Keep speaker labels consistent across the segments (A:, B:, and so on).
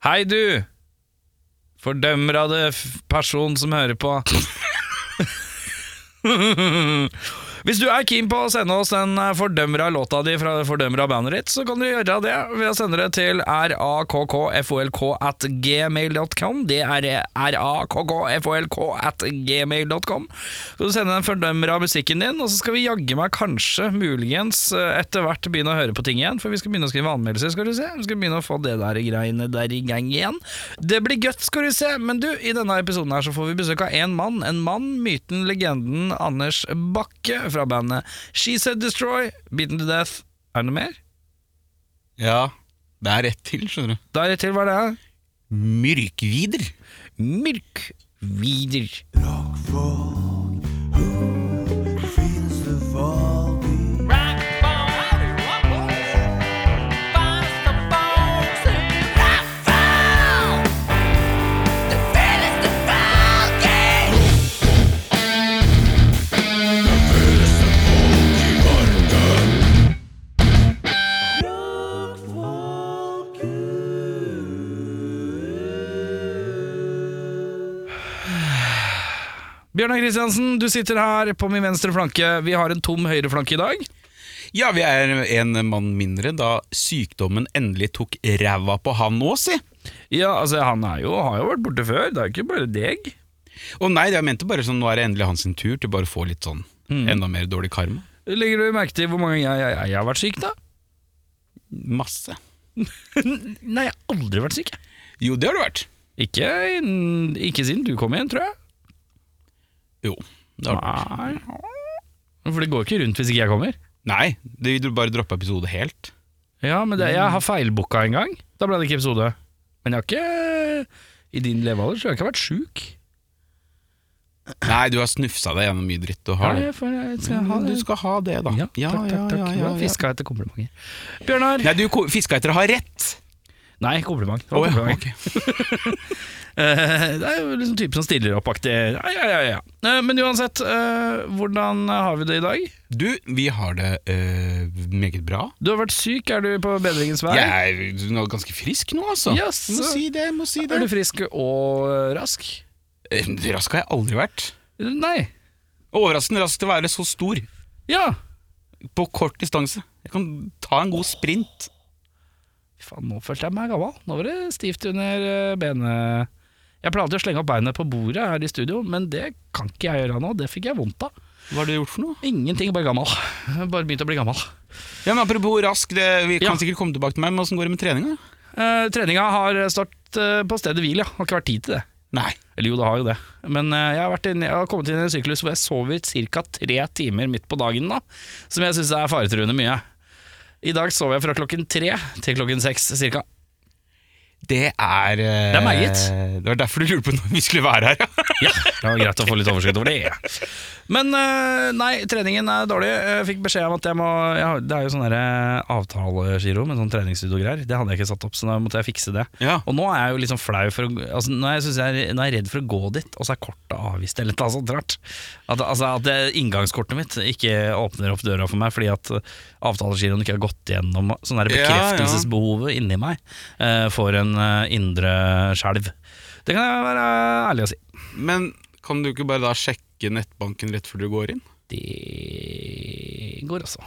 A: Hei, du! Fordømmer av det f- person som hører på. Hvis du er keen på å sende oss den eh, fordømmer av låta di fra det fordømmer av bandet ditt, så kan du gjøre det ved å sende det til rakkfolk at gmail.com. Det er rakkfolk at gmail.com. Så du sender en fordømmer av musikken din, og så skal vi jaggu meg kanskje, muligens, eh, etter hvert begynne å høre på ting igjen, for vi skal begynne å skrive anmeldelser, skal du se. Vi skal begynne å få det der greiene der i gang igjen. Det blir gøtt, skal du se. Men du, i denne episoden her så får vi besøk av en mann. En mann, myten, legenden Anders Bakke fra bandet She Said Destroy, Beaten to Death. Er det noe mer?
B: Ja, det er rett til, skjønner du.
A: Da er det til hva det er.
B: Myrkvider.
A: Myrkvider. Bjørnar Kristiansen, du sitter her på min venstre flanke. Vi har en tom høyre flanke i dag.
B: Ja, vi er en mann mindre da sykdommen endelig tok ræva på han òg, si.
A: Ja, altså, han er jo, har jo vært borte før. Det er jo ikke bare deg.
B: Og nei, jeg mente bare sånn, nå er det endelig hans sin tur til bare å få litt sånn
A: Mm.
B: enda mer dårlig karma.
A: Legger du merke til hvor mange ganger jeg, jeg, jeg har vært syk, da?
B: Masse.
A: Nei, jeg har aldri vært syk. jeg.
B: Jo, det har det vært.
A: Ikke, innen- ikke siden du kom igjen, tror jeg.
B: Jo. Det har det.
A: Nei. For det går ikke rundt hvis ikke jeg kommer.
B: Nei, det, du bare droppa episode helt.
A: Ja, men det, jeg har feilbooka en gang. Da ble det ikke episode. Men jeg har ikke I din levealder så har jeg ikke vært sjuk.
B: Nei, du har snufsa deg gjennom mye dritt. Du har det.
A: Ja, for jeg skal ha
B: Du
A: det.
B: skal ha det, da.
A: Ja, takk, takk, takk. Ja, Fiska etter komplimenter. Bjørnar
B: Nei, du ko- fiska etter å ha rett!
A: Nei, kompliment. Det
B: Å
A: var kompliment.
B: ja, ok.
A: Eh, Det er jo liksom typen som stiller opp-aktig. Ja, ja, ja, ja. Eh, Men uansett, eh, hvordan har vi det i dag?
B: Du, vi har det eh, meget bra.
A: Du har vært syk, er du på bedringens vei?
B: Jeg er nå ganske frisk nå, altså.
A: Jaså.
B: Må si det, må si det.
A: Er du frisk og eh, rask?
B: Eh, Rask har jeg aldri vært.
A: Nei.
B: Overraskende rask til å være så stor
A: Ja.
B: på kort distanse. Jeg kan ta en god sprint.
A: Faen, nå følte jeg meg gammel. Nå var det stivt under eh, benet. Jeg pleier alltid å slenge opp beinet på bordet her i studio, men det kan ikke jeg gjøre nå. Det fikk jeg vondt av.
B: Hva har du gjort for noe?
A: Ingenting, bare gammel. Bare begynt å bli gammel.
B: Ja, men Apropos rask, det, vi
A: Ja.
B: kan sikkert komme tilbake til meg, men åssen går det med treninga?
A: Eh, treninga har stått eh, på stedet hvil, ja. Har ikke vært tid til det.
B: Nei.
A: Eller jo, det har jo det. Men eh, jeg, har vært inn, jeg har kommet inn i en syklus hvor jeg sover ca. tre timer midt på dagen, da. Som jeg syns er faretruende mye. I dag sov jeg fra klokken tre til klokken seks ca.
B: Det er eh,
A: Det er meget.
B: Det var derfor du lurte på når vi skulle være her. ja.
A: Ja, det var greit å få litt oversikt over det. Men eh, nei, treningen er dårlig. Jeg fikk beskjed om at jeg må jeg, har- Det er jo sånn derre avtalegiro med sånn treningsstudio-greier. Det hadde jeg ikke satt opp, så da måtte jeg fikse det.
B: ja.
A: Og nå er jeg jo liksom flau for å altså, nå, er jeg, synes jeg, er- nå er jeg redd for å gå dit, og så er kortet avvist eller noe sånt rart. At, altså, at det, inngangskortet mitt ikke åpner opp døra for meg fordi at avtalegiroen ikke har gått gjennom sånn der
B: Ja, ja.
A: bekreftelsesbehovet inni meg eh, for en eh, indre skjelv. Det kan jeg være ærlig å si.
B: Men kan du ikke bare da sjekke nettbanken rett før du går inn?
A: Det går altså.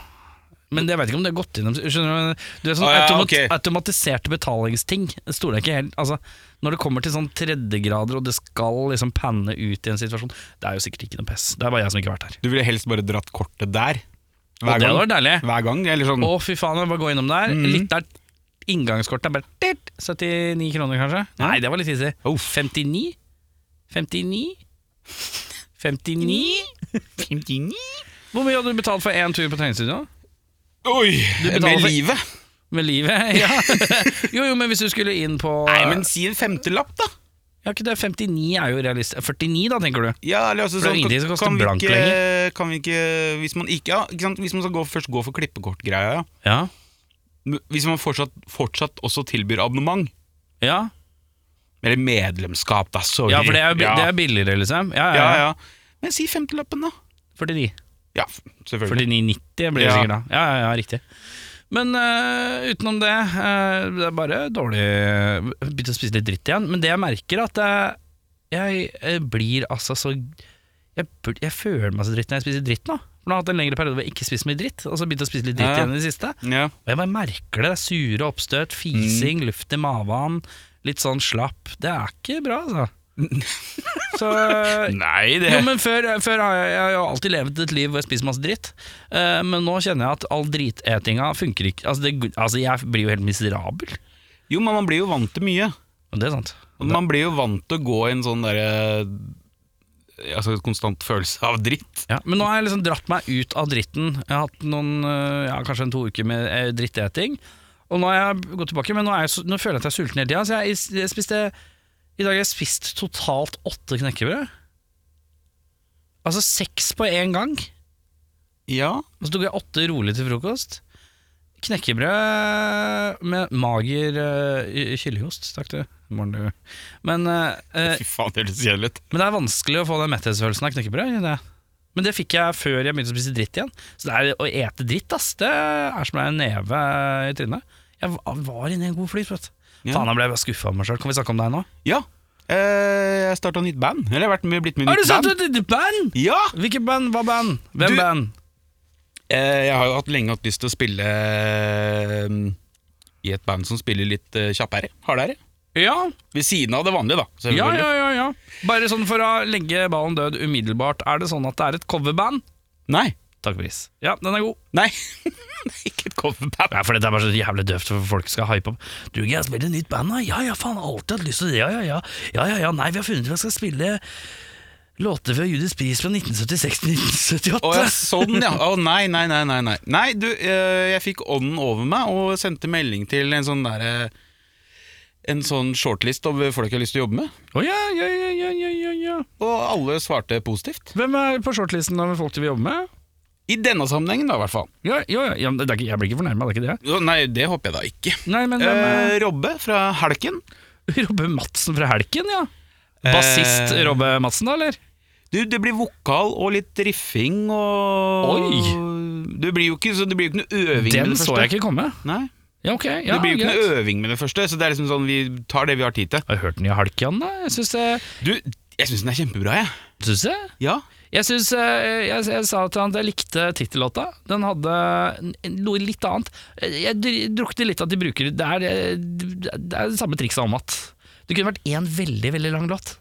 A: Men jeg veit ikke om det har gått gjennom Skjønner du? du er sånn
B: Å, ja,
A: automat,
B: ok.
A: Automatiserte betalingsting det stoler jeg ikke helt altså, Når det kommer til sånn tredjegrader, og det skal liksom panne ut i en situasjon Det er jo sikkert ikke noe pess. Det er bare jeg som ikke har vært her.
B: Du ville helst bare dratt kortet der.
A: Og det hadde vært deilig.
B: Hver gang, Mm. eller sånn.
A: Å, fy faen, jeg må bare gå innom der. Litt der inngangskortet er bare titt, 79 kroner, kanskje? Nei, det var litt hissig. 59? 59? 59?
B: 59?
A: Hvor mye hadde du betalt for én tur på treningsstudio?
B: Oi!
A: betaler
B: Med
A: for-
B: livet.
A: Med livet, ja. jo, jo, men hvis du skulle inn på
B: Nei, men si en femtelapp, da.
A: Ja, ikke det, 59 er jo realist 49 da, tenker du?
B: Ja, eller altså
A: For det er
B: sånn,
A: ingenting som koster
B: vi
A: blank
B: ikke, Kan vi ikke Hvis man ikke, ja, ikke sant? Hvis man skal gå, først gå for klippekortgreia, ja.
A: Ja.
B: Men Hvis man fortsatt, fortsatt også tilbyr abonnement,
A: Ja,
B: eller medlemskap, da, sorry.
A: for det er, jo bi-
B: ja.
A: det er billigere, liksom. Ja, ja,
B: ja,
A: ja.
B: ja. Men si femtelappen, da.
A: 49.
B: Ja, f- selvfølgelig.
A: 49,90 blir det
B: Ja.
A: sikkert da. Ja, ja, ja, riktig. Men eh, utenom det, eh, det er bare dårlig Begynte å spise litt dritt igjen. Men det jeg merker, er at jeg, jeg, eh, blir altså så jeg, bl- jeg føler meg så dritt når jeg spiser dritt nå. For nå har jeg hatt en lengre periode hvor jeg ikke spiser så mye dritt, og så begynte jeg å spise litt dritt
B: Ja.
A: igjen i det siste.
B: Ja.
A: Og jeg bare merker det. det er Sure oppstøt, fising, luft i maven, litt sånn slapp. Det er ikke bra, altså. Så
B: Nei, det
A: jo, men før, før har jeg, jeg har jo alltid levd et liv hvor jeg spiser masse dritt, Eh, men nå kjenner jeg at all dritetinga funker ikke. Altså, det, altså, jeg blir jo helt miserabel.
B: Jo, men man blir jo vant til mye.
A: Og det er sant.
B: Og Man blir jo vant til å gå i en sånn derre Altså konstant følelse av dritt.
A: Ja, men nå har jeg liksom dratt meg ut av dritten. Jeg har hatt noen, øh, ja, kanskje en to uker med eh, dritteting. Og nå har jeg gått tilbake, men nå, er jeg, så- nå føler jeg at jeg er sulten hele tida. Så jeg, jeg spiste I dag har jeg spist totalt åtte knekkebrød. Altså seks på én gang.
B: Ja.
A: Og så tok jeg åtte rolig til frokost. Knekkebrød med mager øh, y- kyllingost, takk du. Morgen, du. Men øh, øh,
B: Fy faen, det høres kjedelig ut.
A: men det er vanskelig å få den metthetsfølelsen av knekkebrød. Det. Men det fikk jeg før jeg begynte å spise dritt igjen. Så det er å ete dritt, ass. Det er som en neve i trynet. Jeg va- var inne i en god flyt, vet du.
B: Ja.
A: Faen, jeg ble skuffa av meg sjøl. Kan vi snakke om deg nå?
B: Ja. Eh, jeg starta nytt band. Eller jeg har vært med, blitt med i nytt band.
A: et band?
B: Ja!
A: Hvilket band? Hva band? Hvem
B: Du-
A: band?
B: Eh, jeg har jo hatt lenge hatt lyst til å spille eh, i et band som spiller litt eh, kjappere. Hardere.
A: Ja,
B: Ved siden av det vanlige, da.
A: ja,
B: selvfølgelig.
A: ja, ja, ja. Bare sånn for å legge ballen død umiddelbart. Er det sånn at det er et coverband?
B: Nei.
A: Takk og pris. Ja, den er god.
B: Nei. Ikke et coverband.
A: Ja, for dette er bare så jævlig døvt for folk skal hype opp. Du, jeg spiller nytt band, da. Ja, ja, faen, alltid hatt lyst til det. Ja, ja, ja. Ja, ja, ja. Nei, vi har funnet ut at vi skal spille låter fra Judith Spies fra 1976 til 1978.
B: Å ja, sånn ja. Å nei, nei, nei, nei. Nei, nei du, eh, jeg fikk ånden over meg og sendte melding til en sånn derre En sånn shortlist over folk jeg har lyst til å jobbe med.
A: Å ja, ja, ja, ja, ja, ja, ja.
B: Og alle svarte positivt.
A: Hvem er på shortlisten av folk du vil jobbe med?
B: I denne sammenhengen, da, i hvert fall.
A: Ja, ja, ja, ja men det er ikke, jeg blir ikke fornærma, det er ikke det.
B: Jo, Nei, det håper jeg da ikke.
A: Nei, men hvem
B: Eh,
A: er
B: Robbe fra Helken.
A: Robbe Madsen fra Helken, ja. Bassist
B: Eh,
A: Robbe Madsen, da, eller?
B: Du, det blir vokal og litt riffing og Du blir jo ikke, så det blir jo ikke noe øving
A: Den
B: med det første.
A: så jeg ikke komme.
B: Nei,
A: Ja, ok.
B: det
A: Ja,
B: blir jo ikke
A: greit.
B: noe øving med det første, så det er liksom sånn vi tar det vi har tid til.
A: Har du hørt den i Helken, da? Jeg syns det.
B: Du, jeg syns den er kjempebra, jeg.
A: Syns jeg.
B: Ja.
A: Jeg, synes, eh, jeg, jeg sa til han at jeg likte tittellåta. Den hadde n- noe litt annet. Jeg dr- drukte litt at de bruker Det er eh, det er det samme trikset om at det kunne vært én veldig veldig lang låt.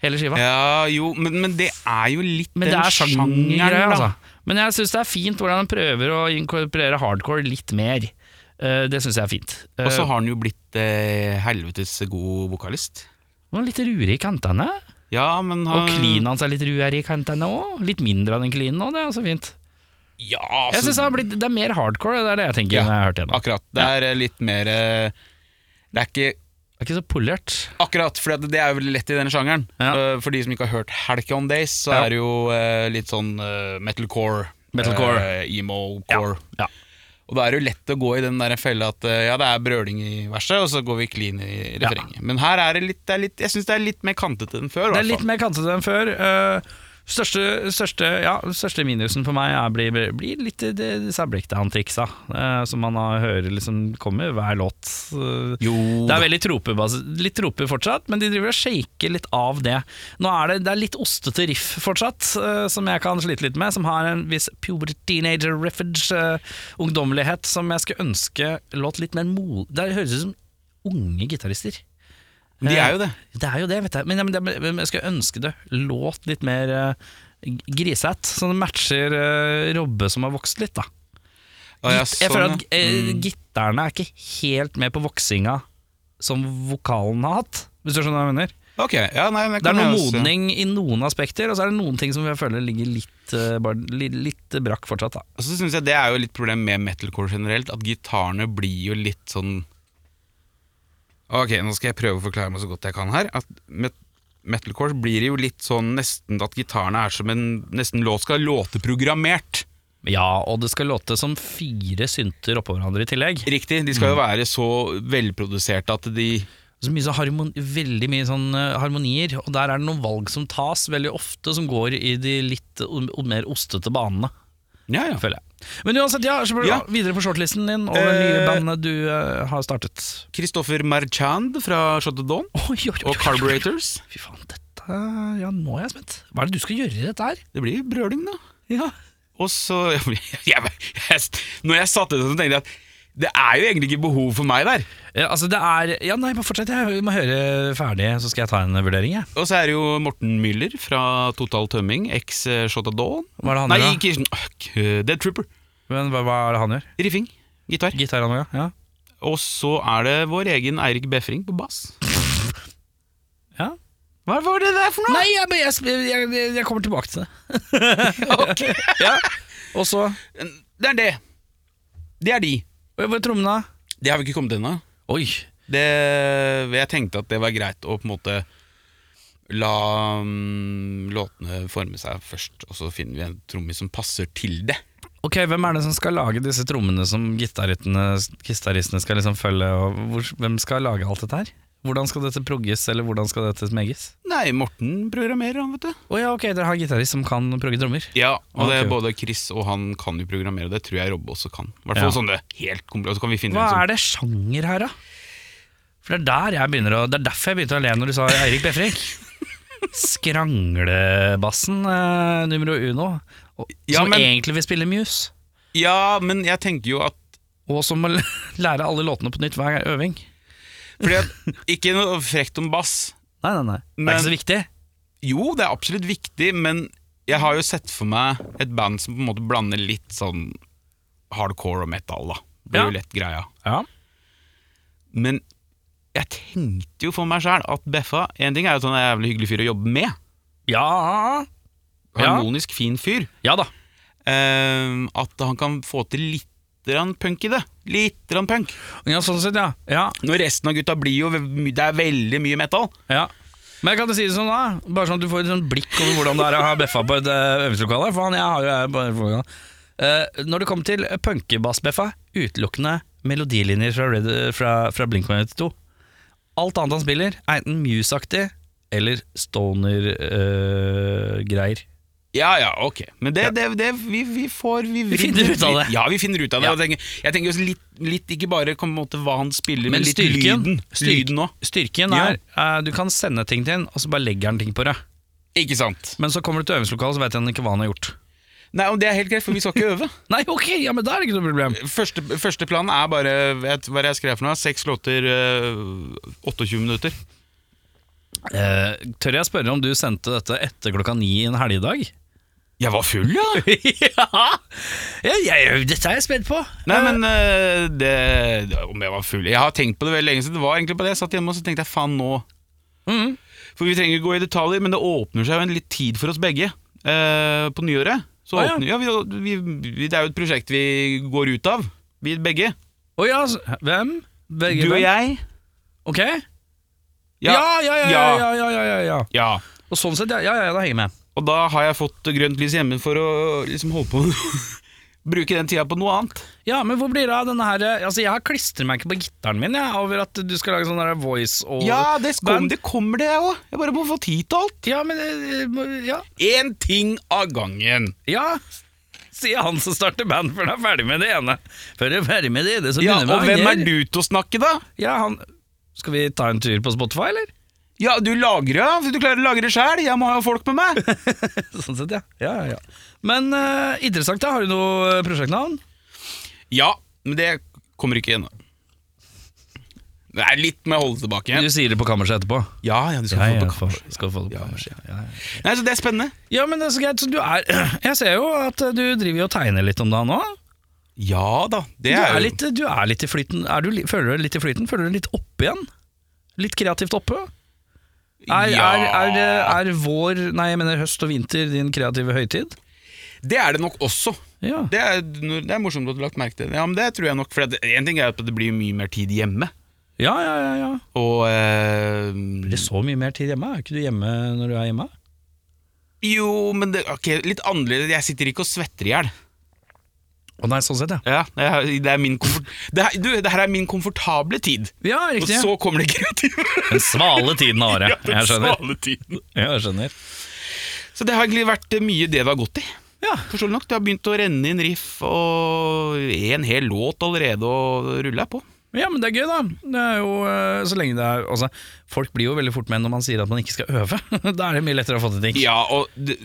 A: Hele skiva.
B: Ja, jo, men, men det er jo litt
A: Men det
B: den
A: er sjangergreier,
B: da.
A: altså. Men jeg syns det er fint hvordan han prøver å inkorporere hardcore litt mer. Eh, Det syns jeg er fint.
B: Og så har han jo blitt eh, helvetes god vokalist.
A: Han var litt ruere i kantene.
B: Ja, men han
A: Og klinen hans er litt ruere i kantene òg. Litt mindre av den klinen òg, det er også fint. Jeg
B: Ja, altså,
A: synes det, har blitt, det er mer hardcore, det er det jeg tenker.
B: Ja,
A: når jeg har hørt gjennom.
B: akkurat. Det er eh, litt mer eh, Det er ikke
A: Det er ikke så polert.
B: Akkurat, for det er jo veldig lett i denne sjangeren.
A: Ja.
B: Eh, For de som ikke har hørt Helk on Days, så
A: Ja.
B: er det jo eh, litt sånn eh, metalcore.
A: Metalcore.
B: eh, Emo-core.
A: Ja.
B: Og da er det jo lett å gå i den der fella at eh, ja, det er brøling i verset, og så går vi clean i refrenget. Men her er det litt, det er litt Jeg syns det er litt mer kantete enn før. i
A: Det er
B: hvert
A: litt
B: fall.
A: mer kantete enn før. Eh, største, største, ja, største minusen for meg er blir, blir litt det, det særblikk-down-triksa, eh, som man har, hører liksom kommer hver låt. Eh,
B: Jo
A: det er veldig trope, litt trope fortsatt, men de driver og shaker litt av det. Nå er det, det er litt ostete riff fortsatt, eh, som jeg kan slite litt med, som har en viss puber teenager riffage, eh, ungdommelighet, som jeg skulle ønske låt litt mer mo... Det høres ut som unge gitarister. Eh,
B: Men De er jo det.
A: Det er jo det, vet jeg. Men, ja, men, det- men jeg skulle ønske det låt litt mer uh, grisete, så det matcher eh, Robbe som har vokst litt, da.
B: Og
A: Gitt-
B: sånn,
A: jeg føler at
B: ja.
A: eh,
B: Mm.
A: gitterne er ikke helt med på voksinga som vokalen har hatt, hvis du skjønner hva jeg mener.
B: Ok, ja, nei, men
A: Det er
B: kan
A: noe
B: jeg også-
A: modning i noen aspekter, og så er det noen ting som jeg føler ligger litt, eh, bare, li, litt brakk fortsatt, da.
B: Og så synes jeg det er jo litt problem med metalcore generelt, at gitarene blir jo litt sånn Ok, nå skal jeg prøve å forklare meg så godt jeg kan her. At met metalcore blir jo litt sånn nesten at gitarene er som en Nesten låt skal låte programmert.
A: Ja, og det skal låte som fire synter oppå hverandre i tillegg.
B: Riktig, de skal jo være så velproduserte at de
A: så mye sånn harmon, veldig mye sånn eh, harmonier, og der er det noen valg som tas veldig ofte, som går i de litt o- o- mer ostete banene,
B: Ja, ja.
A: føler jeg. Men uansett, ja, så blir det
B: Ja.
A: videre på shortlisten din over
B: Eh.
A: nye bandene du eh, har startet.
B: Christopher Marchand fra Shot of Dawn
A: Oi, oi, oi, oi,
B: og Carburetors.
A: Fy faen, dette Ja, nå er jeg spent. Hva er det du skal gjøre i dette her?
B: Det blir brøling, da.
A: Ja.
B: Og så jeg, jeg, jeg, Når jeg satte det sånn, tenkte jeg at det er jo egentlig ikke behov for meg der.
A: altså det er Ja, nei, bare fortsett. Jeg må høre ferdig, så skal jeg ta en vurdering. Jeg.
B: Og så er det jo Morten Müller fra Total Tømming, eks eh, Shot of Dawn.
A: Hva er det han
B: Nei,
A: gjør, da?
B: ikke øh, k- Dead Trooper.
A: Men hva, hva er det han gjør?
B: Riffing. Gitar.
A: Gitar han gjør, ja.
B: Og så er det vår egen Eirik Befring på bass.
A: ja.
B: Hva var det der for noe?!
A: Nei, jeg, jeg, jeg, jeg, jeg kommer tilbake til det.
B: Ok.
A: Ja. Og så
B: Det er det. Det er de.
A: Hvor er trommene?
B: Det har vi ikke kommet til ennå.
A: Oi.
B: Det- Jeg tenkte at det var greit å på en måte la mm, låtene forme seg først, og så finner vi en trommis som passer til det.
A: Ok, Hvem er det som skal lage disse trommene som gitaristene gitaristene skal liksom følge? Og hvor, hvem skal lage alt dette her? Hvordan skal dette progges, eller hvordan skal dette smeges?
B: Nei, Morten programmerer, han, vet du.
A: Å ja, ok, dere har gitarist som kan progge trommer.
B: Ja, og det
A: Ah, Ok.
B: er både Chris og han kan jo programmere, og det tror jeg Robbe også kan. I hvert fall
A: Ja.
B: sånn det er helt kompl- Og så kan vi finne
A: Hva
B: en sånn
A: er det sjanger her, da? For det er der jeg begynner å Det er derfor jeg begynte å le når du sa Eirik Befrek. Skranglebassen eh, numero uno, og,
B: Ja,
A: som
B: men-
A: egentlig vil spille Muse.
B: Ja, men jeg tenker jo at
A: Og som må lære alle låtene på nytt hver gang øving.
B: Fordi at Ikke noe frekt om bass.
A: Nei, nei, nei. Det
B: Men-
A: er ikke så viktig.
B: Jo, det er absolutt viktig, men jeg har jo sett for meg et band som på en måte blander litt sånn hardcore og metal, da. Det
A: Ja.
B: er jo lett greia.
A: Ja.
B: Men jeg tenkte jo for meg sjæl at Beffa En ting er jo at han er en jævlig hyggelig fyr å jobbe med.
A: Ja Ja.
B: Harmonisk fin fyr.
A: Ja da.
B: Ehm, at han kan få til litt grann punk i det. Litt grann punk.
A: Ja, sånn sett, ja. ja.
B: Når resten av gutta blir jo ve- Det er veldig mye metal.
A: Ja. Men jeg kan si det sånn da, bare sånn at du får et sånn blikk over hvordan det er å ha beffa på et eh, øvingslokale. For han, jeg har jo jeg på øvingslokale. Eh, når det kom til punkebassbeffa, utelukkende melodilinjer fra, Red, fra, fra Blink-182. Alt annet han spiller, er enten Muse-aktig eller eh, stoner-greier.
B: Ja ja, ok. Men det, det, det vi, vi får Vi,
A: Vi finner ut av det.
B: Ja, vi finner ut av det.
A: Ja.
B: Og tenker, jeg tenker også litt, litt ikke bare på en måte hva han spiller, men,
A: Men
B: litt
A: styrken-
B: lyden.
A: styrk-
B: Lyden òg.
A: Styrken
B: Ja.
A: er eh, du kan sende ting til han, og så bare legger han ting på deg.
B: Ikke sant.
A: Men så kommer du til øvingslokalet, så vet han ikke hva han har gjort.
B: Nei, og Det er helt greit, for vi skal ikke øve.
A: Nei, ok, ja, men da er det ikke noe problem.
B: Første, første planen er bare vet, Hva er det jeg skrev for noe? Seks låter, øh, 28 minutter.
A: Eh, tør jeg spørre om du sendte dette etter klokka ni en helgedag?
B: Jeg var full, ja!
A: ja! Jeg, jeg, dette er jeg spent på. Eh,
B: Nei, men øh, det, det- Om jeg var full Jeg har tenkt på det veldig lenge siden. Det var egentlig på det jeg satt hjemme og så tenkte jeg faen nå
A: Mhm.
B: For vi trenger ikke gå i detaljer, men det åpner seg jo en litt tid for oss begge eh, på nyåret. Så
A: Å, ja.
B: åpner, ja, vi, vi, vi, Det er jo et prosjekt vi går ut av, vi begge.
A: Å ja, s- hvem? Begge
B: Du og
A: hvem?
B: jeg.
A: Ok? Ja, ja, ja, ja, ja, ja, ja, ja, ja.
B: ja.
A: Og sånn sett, ja, ja, ja da henger jeg med.
B: Og da har jeg fått grønt lys hjemme for å liksom holde på Bruke den tida på noe annet.
A: Ja, men hvor blir det av denne her eh, Altså, jeg har klistremerker på gitaren min, jeg, over at du skal lage sånn der voice og
B: Ja, det,
A: kom-
B: det kommer det, jeg òg. Jeg bare må få tid til alt.
A: Ja, men eh, må- Ja.
B: Én ting av gangen.
A: ja. Sier han som starter band før han er ferdig med det ene. Før han er ferdig med det ene, så
B: Ja,
A: begynner
B: Og
A: vi
B: hvem er du til å snakke, da?
A: Ja, han Skal vi ta en tur på Spotify, eller?
B: Ja, du lagrer, ja. Du klarer å lagre sjæl. Jeg må ha folk med meg.
A: Sånn sett, ja. ja, ja, ja. Men eh, interessant, da. Har du noe eh, prosjektnavn?
B: Ja, men det kommer ikke ennå. Det er litt med å holde tilbake
A: Du
B: igjen.
A: sier det på kammerset etterpå.
B: Ja, ja, du skal
A: Ja,
B: få
A: ja,
B: det på kammerset.
A: for- skal få det på
B: Ja, ja,
A: kammerset. Ja, ja, ja.
B: Nei, så Det er spennende.
A: ja, men det er så greit. Så du er Jeg ser jo at eh, du driver jo og tegner litt om dagen nå.
B: Ja da.
A: Du
B: Det er,
A: er
B: jo-
A: litt, du er litt i flyten. Er du, li- føler du deg litt i flyten? Føler du deg litt oppe igjen? Litt kreativt oppe? Er,
B: ja,
A: er, er, er, vår, nei jeg mener høst og vinter, din kreative høytid?
B: Det er det nok også.
A: Ja.
B: Det er, det er morsomt at du har lagt merke til det. Ja, men det tror jeg nok. For det- en ting er at det blir mye mer tid hjemme.
A: ja, ja, ja. ja.
B: Og eh,
A: Blir det så mye mer tid hjemme? Er ikke du hjemme når du er hjemme?
B: Jo, men det, ok, litt annerledes. Jeg sitter ikke og svetter i hjel.
A: Å nei, sånn sett, ja.
B: Ja, jeg- det, er min komfort- det, her- du, det her er min komfortable tid.
A: Ja,
B: Og
A: riktig. ja.
B: så kommer det kreative.
A: Den svale tiden av
B: Ja,
A: året.
B: den
A: Jeg skjønner.
B: svale tiden.
A: Ja, jeg skjønner.
B: Så det har egentlig vært eh, mye det det har gått i.
A: Ja.
B: Forståelig nok, det har begynt å renne inn riff og en hel låt allerede, og ruller jeg på.
A: Ja, men det er gøy, da. Det er jo, eh, så lenge det er altså, Folk blir jo veldig fort med når man sier at man ikke skal øve. da er det mye lettere å få til ting.
B: Ja, og det,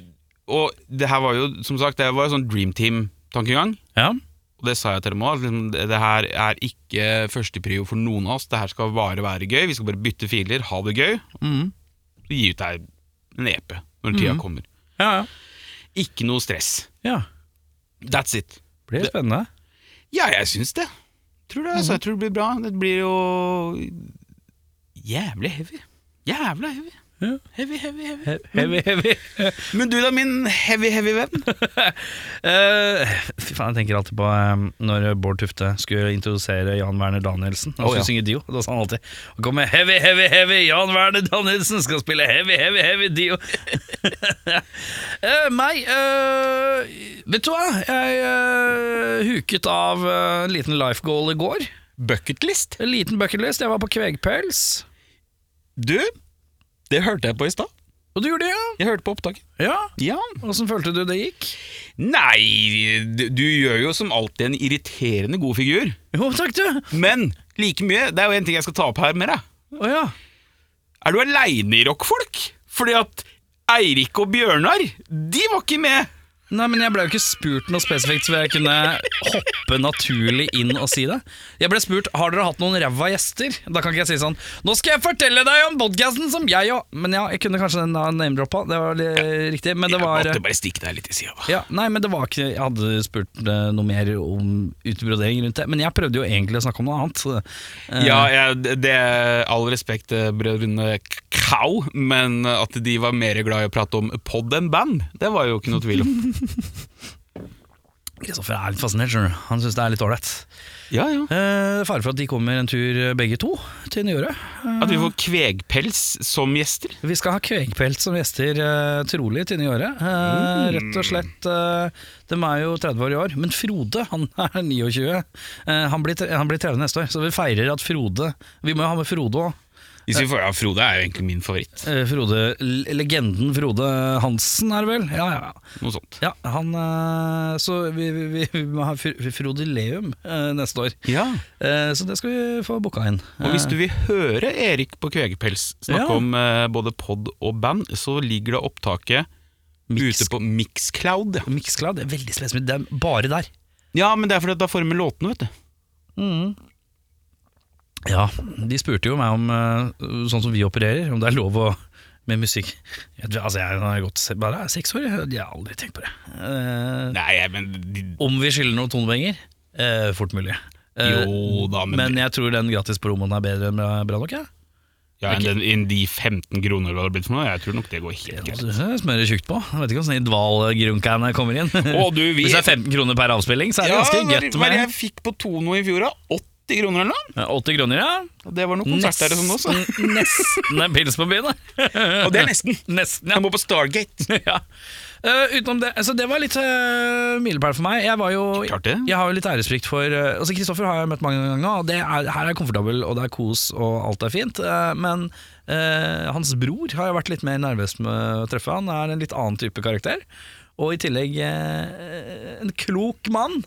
B: og det her var jo, som sagt, det var jo sånn Dream Team-tankegang.
A: Ja.
B: Og det sa jeg til dem òg. Det det her er ikke førsteprio for noen av oss. Det her skal bare være gøy. Vi skal bare bytte filer, ha det gøy.
A: Mhm.
B: Og gi ut deg en EP når tida kommer.
A: ja, ja.
B: Ikke noe stress.
A: ja.
B: That's it.
A: Blir det spennende.
B: Ja, jeg syns det. Tror det, altså, jeg tror det blir bra. Det blir jo jævlig heavy. Jævla heavy.
A: Ja.
B: Heavy, heavy, heavy.
A: He- Heavy, heavy.
B: Men du da, min heavy, heavy venn.
A: Eh, fy faen, jeg tenker alltid på um, når Bård Tufte skulle introdusere Jan Werner Danielsen. Han
B: Å,
A: skulle
B: ja.
A: synge Dio. Da sa han alltid Og kommer heavy, heavy, heavy, Jan Werner Danielsen skal spille heavy, heavy, heavy Dio. Eh, meg eh, Vet du hva? Jeg eh, huket av eh, en liten life goal i går.
B: Bucketlist.
A: En liten bucketlist. Jeg var på Kvegpels.
B: Du, det hørte jeg på i stad.
A: Og du gjorde det, ja?
B: Jeg hørte på opptaket.
A: Ja.
B: Ja.
A: Åssen følte du det gikk?
B: Nei, du, du gjør jo som alltid en irriterende god figur.
A: Jo, takk, du.
B: Men like mye, det er jo en ting jeg skal ta opp her med deg.
A: Å ja.
B: Er du aleine i rockfolk? Fordi at Eirik og Bjørnar, de var ikke med.
A: Nei, men jeg ble jo ikke spurt noe spesifikt, så jeg kunne hoppe naturlig inn og si det. Jeg ble spurt har dere hatt noen ræva gjester. Da kan ikke jeg si sånn Nå skal jeg fortelle deg om podkasten som jeg og Men ja, jeg kunne kanskje den da name-droppa, det var litt riktig. Men det var
B: Jeg måtte bare stikke deg litt i sida.
A: ja, nei, men det var ikke Jeg hadde spurt eh, noe mer om utbrodering rundt det. Men jeg prøvde jo egentlig å snakke om noe annet. så, eh,
B: Ja, jeg- det er all respekt, eh, brødrene K- Kau, men at de var mer glad i å prate om pod enn band, det var jo ikke noe tvil om.
A: Kristoffer er litt fascinert, skjønner du. Han syns det er litt ålreit.
B: Ja, ja.
A: Eh, Fare for at de kommer en tur eh, begge to til nyåret.
B: At vi får kvegpels som gjester.
A: Vi skal ha Kvegpelt som gjester eh, trolig til nyåret. Eh,
B: Mm.
A: Rett og slett eh, De er jo 30 år i år, men Frode han er 29. Eh, han, blir, tre- han blir 30 neste år, så vi feirer at Frode Vi må jo ha med Frode òg.
B: Hvis vi får, ja, Frode er jo egentlig min favoritt.
A: Frode, l- legenden Frode Hansen, er det vel? Ja, ja, ja.
B: Noe sånt.
A: ja han, eh, så vi, vi, vi, vi må ha Fr- Frodeleum eh, neste år.
B: Ja.
A: Eh, så det skal vi få booka inn.
B: Og hvis du vil høre Erik på Kvegepels snakke
A: Eh. Ja.
B: om eh, både pod og band, så ligger det opptaket
A: Mix-
B: ute på Mixcloud. ja.
A: Mixcloud, Eh, det er veldig spesielt, det er bare der.
B: Ja, men det er fordi at da får vi med låtene, vet
A: Eh.
B: du.
A: Ja, de spurte jo meg om eh, sånn som vi opererer, om det er lov å med musikk. Jeg, altså, jeg har gått se- bare seks år, jeg, jeg har aldri tenkt på det. Eh,
B: Nei, men de-
A: om vi skylder noen tonepenger? Eh, fort mulig. Eh,
B: Jo da, men,
A: men jeg tror den gratis på rommet er bedre enn bra, bra nok, jeg.
B: ja, enn den- enn de 15 kroner det hadde blitt for noe, jeg tror nok det går helt
A: Ja.
B: greit.
A: Smører tjukt på. Jeg vet ikke hvordan dvalgrunkerne kommer inn.
B: Å, du, vi-
A: Hvis det er 15 kroner per avspilling, så er det ganske
B: hva-
A: gøtt
B: hva er
A: med
B: det jeg fikk på Tono i fjor, da? 80 kroner eller noe?
A: 80 kroner, ja.
B: Og det var noe konsert der og sånn også.
A: Nesten, nesten en pils på byen, da.
B: Og det er nesten.
A: Nesten, ja.
B: Jeg må på Stargate.
A: ja. Eh, utenom det, altså det var litt uh, milepæl for meg. Jeg, var jo,
B: Klart det.
A: jeg har jo litt æresfrykt for eh, Altså Kristoffer har jeg møtt mange ganger, nå, og det er, her er jeg komfortabel, og det er kos, og alt er fint. eh, men eh, hans bror har jeg vært litt mer nervøs med å treffe. Han er en litt annen type karakter. Og i tillegg eh, en klok mann.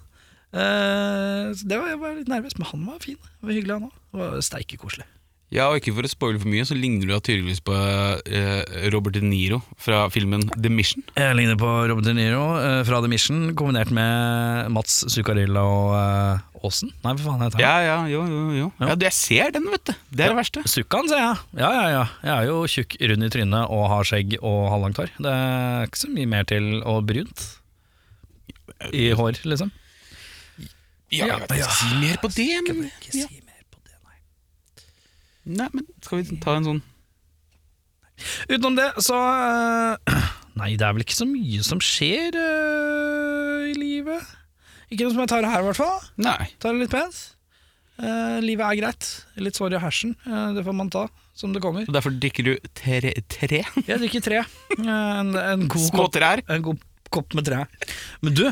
A: Eh, så det var, jeg var litt nervøs, men han var fin. Han var hyggelig, han òg. Det var Steike koselig.
B: Ja, og ikke for å spoile for mye, så ligner du da tydeligvis på eh, Robert De Niro fra filmen The Mission.
A: Jeg ligner på Robert De Niro eh, fra The Mission, kombinert med Mats Zuccarilla og eh, Aasen. Nei, hva faen heter han?
B: Ja, ja, jo, jo, jo. Ja, du, jeg ser den, vet du. Det er det verste.
A: Sukkan, sier jeg. Ja, ja, ja. Jeg er jo tjukk, rund i trynet og har skjegg og halvlangt hår. Det er ikke så mye mer til, og brunt i hår, liksom.
B: Ja,
A: Ja,
B: jeg vet ikke,
A: ja.
B: si mer på det, men
A: Ikke
B: ja.
A: si mer på det, nei.
B: Nei, men skal vi ta en sånn
A: Utenom det, så eh, Nei, det er vel ikke så mye som skjer eh, i livet. Ikke noe som jeg tar her, i hvert fall.
B: Nei.
A: Ta det litt pent. Eh, livet er greit. Litt sår i hersen. Eh, det får man ta som det kommer.
B: Og derfor drikker du tre, tre?
A: Jeg drikker tre. Eh, en, en, god
B: små
A: kopp,
B: trær?
A: en god kopp med tre. Men du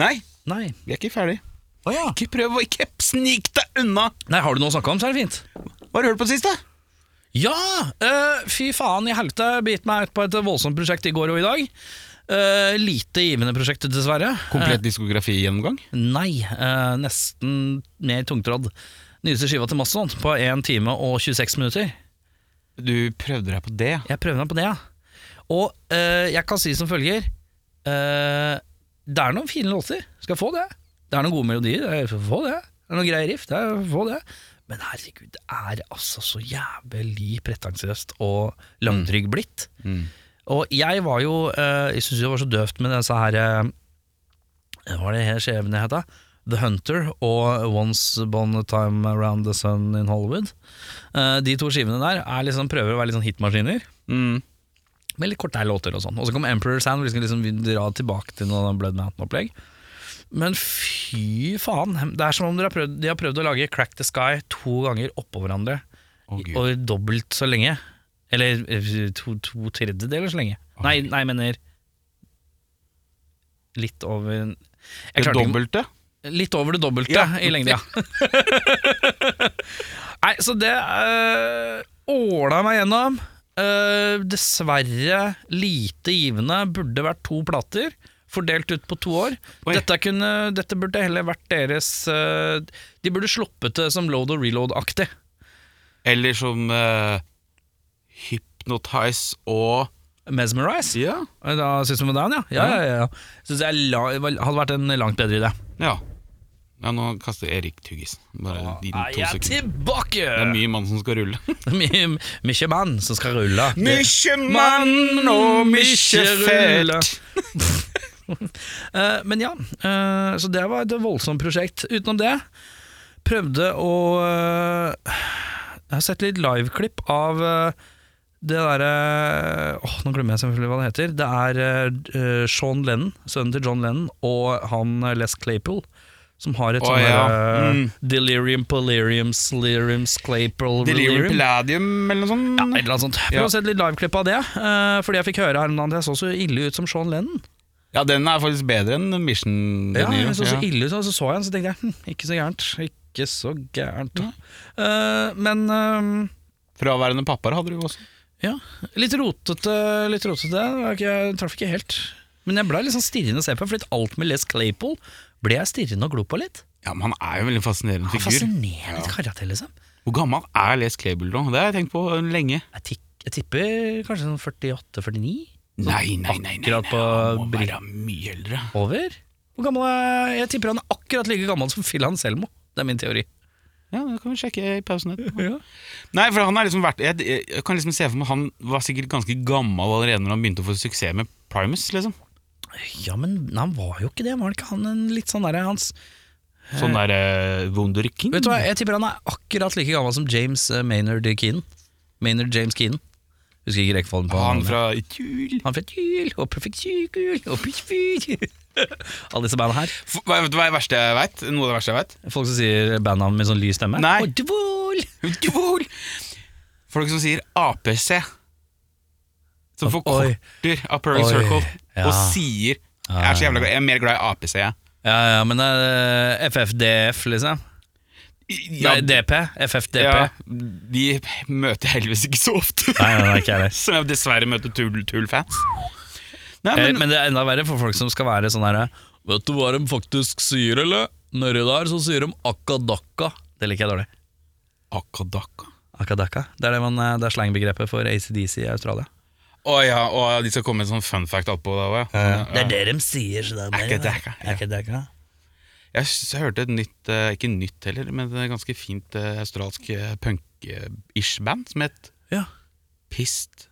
B: Nei,
A: Nei.
B: vi er ikke ferdig.
A: Å ja.
B: Ikke prøv å ikke snike deg unna!
A: Nei, Har du noe å snakke om, så er det fint.
B: Hva har du hørt på det siste?
A: Ja! eh, fy faen i helvete. Bit meg ut på et voldsomt prosjekt i går og i dag. Eh, lite givende prosjekt, dessverre.
B: Komplett diskografigjennomgang?
A: Nei, eh, nesten mer tungtrådd. Nyeste skiva til Mastodon på 1 time og 26 minutter.
B: Du prøvde deg på det?
A: Jeg prøver meg på det, ja. Og eh, jeg kan si som følger eh, Det er noen fine låter, skal få det. Det er noen gode melodier, jeg skal få det. Det er noen greie riff, det er, få det. Men herregud, det er altså så jævlig pretensiøst og langdrygg blitt.
B: Mm.
A: Og jeg var jo eh, Jeg syntes det var så døvt med disse her eh, Hva var det her skjebne het, da? The Hunter og Once Upon a Time Around the Sun in Hollywood. Eh, de to skivene der er liksom, prøver å være litt sånn hitmaskiner
B: Mm.
A: med litt kortere låter og sånn. Og så kom Emperor's Hand, hvor de skal liksom dra tilbake til noe Blood Mountain-opplegg. Men fy faen, det er som om de har, prøvd, de har prøvd å lage Crack the Sky to ganger oppå hverandre,
B: Å, Gud.
A: og dobbelt så lenge. Eller eh, to, to tredjedeler så lenge.
B: Oi.
A: Nei, nei, jeg mener Litt over jeg
B: det
A: klarte ikke-
B: dobbelte?
A: Litt over det dobbelte
B: Ja.
A: i lengde, ja. Nei, så det øh, åla meg gjennom. Øh, dessverre lite givende. Burde vært to plater, fordelt ut på to år.
B: Oi.
A: Dette, kunne, dette burde heller vært deres øh, De burde sluppet det som load og reload-aktig.
B: Eller som eh, Hypnotize og
A: Mesmerize.
B: Ja.
A: Da syns du med den, ja? Ja, ja, ja. Synes jeg la, hadde vært en langt bedre idé.
B: Ja, nå kaster Erik Tuggisen. Bare de
A: Er
B: to
A: jeg
B: sekunder.
A: tilbake!
B: Det er mye mann som skal rulle.
A: mye, mye mann som skal rulle. Det-
B: Mykje
A: mann og mykje felt. Eh, men ja, eh, så det var et voldsomt prosjekt. Utenom det, prøvde å eh, Jeg har sett litt liveklipp av eh, det derre Åh, nå glemmer jeg selvfølgelig hva det heter. Det er eh, Sean Lennon, sønnen til John Lennon, og han eh, Les Claypool. Som har et
B: Å,
A: sånn
B: ja.
A: derre,
B: Mm.
A: Delirium, Polirium, Slirium, Claypool
B: Delirium
A: Delirium.
B: Palladium eller
A: Ja,
B: noe
A: et
B: sånt?
A: eller annet sånt.
B: Ja.
A: Prøv å se et litt liveklipp av det. eh, fordi jeg fikk høre her om dagen at jeg så så ille ut som Sean Lennon.
B: Ja, den er faktisk bedre enn Mission.
A: Ja,
B: Delirium,
A: jeg så så
B: ja.
A: ille ut, og så så jeg den, så tenkte jeg hm, ikke så gærent. Ikke så gærent. Eh, men eh,
B: Fraværende pappaer hadde du jo også.
A: ja, litt rotete. Litt rotete. Det var ikke- Jeg traff ikke helt. Men jeg ble litt sånn stirrende å se på, fordi alt med Les Claypool ble jeg stirrende og glo på litt.
B: Ja, men Han er jo en veldig fascinerende
A: Han er
B: figur.
A: Fascinerende karakter, liksom.
B: Hvor gammel er Les Cable nå? Det har jeg tenkt på lenge.
A: Jeg, tikk- jeg tipper kanskje sånn 48-49
B: Nei, nei, nei. nei, nei.
A: akkurat på
B: Han må
A: Brit-
B: være mye eldre.
A: over. Hvor gammel er Jeg tipper han er akkurat like gammel som Phil Anselmo. Det er min teori.
B: Ja, Det kan vi sjekke i pausen. etterpå. Nei, for han har liksom vært jeg, jeg, jeg kan liksom se for meg Han var sikkert ganske gammel allerede når han begynte å få suksess med Primus. liksom
A: Ja, men han var jo ikke det. Var det ikke han en litt sånn derre hans
B: Sånn der eh, Wunderkind.
A: Vet du hva, jeg tipper han er akkurat like gammel som James eh, Maynard Keenan. Maynard James Keenan. Husker ikke rekkefølgen på
B: Han fra Jul.
A: Han fra Jul og Perfekt Sykehjul og Pitchfyr. Alle disse bandene her.
B: F- Vet du hva er det verste jeg vet? Noe av det verste jeg vet?
A: Folk som sier bandnavn med sånn lys stemme.
B: Nei.
A: Og Dvol!
B: Jul. Folk som sier APC. Som
A: Oi.
B: forkorter av Pearl
A: Oi,
B: Circle
A: ja. Ah.
B: og sier Jeg er så jævla glad Jeg er mer glad i APC, jeg.
A: Ja, ja, men eh, det er FFDF, liksom. Nei,
B: Ja,
A: DP. FFDP.
B: ja, De møter jeg heldigvis ikke så ofte.
A: Nei, nei, nei, ikke jeg heller.
B: Som jeg dessverre møter Tool-fans. Nei,
A: Eh,
B: men,
A: Men det er enda verre for folk som skal være sånn her Vet du hva de faktisk sier, eller? Nedi der så sier de akadakka. Det liker jeg dårlig.
B: Akadaka.
A: Akadakka. Det er, det man, eh, det er slangbegrepet for ACDC i Australia.
B: Å ja, og de skal komme med en sånn fun fact attpå. da, også, ja. Sånn, ja.
A: Det er det de sier. Så det er
B: Akadakka, ja. Jeg s- hørte et nytt, eh, ikke nytt heller, men et ganske fint eh, australsk eh, punk-ish band som het
A: Ja.
B: Pissed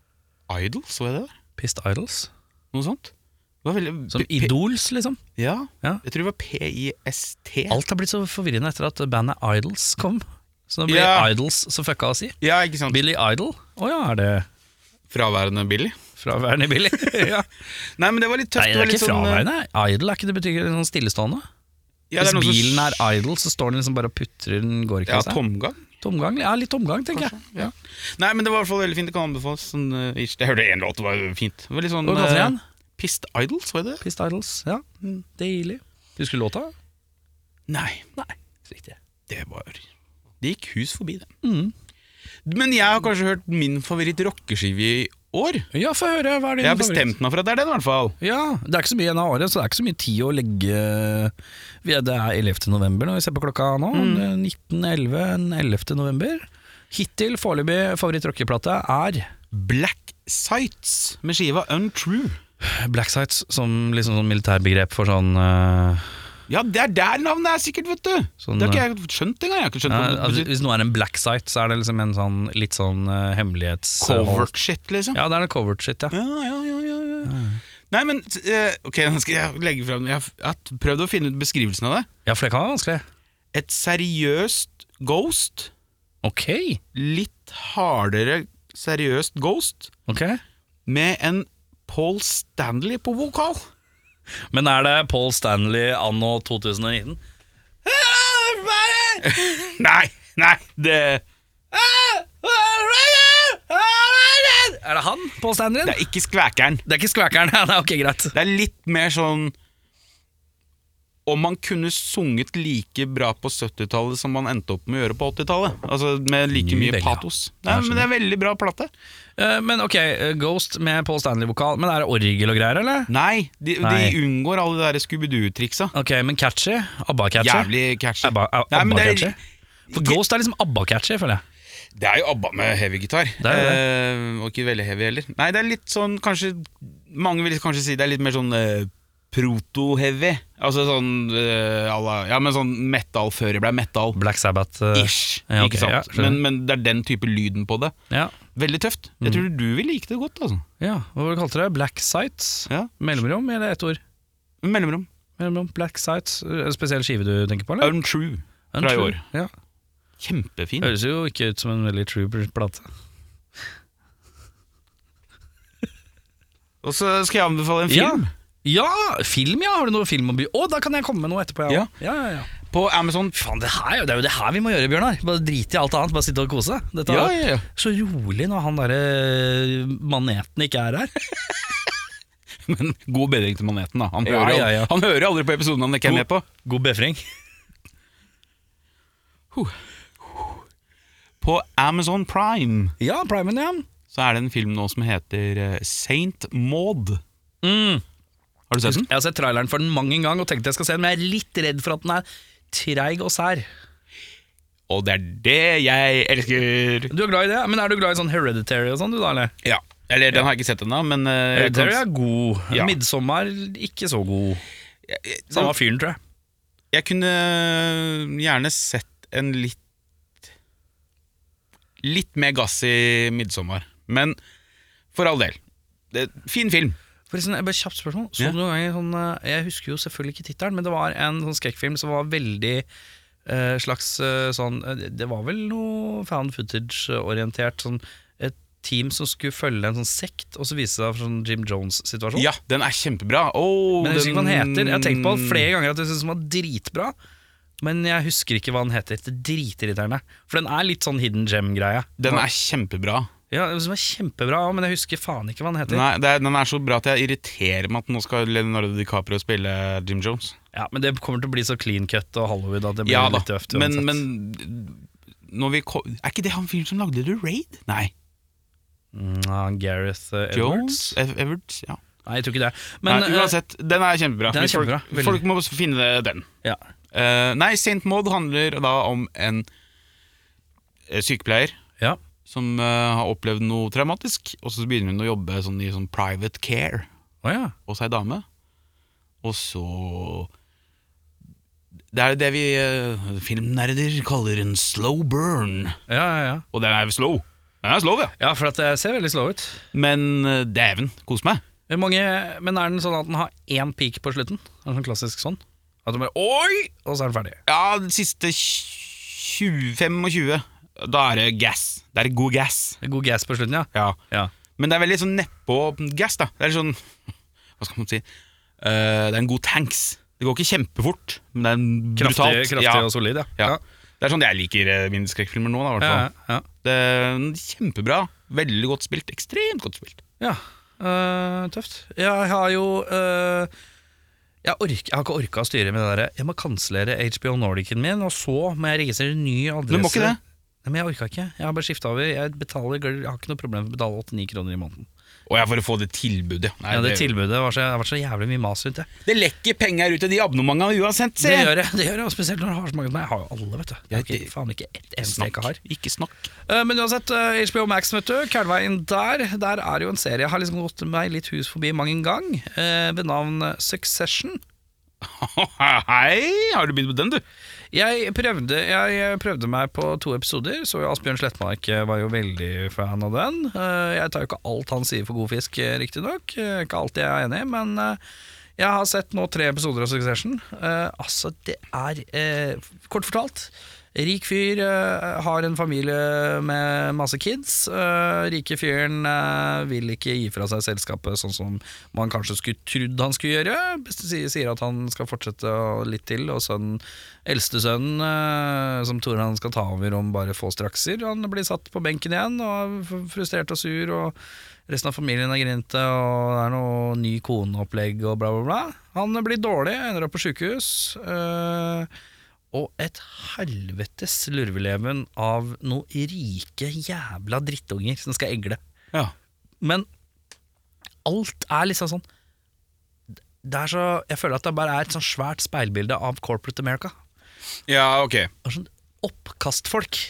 B: Idol, så jeg det der?
A: Pissed Idols.
B: Noe sånt? Det var veldig,
A: Som
B: P-
A: Idols, liksom.
B: Ja,
A: Ja.
B: jeg tror det var P-I-S-T.
A: Alt har blitt så forvirrende etter at bandet Idols kom. Så det blir
B: Ja.
A: Idols så fucka å si.
B: Ja, ikke sant?
A: Billy Idol? Å ja, er det
B: Fraværende Billy.
A: fraværende Billy? ja.
B: Nei, men det var litt tøft.
A: Nei, det
B: var
A: er
B: litt
A: ikke
B: sånn, eh,
A: fraværende. Idol er ikke det betyr sånn stillestående?
B: Ja,
A: Hvis
B: det noe som-
A: bilen er altså. idle, så står den liksom bare og putrer den går ikke
B: Ja,
A: av seg.
B: tomgang.
A: tomgang? Ja, litt tomgang, tenker jeg.
B: Ja. Nei, men det var i hvert fall veldig fint. Det kan anbefales. Sånn, eh, ish. jeg hørte én låt, det var fint. Det var litt sånn
A: Hva kalte de
B: eh,
A: den?
B: Pissed Idol, så jeg det?
A: Pissed Idols. Ja, Mm, deilig. Husker du låta?
B: Nei,
A: Nei. Riktig.
B: det var Det gikk hus forbi, det.
A: Mm.
B: Men jeg har kanskje hørt min favoritt rockeskive i år.
A: Ja, få høre. Hva er din
B: Jeg har
A: favoritt?
B: bestemt meg for at det er den, i hvert fall.
A: Ja, Det er ikke så mye igjen av året, så det er ikke så mye tid å legge Vi er- Det er 11. november når vi ser på klokka nå.
B: Mm.
A: 19.11. den 11. november. Hittil foreløpig favorittrockeplate er
B: Black Sights med skiva Untrue.
A: Black Sites, som liksom sånn militærbegrep for sånn eh,
B: Ja, det er der navnet er sikkert, vet du!
A: Sånn,
B: det har ikke jeg skjønt engang. Jeg har ikke skjønt
A: ja,
B: hva
A: altså,
B: det betyr.
A: Hvis noe er en black site, så er det liksom en sånn litt sånn eh, hemmelighets...
B: Covert shit, liksom.
A: Ja, det er en covert shit, ja.
B: Ja, ja, ja, ja, ja. Nei, men eh, Ok, nå skal jeg legge frem Jeg har f- jeg har prøvd å finne ut beskrivelsen av det.
A: Ja, for det kan være vanskelig.
B: Et seriøst ghost.
A: Ok.
B: Litt hardere seriøst ghost.
A: ok.
B: Med en Paul Stanley på vokal.
A: Men er det Paul Stanley anno 2019?
B: Nei, nei, det
A: Er det han, Paul Stanley?
B: Det er ikke skvækeren.
A: Det er ikke skvækeren, ja. Nei, ok, greit.
B: Det er litt mer sånn Om man kunne sunget like bra på 70-tallet som man endte opp med å gjøre på 80-tallet. Altså Med like
A: Mye
B: mye
A: veldig, ja.
B: patos. Nei, men Det er veldig bra plate.
A: Eh, men ok, eh, Ghost med Paul Stanley-vokal. Men er det orgel og greier, eller?
B: Nei, de,
A: Nei.
B: de unngår alle de der Scooby-Doo-triksa.
A: Ok, men catchy? ABBA-catchy?
B: Jævlig catchy.
A: Abba, a-
B: Nei, men
A: abba
B: det,
A: catchy
B: er,
A: For Ghost er liksom ABBA-catchy, føler jeg.
B: det er jo ABBA med heavy gitar.
A: er jo
B: Eh, og ikke veldig heavy heller. Nei, det er litt sånn kanskje Mange vil kanskje si det er litt mer sånn eh, proto-heavy. Altså sånn eh, à la- Ja, men sånn metal før det ble metal.
A: Black Sabbath. eh,
B: Ish,
A: ja, ok,
B: ikke sant?
A: ja, skjønner. Mm.
B: men, men det er den type lyden på det.
A: ja.
B: Veldig tøft. Jeg tror du vil like det godt. altså
A: ja, hva var det du kalte det? Black Sites?
B: ja.
A: Mellomrom, eller ett ord?
B: Mellomrom.
A: Mellomrom, Black Sites. Er det en Spesiell skive du tenker på, eller?
B: Untrue.
A: Untrue.
B: fra i år.
A: Ja.
B: Kjempefin.
A: Høres jo ikke ut som en veldig true plate.
B: Og så skal jeg anbefale en film.
A: Ja, film, ja! Har du noe film å by Å, da kan jeg komme med noe etterpå,
B: Ja.
A: ja. ja, ja, ja.
B: På Amazon.
A: Faen, det, her, er jo- det er jo det her vi må gjøre, Bjørnar. Bare drite i alt annet, bare sitte og kose. Dette
B: Ja,
A: er
B: ja, ja.
A: så rolig når han derre eh, maneten ikke er her.
B: Men god bedring til maneten, da. Han
A: Ja,
B: hører,
A: ja,
B: al-
A: ja.
B: Han hører aldri på episoden han ikke er med på.
A: God befring.
B: På Amazon Prime
A: Ja, Primen, ja.
B: så er det en film nå som heter eh, Saint Maud.
A: Mm.
B: Har du sett den?
A: Jeg har sett traileren for den mange ganger og tenkte jeg skal se den, men jeg er litt redd for at den er treig og sær.
B: Og det er det jeg elsker!
A: Du er glad i det, men er du glad i sånn hereditary og sånn, du da, eller?
B: Ja. Eller den har jeg ikke sett ennå, men eh, jeg kan-
A: Hereditary er god.
B: Ja.
A: Midtsommer ikke så god.
B: jeg- jeg-
A: Samme fyren, tror jeg.
B: Jeg kunne gjerne sett en litt Litt mer gass i 'Midtsommer'. Men for all del. Det, fin film.
A: Forresten, sånn, jeg bare kjapt spørsmål. Så
B: Ja.
A: du noen ganger sånn eh, Jeg husker jo selvfølgelig ikke tittelen, men det var en sånn skrekkfilm som var veldig eh, slags eh, sånn eh, Det var vel noe fan footage-orientert. Sånn et team som skulle følge en sånn sekt, og så viste det seg sånn Jim Jones-situasjon.
B: Ja, den er kjempebra. Åh,
A: Men jeg husker ikke hva den heter. Jeg har tenkt på
B: den-
A: flere ganger at jeg syns den var dritbra. Men jeg husker ikke hva den heter. Det er dritirriterende. For den er litt sånn hidden gem-greie.
B: Den er kjempebra.
A: Ja, den var kjempebra, men jeg husker faen ikke hva den heter.
B: Nei, det er, den er så bra at jeg irriterer meg at nå skal Leonardo DiCaprio spille Jim Jones.
A: Ja, Men det kommer til å bli så clean cut og Hollywood at det blir
B: Ja da,
A: litt tøft.
B: men,
A: uansett.
B: men når vi ko- Er ikke det han fyren som lagde The Raid? Nei.
A: Mm, ja, Gareth eh, Edwards?
B: Jones? Ev- Edwards? Ja.
A: Nei, jeg tror ikke det. Men
B: Nei,
A: eh,
B: uansett, den er kjempebra.
A: den er
B: Folk-
A: kjempebra, veldig.
B: Folk må finne den.
A: ja.
B: Eh, nei, Saint Maud handler da om en eh, sykepleier
A: ja.
B: som eh, har opplevd noe traumatisk, og så begynner hun å jobbe sånn i sånn private care
A: Å ja.
B: hos ei dame. Og så Det er det vi eh, filmnerder kaller en slow burn.
A: Ja, ja, ja.
B: Og den er slow. Den er slow, ja.
A: ja, for at det ser veldig slow ut.
B: Men eh, dæven, kos meg.
A: Hvor Mange, men er den sånn at den har én peak på slutten? Er den sånn klassisk sånn? At du bare Oi! Og så er den ferdig.
B: Ja, de siste 20-25, da er det gass. Det er god gass.
A: God gas på slutten, ja.
B: Ja.
A: Ja.
B: Men det er veldig sånn nedpå-gass, da. Det er sånn Hva skal man si? Eh, det er en god tanks. Det går ikke kjempefort, men det er en
A: Kraftig,
B: brutalt.
A: kraftig
B: ja.
A: og solid, ja.
B: Ja. Det er sånn jeg liker eh, mine skrekkfilmer nå, da, i hvert
A: ja,
B: fall.
A: ja,
B: Det er en Kjempebra. Veldig godt spilt. Ekstremt godt spilt.
A: ja. Eh, tøft. Jeg har jo eh, jeg, ork, jeg har ikke orka å styre med det derre Jeg må kansellere HBO Nordicen min, og så må jeg registrere en ny adresse.
B: Du må ikke det.
A: Nei, men jeg orka ikke. Jeg har bare skifta over. Jeg, betaler, jeg har ikke noe problem med å betale 89 kroner i måneden.
B: Og jeg for å få det tilbudet. Nei,
A: Ja, det
B: det,
A: tilbudet var så, det har vært så jævlig mye mas rundt det.
B: det lekker penger ut av de abonnementene uansett,
A: Det
B: se!
A: gjør jeg, det gjør jeg og spesielt når jeg har så mange. Nei, jeg har jo alle, vet du. Jeg har ikke,
B: det-
A: faen ikke ett eneste jeg
B: Snakk.
A: ikke har.
B: Ikke snakk.
A: Eh, Men uansett, eh, HBO Max, vet du, Kælveien der, der er jo en serie jeg har liksom gått meg litt hus forbi mang en gang, eh, ved navn Succession.
B: Hei, har du begynt med den, du?
A: Jeg prøvde, jeg prøvde meg på to episoder, så Asbjørn Slettmark eh, var jo veldig fan av den. Eh, Jeg tar jo ikke alt han sier for god fisk, eh, riktignok. Eh, Ikke alltid jeg er enig, men eh, jeg har sett nå tre episoder av Succession. Eh, altså, det er eh, Kort fortalt. Rik fyr eh, har en familie med masse kids. Eh, rike fyren eh, vil ikke gi fra seg selskapet sånn som man kanskje skulle trodd han skulle gjøre. Best- si- Sier at han skal fortsette å- litt til, og sønnen, eldste sønnen, eh, som tror han skal ta over om bare få strakser, han blir satt på benken igjen og er f- frustrert og sur, og resten av familien er grinte, og det er noe ny koneopplegg og bla, bla, bla. Han blir dårlig, ender opp på sjukehus. eh, og et helvetes lurveleven av noen rike jævla drittunger som skal egle.
B: Ja.
A: Men alt er liksom sånn det er så, Jeg føler at det bare er et sånn svært speilbilde av corporate America.
B: ja, ok.
A: Det er sånn Oppkastfolk.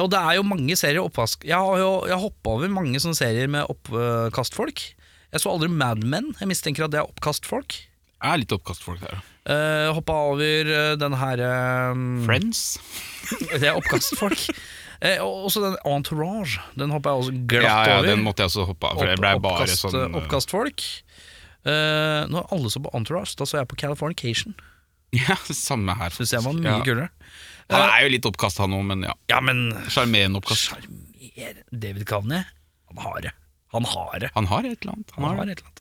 A: Og det er jo mange serier oppvask... Jeg har jo jeg hoppa over mange sånne serier med oppkastfolk. Jeg så aldri Mad Men. Jeg mistenker at det er oppkastfolk.
B: Jeg er litt oppkastfolk der.
A: Uh, hoppa over eh, den her eh,
B: Friends?
A: Det er oppkastfolk. Eh, og også den Entourage. Den hoppa jeg også glatt
B: Ja, ja,
A: over.
B: den måtte jeg også hoppe av, for det
A: Opp-
B: ble bare
A: oppkast,
B: sånn uh,
A: Oppkastfolk. Eh, når alle så på Entourage, da så jeg på Californication.
B: Ja, samme her.
A: Synes jeg var mye
B: Ja.
A: kulere.
B: Han er jo litt oppkast, han òg, men ja.
A: Ja, men
B: Sjarmerende oppkast.
A: sjarmer David Kavney. Han har det. Han har det.
B: Han har et eller annet.
A: Han har et eller annet.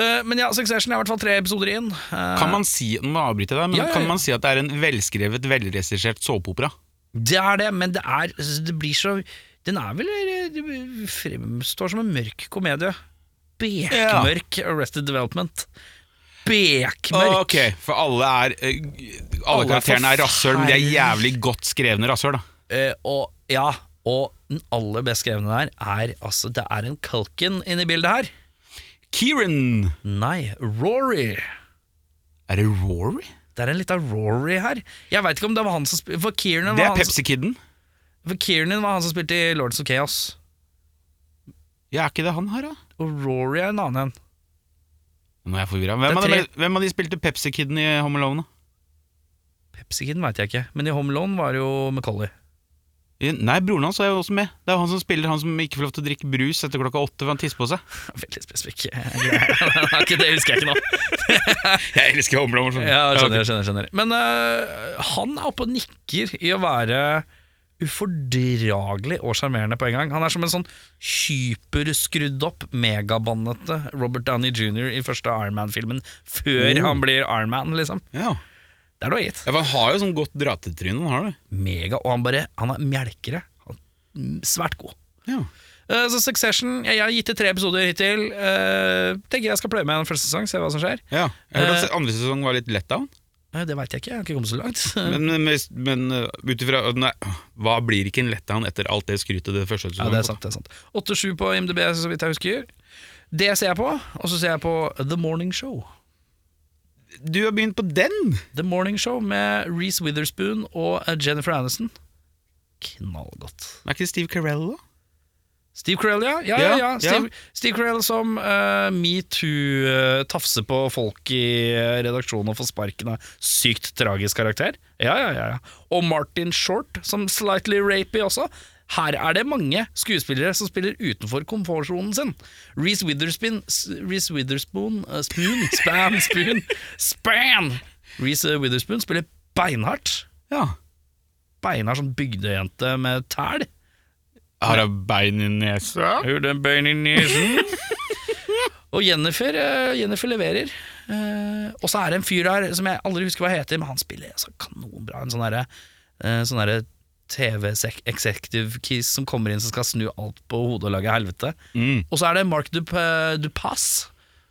A: Eh, men ja, Succession er i hvert fall tre episoder inn. Eh,
B: Kan man si nå avbryter jeg deg, men
A: Ja, ja, ja.
B: kan man si at det er en velskrevet, velregissert såpeopera?
A: Det er det, men det er altså, Det blir så Den er vel det fremstår som en mørk komedie. Bekmørk Arrested Development. Bekmørk!
B: Ok, For alle er eh, Alle,
A: Alle er
B: karakterene er rasshøl, men de er
A: forferdelig.
B: jævlig godt skrevne rasshøl, da.
A: Eh, og ja, og den aller best skrevne der er altså Det er en Culkin inne i bildet her.
B: Kieran!
A: Nei, Rory.
B: Er det Rory?
A: Det er en liten Rory her. Jeg veit ikke om det var han som spilte For Kiernan
B: Det
A: var,
B: er
A: han som-
B: Pepsi-kiden.
A: for Kiernan var han som spilte i Lords of Chaos.
B: Ja, er ikke det han her, da?
A: Og Rory er en annen en.
B: Nå er jeg forvirra.
A: Det
B: Hvem,
A: er
B: av de- hvem av de spilte Pepsi-kiden i Home Alone? da?
A: Pepsi-kiden veit jeg ikke, men i Home Alone var det jo Macauley.
B: I- Nei, broren hans er jo også med. Det er jo han som spiller han som ikke får lov til å drikke brus etter klokka åtte for han tisser på seg.
A: Veldig spesifikk. Ok, det husker jeg ikke nå.
B: Jeg elsker Home Alone. skjønner du.
A: Ja, skjønner, skjønner, skjønner. Men eh, han er oppe og nikker i å være ufordragelig og sjarmerende på en gang. Han er som en sånn hyperskrudd opp, megabannete Robert Downey jr. i første Iron Man-filmen, før
B: Oh.
A: han blir Iron Man, liksom.
B: Ja.
A: Det er noe gitt.
B: Ja, for han har jo sånn godt dratetryne, han har det.
A: Mega, og han bare Han er mjelkere. Han, mm, svært god.
B: Ja.
A: Eh, så Succession Jeg jeg har gitt det tre episoder hittil. Eh, tenker jeg skal pløye med den første sesong, se hva som skjer.
B: ja. Jeg hørte
A: Eh.
B: at andre sesong var litt lett av han.
A: Eh, det veit jeg ikke, jeg har ikke kommet så langt.
B: Men, men, hvis- men uh, ut ifra uh, Nei, hva blir ikke en letdown etter alt det skrytet det første
A: Ja,
B: sesongen?
A: det er sant. det er sant 8-7 på IMDb, så vidt jeg husker. Det ser jeg på, og så ser jeg på The Morning Show.
B: Du har begynt på den!
A: The Morning Show med Reece Witherspoon og eh, Jennifer Aniston. Knallgodt.
B: Er ikke det Steve Carell, da?
A: Steve Carell, ja. ja, ja,
B: Ja,
A: ja.
B: ja.
A: Steve, Steve Carell som eh, metoo-tafse på folk i eh, redaksjonen og får sparken av sykt tragisk karakter. Ja, ja, ja, ja. Og Martin Short som slightly rapey også. Her er det mange skuespillere som spiller utenfor komfortsonen sin. Reece Witherspoon, s- Reese Witherspoon eh, Spoon, Span, Spoon, Span! Reece Witherspoon spiller beinhardt.
B: Ja.
A: Beinhard som bygdejente med tæl.
B: Har hun bein i nesa?
A: Who done been in nesen? Og Jennifer, eh, Jennifer leverer. Eh, og så er det en fyr der som jeg aldri husker hva heter, men han spiller altså kanonbra. En sånn derre eh, sånn derre TV-executive kiss som kommer inn som skal snu alt på hodet og lage helvete.
B: Mm.
A: Og så er det Mark Dup Dupass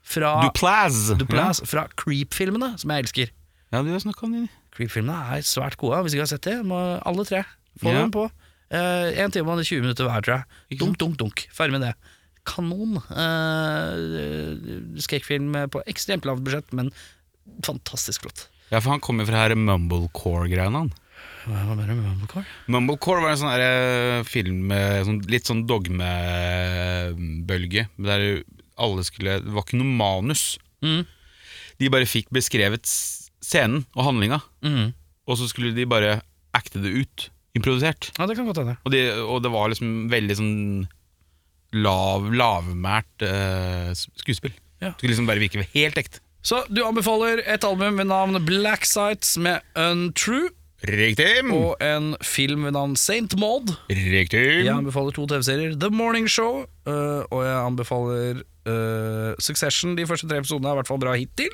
A: fra,
B: Duplaz.
A: Duplass fra Creep-filmene, som jeg elsker.
B: Ja, ja du har snakka om det.
A: Creep-filmene er svært gode. Hvis ikke har sett det, må alle tre få
B: Ja.
A: dem på. Eh, en time og 20 minutter hver, tror jeg.
B: Ikke
A: Dunk, dunk, dunk. Ferdig med det. Kanon. Eh, skrekkfilm på ekstremt lavt budsjett, men fantastisk flott.
B: Ja, for han kommer fra her mumblecore-greiene, han.
A: Hva mener du med Mumblecore?
B: Mumblecore var en sånn der, eh, film eh, sånn, Litt sånn dogmebølge. Der alle skulle Det var ikke noe manus.
A: Mm.
B: De bare fikk beskrevet s- scenen og handlinga,
A: Mm.
B: og så skulle de bare acte det ut. Improvisert.
A: Ja, det kan godt hende.
B: Og, de, og det var liksom veldig sånn lav, lavmælt eh, s- skuespill.
A: Ja.
B: Det skulle liksom bare virke helt ekte.
A: Så du anbefaler et album ved navn Black Sights med Untrue,
B: Riktig!
A: og en film ved navn Saint Maud.
B: Riktig!
A: Jeg anbefaler to TV-serier. The Morning Show, øh, og jeg anbefaler øh, Succession. De første tre episodene er i hvert fall bra hittil.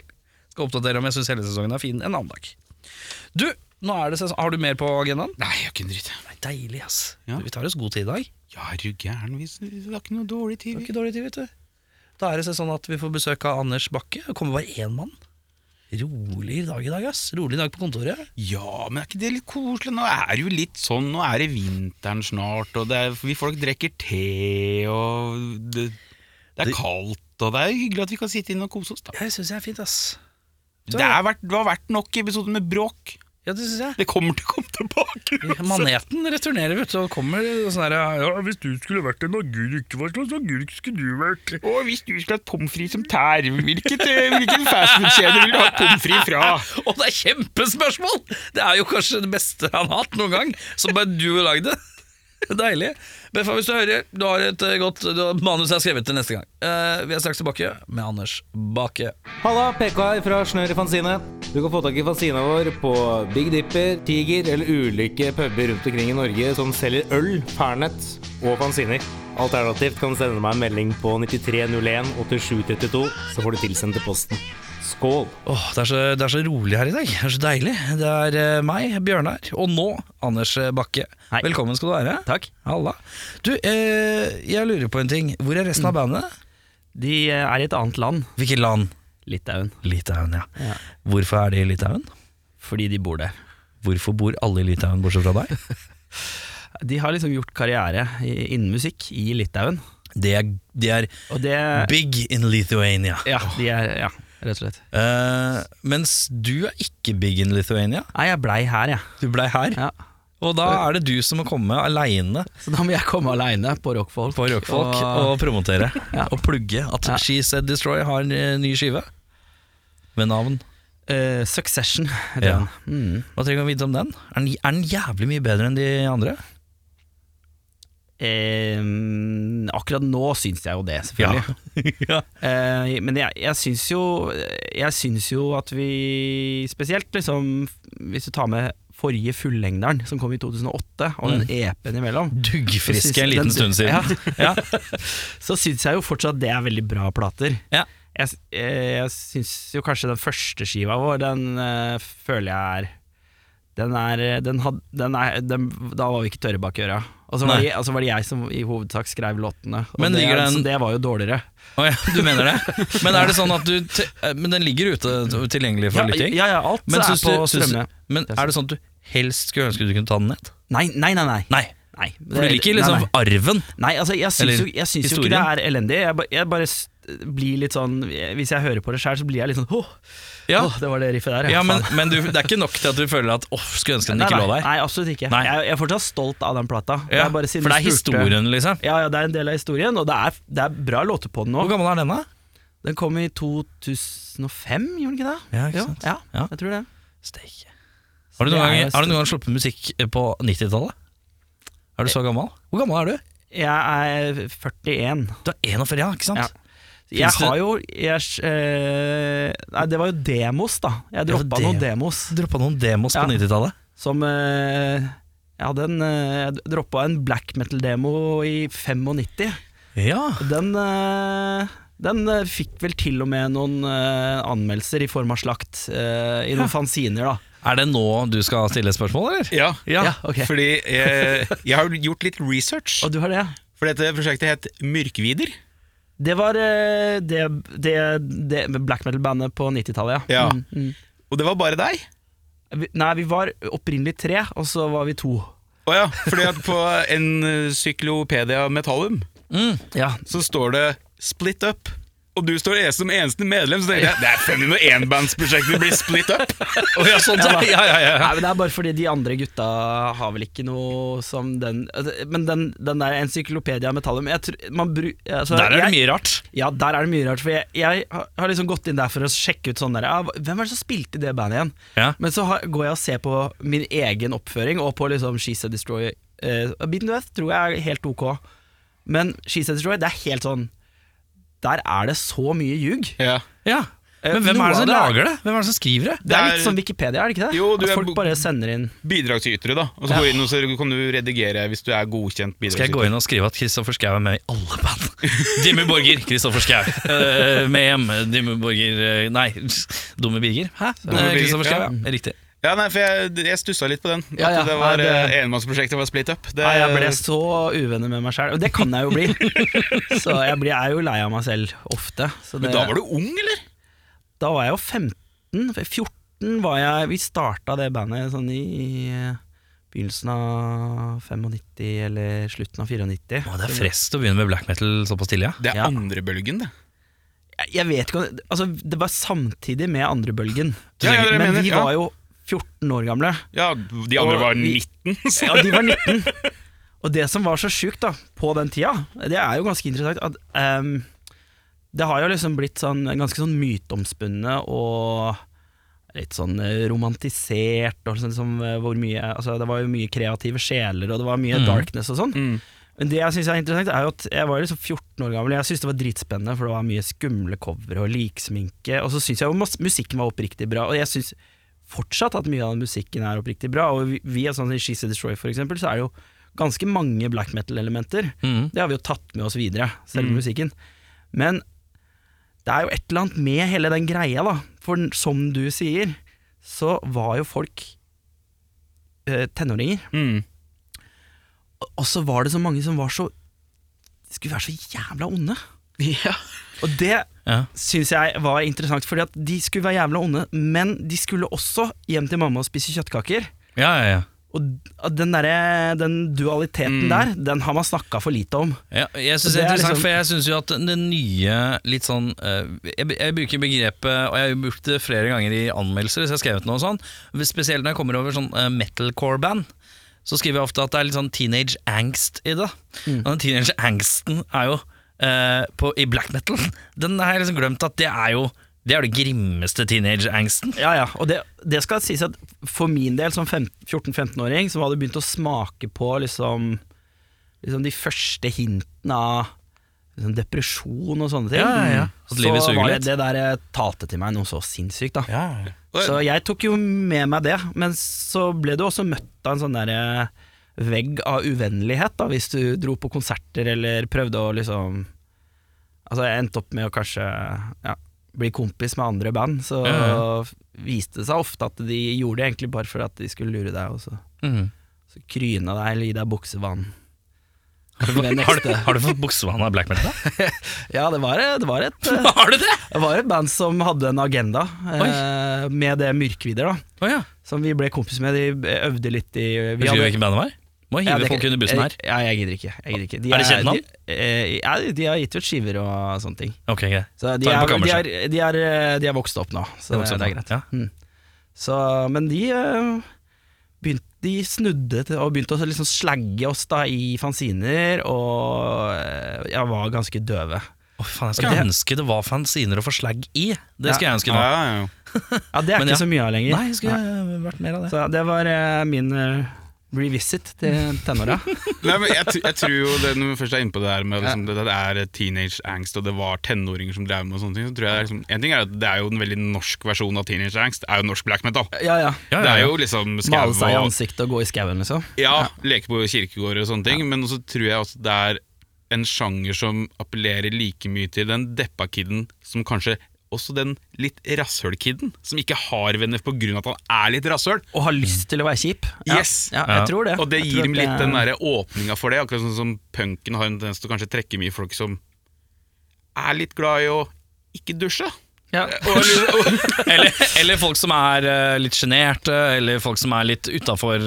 A: Skal oppdatere om jeg syns hele sesongen er fin en annen dag. Du, nå er det sesong. Har du mer på agendaen?
B: Nei, jeg har ikke en dritt.
A: Nei, deilig, ass.
B: Ja.
A: Vi tar oss god tid i dag.
B: Ja, er du gæren? Vi det var ikke noe dårlig
A: Det
B: tid.
A: var ikke dårlig tid, vet du. Da er det seg sånn at vi får besøk av Anders Bakke. Det kommer bare én mann. Rolig dag i dag, ass. Rolig dag på kontoret.
B: Ja, men er ikke det litt koselig? Nå er det jo litt sånn, nå er det vinteren snart, og det er, vi folk drikker te, og det, det er
A: Det-
B: kaldt, og det er hyggelig at vi kan sitte inne og kose oss. Da.
A: Jeg syns jeg er fint, ass.
B: Det, er vært, det har vært nok episoder med bråk.
A: Ja, det syns jeg.
B: Det kommer til å komme tilbake. uansett.
A: Maneten returnerer, vet du, og kommer sånn her ja, Hvis du skulle vært en agurk, hva slags agurk skulle du vært?
B: Og hvis du skulle hatt pommes frites som tær, hvilket, eh, hvilken fastfood-kjede vil du ha pommes frites fra?
A: Og det er kjempespørsmål! Det er jo kanskje det beste han har hatt noen gang, som bare du har lagd det. Deilig. Beffa, hvis du hører, du har et eh, godt du har manus jeg har skrevet til neste gang. Eh, vi er straks tilbake med Anders Bakke.
C: Halla, PK her fra Snør i Fanzine. Du kan få tak i fanzina vår på Big Dipper, Tiger eller ulike puber rundt omkring i Norge som selger øl, pernett og fanziner. Alternativt kan du sende meg en melding på 9301 8732, så får du tilsendt til posten. Skål!
A: Åh, det, er så, det er så rolig her i dag. Det er så deilig. Det er eh, meg, Bjørnar, og nå Anders eh, Bakke.
C: Hei.
A: Velkommen skal du være.
D: Takk.
A: Halla. Du, eh, jeg lurer på en ting. Hvor er resten av bandet?
D: Mm. De eh, er i et annet land,
A: Hvilket land?
D: Litauen,
A: Litauen, ja.
D: Ja.
A: Hvorfor er de i Litauen?
D: fordi de bor der.
A: Hvorfor bor alle i Litauen bortsett fra deg?
D: De har liksom gjort karriere i- innen musikk i Litauen,
A: Det er, de er
D: og det
A: big in Lithuania.
D: Eh. Ja, de er, ja rett og slett.
A: Eh, mens du er ikke big in Lithuania.
D: Nei, jeg blei her, jeg.
A: Du blei her.
D: Ja.
A: Og da er det du som må komme aleine
D: Så da må jeg komme aleine på rockfolk.
A: på rockfolk og,
D: Og,
A: promotere
D: Ja.
A: og plugge at
D: Ja.
A: She Said Destroy har en eh, ny skive med navn.
D: eh, Succession. heter
A: Ja.
D: den. Mm.
A: Hva trenger vi å vite om den? Er den, er den jævlig mye bedre enn de andre?
D: Eh, akkurat nå syns jeg jo det, selvfølgelig.
A: ja.
D: Eh, men jeg, jeg syns jo Jeg syns jo at vi Spesielt liksom Hvis du tar med forrige fullengderen som kom i 2008, og den EP-en imellom,
A: Duggfriske en
D: Den-
A: liten stund siden.
D: Ja, ja. Så syns jeg jo fortsatt det er veldig bra plater.
A: Ja.
D: Jeg, s- eh, jeg syns jo kanskje den første skiva vår, den eh, føler jeg er den er, eh, den had, den er den, Da var vi ikke tørre bak øra. Og så var,
A: Nei.
D: det- og så var det jeg som i hovedsak skrev låtene, og
A: Men
D: det,
A: ligger den-
D: så det var jo dårligere.
A: Å ja, du mener det? Men er det sånn at du te- eh, Men den ligger ute t- tilgjengelig for
D: Ja,
A: lytting?
D: ja, ja, alt
A: Men,
D: er
A: syns
D: på
A: du, syns,
D: strømmene.
A: men er det sånn at du helst skulle ønske du kunne ta den ned?
D: Nei, nei, nei. nei.
A: Nei,
D: nei
A: for du liker liksom
D: nei, nei.
A: arven.
D: Nei, altså jeg syns,
A: Eller
D: jo, jeg syns jo ikke det
A: historien.
D: er elendig. Jeg, ba, jeg bare s- blir litt sånn Hvis jeg hører på det sjøl, så blir jeg litt sånn Åh,
A: Ja,
D: åh, det var det riffet der.
A: ja men, men du, det er ikke nok til at du føler at åh, skulle ønske den
D: Nei,
A: ikke
D: nei,
A: lå der.
D: Nei, absolutt ikke.
A: Nei.
D: Jeg, jeg er fortsatt stolt av den plata. Det
A: Ja,
D: er bare siden
A: for det er
D: du spurte-
A: historien, liksom.
D: Ja, ja, det er en del av historien, og det er, det er bra låter på den
A: Hvor
D: òg.
A: gammel er den, da?
D: Den kom i 2005, gjorde den ikke det?
A: Ja, ikke
D: Jo,
A: sant?
D: Ja,
A: Ja.
D: jeg tror det.
A: Steike. Har du noen
D: Det er
A: gang,
D: jo
A: har du noen gang sluppet musikk eh, på 90-tallet? Er du så gammel? Hvor gammel er du?
D: Jeg er 41.
A: Du er 41, ja, ikke sant?
D: Ja. Jeg
A: Finnes det-
D: har jo jeg, eh, Nei, det var jo demos, da. Jeg
A: Det var
D: droppa
A: det-
D: noen demos.
A: Droppa noen demos
D: Ja.
A: på 90-tallet.
D: Som eh, Jeg hadde en eh, Jeg droppa en black metal-demo i 95.
A: Ja.
D: Og Den, eh, den eh, fikk vel til og med noen eh, anmeldelser i form av slakt eh, i noen fanziner, da.
A: Er det nå du skal stille spørsmål, eller?
B: Ja,
D: Ja, ok.
B: fordi eh, jeg har gjort litt research,
D: Og du har det?
B: for dette prosjektet het Myrkvider.
D: Det var eh, det, det, det black metal-bandet på 90-tallet, ja.
B: Ja.
D: Mm, mm.
B: Og det var bare deg.
D: Vi- Nei, vi var opprinnelig tre, og så var vi to.
B: Å ja, fordi at på Encyklopedia Metallum
A: Mm.
D: Ja,
B: så står det 'split up'. Og du står som eneste medlem, så tenker jeg det er 501-bandsprosjektet blir split up!
A: Å ja, sånn, ja, ja, ja, ja.
D: Nei, men Det er bare fordi de andre gutta har vel ikke noe som den altså, Men den, den der encyklopedia metallum jeg tror, man bru, altså,
A: Der er det
D: jeg,
A: mye rart.
D: Ja, der er det mye rart. For jeg, jeg har har liksom gått inn der for å sjekke ut sånn der ja, Hvem var det som spilte i det bandet igjen?
A: Ja.
D: Men så har, går jeg og ser på min egen oppføring, og på liksom She Said Destroy. Uh, Beaten Death tror jeg er helt ok, men She Said Destroy, det er helt sånn Der er det så mye ljug.
B: Ja.
A: Ja. Men hvem
D: Noe
A: er Eh, det som
D: av det er-
A: lager det? Hvem er det som skriver det?
D: Det er
B: Det
D: litt
B: er-
D: som Wikipedia, er det ikke det?
B: Jo, du
D: At
B: er
D: folk
B: bo-
D: bare sender inn
B: Bidragsytere, da. Og så går du inn og så kan du redigere hvis du er godkjent
A: Skal jeg gå
B: bidragsyter.
A: inn og skrive at Kristoffer Schau er med i alle band? Dimmu Borger, Kristoffer Schau. Eh, med hjem, Dimmu Borger eh, Nei, Dumme Birger. Hæ?
B: Dumme
A: Eh,
B: Birger,
A: Kristoffer Schau,
B: ja.
A: ja. Riktig.
B: Ja, nei, for jeg, jeg stussa litt på den. At
D: Ja, ja.
B: det var
D: Nei, det-
B: eh, enmannsprosjektet var split up. Det,
D: Nei, jeg ble så uvenner med meg sjæl. Og det kan jeg jo bli. Så jeg blir, er jo lei av meg selv ofte. Så det,
B: Men da var du ung, eller?
D: da var jeg jo 15. 14 var jeg Vi starta det bandet sånn i, i begynnelsen av 95 eller slutten av 94.
A: Å, det er frest å begynne med black metal såpass tidlig, ja.
B: Det er
D: Ja.
B: andre bølgen, det.
D: Jeg, jeg vet ikke om altså, Det var samtidig med andrebølgen.
B: Ja, ja, det
D: Men
B: mener,
D: vi
B: ja.
D: var jo 14 år gamle.
B: Ja, De andre
D: Og
B: var
D: vi-
B: 19. Så.
D: Ja, de var 19. Og det som var så sjukt da, på den tida, det er jo ganske interessant at ehm, det har jo liksom blitt sånn, ganske sånn myteomspunnet og litt sånn eh, romantisert. Og sånn, som, eh, hvor mye, altså, det var jo mye kreative sjeler, og det var mye
A: Mhm.
D: darkness og sånn.
B: Mm.
D: Men det jeg syns er interessant, er jo at jeg var jo liksom 14 år gammel. Jeg syntes det var dritspennende, for det var mye skumle covere og liksminke. Og så syns jeg jo mas- musikken var oppriktig bra, og jeg syns fortsatt at mye av den musikken er oppriktig bra. Og vi, vi er sånn i She's a Destroy, for eksempel, så er det jo ganske mange black metal-elementer.
A: Mhm.
D: Det har vi jo tatt med oss videre, selve musikken. Men det er jo et eller annet med hele den greia, da. For n- som du sier, så var jo folk eh, tenåringer.
B: Mm.
D: Og så var det så mange som var så Skulle være så jævla onde.
B: Ja.
D: Og det
A: ja.
D: syns jeg var interessant, fordi at de skulle være jævla onde, men de skulle også hjem til mamma og spise kjøttkaker.
A: Ja, ja, ja.
D: Og d- den, derre- den dualiteten
B: Mm.
D: der, den har man snakka for lite om.
A: Ja, jeg synes det er
D: Det er
A: interessant,
D: liksom-
A: for jeg synes jo at det nye litt sånn eh, jeg, jeg bruker begrepet, og jeg har brukt det flere ganger i anmeldelser, hvis jeg har skrevet noe sånn, spesielt når jeg kommer over sånn eh, metalcore-band, så skriver jeg ofte at det er litt sånn teenage angst i det. Og den teenage angsten er jo eh, på, i black metal, den har jeg liksom glemt at det er jo det er jo den grimmeste teenage angsten.
D: Ja, ja, og det, det skal sies at for min del som fem- 14-15-åring som hadde begynt å smake på liksom, liksom de første hintene av liksom depresjon og sånne ting, Mm.
A: Ja, ja, ja. At
D: så
A: livet suger
D: var det,
A: litt.
D: det der eh, talte til meg noe så sinnssykt. da.
B: Og-
D: Så jeg tok jo med meg det, men så ble du også møtt av en sånn der eh, vegg av uvennlighet da, hvis du dro på konserter eller prøvde å liksom Altså jeg endte opp med å kanskje ja, bli kompis med andre band, så
A: Ja,
D: viste det seg ofte at de gjorde det egentlig bare for at de skulle lure deg, og så,
A: Mhm.
D: så kryna deg eller gi deg buksevann.
A: Har, du, har du fått buksevann av black metal? da?
D: Ja, det var, det var et eh,
A: har du det?!
D: Det var et band som hadde en agenda eh, med det mørkvidder, da.
A: Å ja.
D: Som vi ble kompis med. De øvde litt i vi
A: Husker du
D: hadde-
A: hvilket band det var? Må hive
D: Ja, det-
A: folk under bussen her.
D: Ja, jeg gidder ikke. Jeg gidder ikke.
A: Er det kjent navn?
D: De, eh, ja, de har gitt ut skiver og sånne ting.
A: Ok, greit.
D: Så de,
A: Ta det
D: er,
A: på
D: de,
A: kammerset.
D: er, de, er, eh, de er vokst opp nå,
A: Det
D: så det,
A: er vokst opp
D: det er
A: nå,
D: greit.
A: ja.
D: Mm. Så, men de eh, begynte de snudde til, og begynte å liksom slagge oss da i fanziner, og eh, jeg var ganske døve.
A: Åh, faen, jeg skulle
D: Det-
A: ønske det var fanziner å få slagg i. Det skulle jeg ønske
B: ja,
A: nå.
B: ja, ja.
D: Ja, Det er
A: Men
D: ikke
A: ja.
D: så mye av lenger.
A: Nei, det skulle jeg vært mer av det.
D: Så det var eh, min eh, revisit til tenåra.
B: Nei, men jeg, tr- jeg tror jo det, Når vi først er inne på det her med liksom, det, det er teenage angst, og det var tenåringer som drev med og sånne ting, så tror jeg det er liksom, En ting er at det er jo en veldig norsk versjon av teenage angst, er jo norsk black metal.
D: Ja, ja.
A: Ja,
B: Det
A: ja,
B: er
A: ja.
B: jo liksom skau
D: Male seg i
B: og
D: ansiktet og gå i skauen, liksom.
B: ja, leke på kirkegårder og sånne ting, men også tror jeg også det er en sjanger som appellerer like mye til den deppa kiden som kanskje også den litt rasshøl-kiden, som ikke har venner på grunn av at han er litt rasshøl.
D: Og har lyst til å være kjip. Ja,
B: Yes.
D: ja,
A: Ja.
D: jeg tror det.
B: Og det
D: Jeg
B: gir
D: tror
B: dem
D: at
B: litt
D: det-
B: den der åpninga for det, akkurat sånn som punken har en tendens til å kanskje trekke mye folk som er litt glad i å ikke dusje.
D: Ja.
A: Eller, eller folk som er eh, litt sjenerte, eller folk som er litt utafor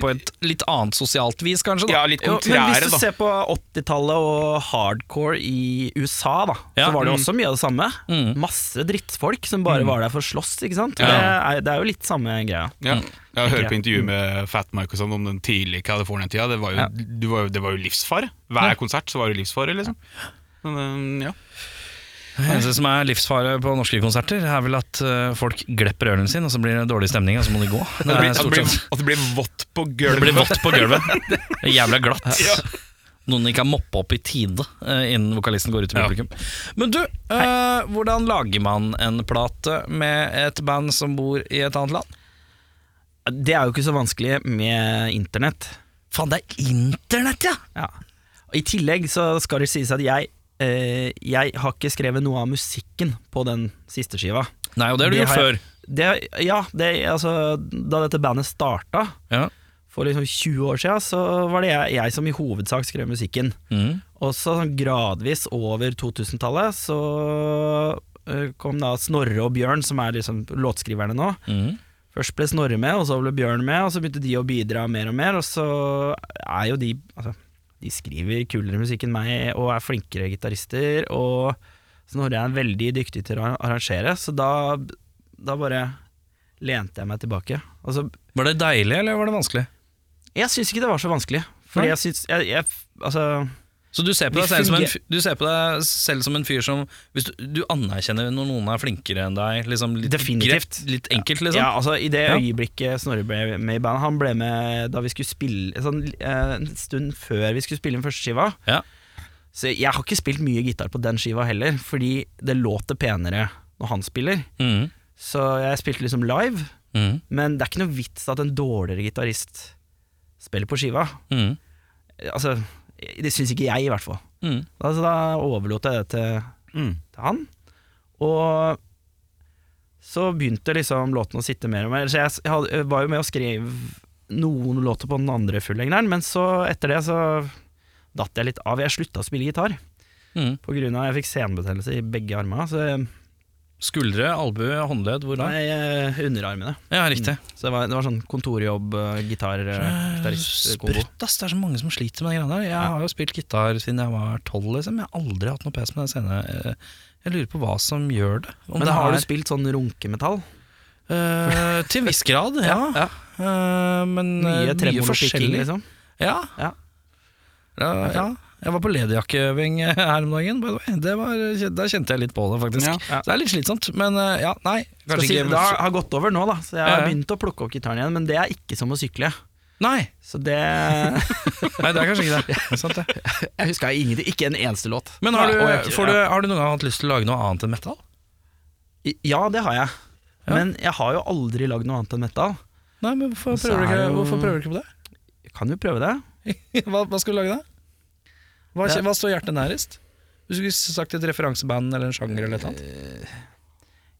A: på et litt annet sosialt vis, kanskje. Da.
B: Ja, litt
D: Jo, men hvis
B: kontrære,
D: du
B: da.
D: ser på 80-tallet og hardcore i USA, da,
A: Ja,
D: så var det jo
A: mm.
D: også mye av det samme.
A: Mm.
D: Masse drittfolk som
B: Mm.
D: bare var der for å slåss, ikke sant.
B: Ja.
D: Det, er, det er jo litt samme greia.
B: Ja. Jeg hørte
D: jeg.
B: på intervju med Fat Mike og sånn om den tidlige California-tida. Det, var jo-
D: Ja.
B: du var jo- det var jo livsfare. Hver konsert så var det livsfare, liksom. Men, øhm, ja.
A: Det eneste som er livsfare på norske konserter, er vel at eh, folk glepper ølen sin, og så blir det dårlig stemning, og så må de gå.
B: At
A: Det
B: det, blir,
A: er
B: at, det
A: stort
B: blir,
A: sett
B: at det blir vått på
A: Det blir
B: gulvet.
A: vått på gulvet. Det er Jævla glatt.
B: Ja.
A: Noen ikke har moppa opp i tide eh, innen vokalisten går ut til
B: Ja.
A: publikum. Men du, eh, hvordan lager man en plate med et band som bor i et annet land?
D: Det er jo ikke så vanskelig med internett.
A: Faen, det er internett, ja!
D: Ja. Og I tillegg så skal det sies at jeg, eh, jeg har ikke skrevet noe av musikken på den siste skiva.
A: Nei, og det har du
D: Det
A: gjort
D: har
A: før.
D: jeg- Det, ja, det, altså, da dette bandet starta
A: Ja.
D: for liksom 20 år siden, så var det jeg, jeg som i hovedsak skrev musikken.
A: Mm.
D: Og så sånn gradvis over 2000-tallet så eh, kom da Snorre og Bjørn, som er liksom låtskriverne nå.
A: Mm.
D: Først ble Snorre med, og så ble Bjørn med, og så begynte de å bidra mer og mer, og så er jo de altså, De skriver kulere musikk enn meg og er flinkere gitarister, og Snorre er veldig dyktig til å arrangere, så da, da bare lente jeg meg tilbake. Altså, Og så
A: Var det deilig, eller var det vanskelig?
D: Jeg syns ikke det var så vanskelig,
A: Nei.
D: fordi jeg syns jeg, jeg, Altså,
A: Så du ser på
D: Vi
A: deg selv som en,
D: funger-
A: fyr- du ser på deg selv som en fyr som hvis du, du anerkjenner når noen er flinkere enn deg? Liksom litt
D: Definitivt.
A: greit, litt enkelt, liksom?
D: ja, altså i det
A: Ja.
D: øyeblikket Snorre ble med i bandet Han ble med da vi skulle spille sånn, eh, En stund før vi skulle spille den første skiva.
A: Ja.
D: Så jeg har ikke spilt mye gitar på den skiva heller, fordi det låter penere når han spiller.
A: Mm.
D: Så jeg spilte liksom live,
A: Mm.
D: men det er ikke noe vits at en dårligere gitarist spiller på skiva.
A: Mm.
D: Altså, det syns ikke jeg, i hvert fall.
A: Mm.
D: Altså, da overlot jeg det til,
B: Mm.
D: til han. Og så begynte liksom låtene å sitte mer og mer. Så jeg, s- jeg hadde- jeg var jo med og skrev noen låter på den andre fullengderen, men så etter det så datt jeg litt av. Jeg slutta å spille gitar.
A: Mm.
D: På grunn av jeg fikk senbetennelse i begge armene, så jeg,
A: Skuldre, albue, håndledd, hvor da?
D: nei, eh, underarmene.
A: Ja, riktig.
D: Så det var, det var sånn kontorjobb, eh, gitar, eh, gitaristkombo.
A: Sprøtt, ass. Det er så mange som sliter med de greiene der. Jeg har jo spilt gitar siden jeg var tolv, liksom. Jeg har aldri hatt noe pes med den scenen. Eh, Jeg lurer på hva som gjør det. Om
D: Men
A: det
D: har
A: er-
D: du spilt sånn runkemetall?
A: Eh, til en viss grad, ja.
D: Ja.
A: Eh, men eh, mye,
D: Mye tremolopikking,
A: forskjellig.
D: liksom?
A: Ja.
D: Ja.
A: Ja, ja. Jeg var på lederjakkøving her om dagen, by the way. Det var, eh, der kjente jeg litt på det, faktisk.
B: Ja.
D: Ja.
A: Så det er litt slitsomt, men eh, ja, nei.
D: Skal
A: Kanskje
D: si,
A: ikke
D: det har, har gått over nå, da, så jeg
A: Ja,
D: har
A: ja.
D: begynt å plukke opp gitaren igjen. Men det er ikke som å sykle.
A: Nei.
D: Så det
A: nei, det er kanskje ikke det. det. er sant, det.
D: Jeg huska ingenting. Ikke en eneste låt.
A: Men har
D: Nei, og jeg-
A: du, får du, har du noen gang hatt lyst til å lage noe annet enn metal?
D: Ja, det har jeg.
A: Ja.
D: Men jeg har jo aldri lagd noe annet enn metal.
A: Nei, men hvorfor
D: Så
A: prøver, du
D: er
A: ikke,
D: jo-
A: hvorfor prøver du ikke på det?
D: Jeg kan jo prøve det.
A: Hva, hva skal du lage da? Hva,
D: Det-
A: hva står hjertet nærest? Du skulle sagt et referanseband eller en sjanger eller et eller annet.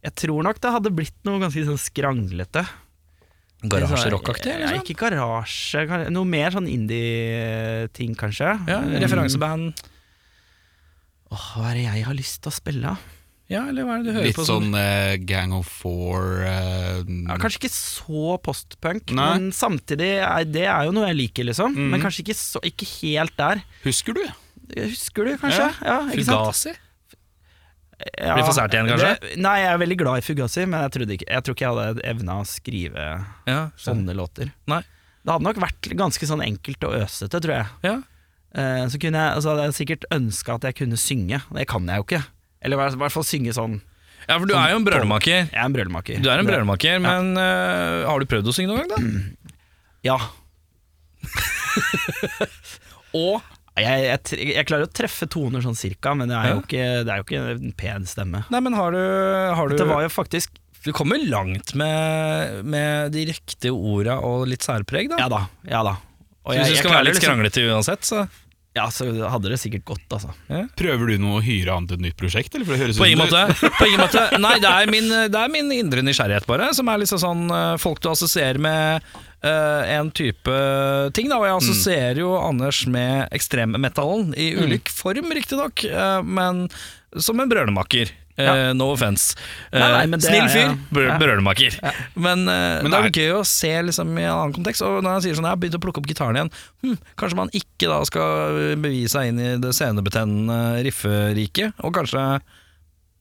D: Jeg tror nok det hadde blitt noe ganske sånn skranglete.
A: Garasjerockaktig?
D: Ja,
A: Liksom.
D: Ikke garasje, kan- noe mer sånn indie-ting, kanskje.
A: Ja, referanseband.
D: Mm. Åh, hva er det jeg har lyst til å spille? av?
A: Ja, eller hva er det du hører
B: Litt
A: på?
B: sånn eh, Gang of Four eh,
D: Ja,
A: Mm.
D: kanskje ikke så postpunk,
B: Nei.
D: men samtidig er, det er jo noe jeg liker, liksom.
A: Mm.
B: Mhm.
D: Men kanskje ikke, så, ikke helt der.
B: Husker du?
D: Husker du, kanskje? Ja, ikke sant?
A: Fugazi?
D: Ja.
A: Blir for sært igjen, kanskje?
D: Det, nei, jeg er veldig glad i Fugazi, men jeg, trodde ikke, jeg tror ikke jeg hadde evna å skrive
A: Ja, sånn.
D: sånne låter.
A: Nei.
D: Det hadde nok vært ganske sånn enkelt og øsete, tror jeg.
A: Ja.
D: Eh, så, kunne jeg så hadde jeg sikkert ønska at jeg kunne synge. Det kan jeg jo ikke. Eller i hvert- i hvert fall synge sånn.
A: ja, for du er jo en brølmaker.
D: Jeg er en brølmaker.
A: Du er en brølmaker, men øh, har du prøvd å synge noen gang,
D: Ja.
A: da? Og
D: Jeg, jeg, tre- jeg klarer å treffe toner sånn cirka, men det er jo
A: Ja.
D: ikke, det er jo ikke en pen stemme.
A: Nei, men har du, har
D: Det
A: du
D: var jo faktisk
A: Du kommer langt med, med de riktige orda og litt særpreg, da.
D: Ja da. ja da Og
A: Så Hvis du skal være
D: klarer
A: litt
D: liksom-
A: skranglete uansett, så
D: Ja, så hadde det sikkert gått, altså.
B: Prøver du nå å hyre an til et nytt prosjekt? Eller? For det høres
A: På
B: ut
A: ingen
B: som du-
A: måte. På ingen måte. Nei, det er, min, det er min indre nysgjerrighet, bare. Som er liksom sånn eh, folk du assosierer med eh, en type ting, da. Og jeg assosierer jo Anders med Mm. ekstremmetallen, i ulik form riktignok, uh, men eh, som en brølemaker. Eh, no offence. Eh,
D: Nei, nei, men det
A: snill
D: er-
A: fyr, br
D: ja.
A: brølmaker. Men, eh,
B: Men
A: det er
B: det
A: gøy å se liksom, i en annen kontekst. Og når han sier sånn, jeg har begynt å plukke opp gitaren igjen, hm, kanskje man ikke da skal bevise seg inn i det scenebetennende rifferiket, og kanskje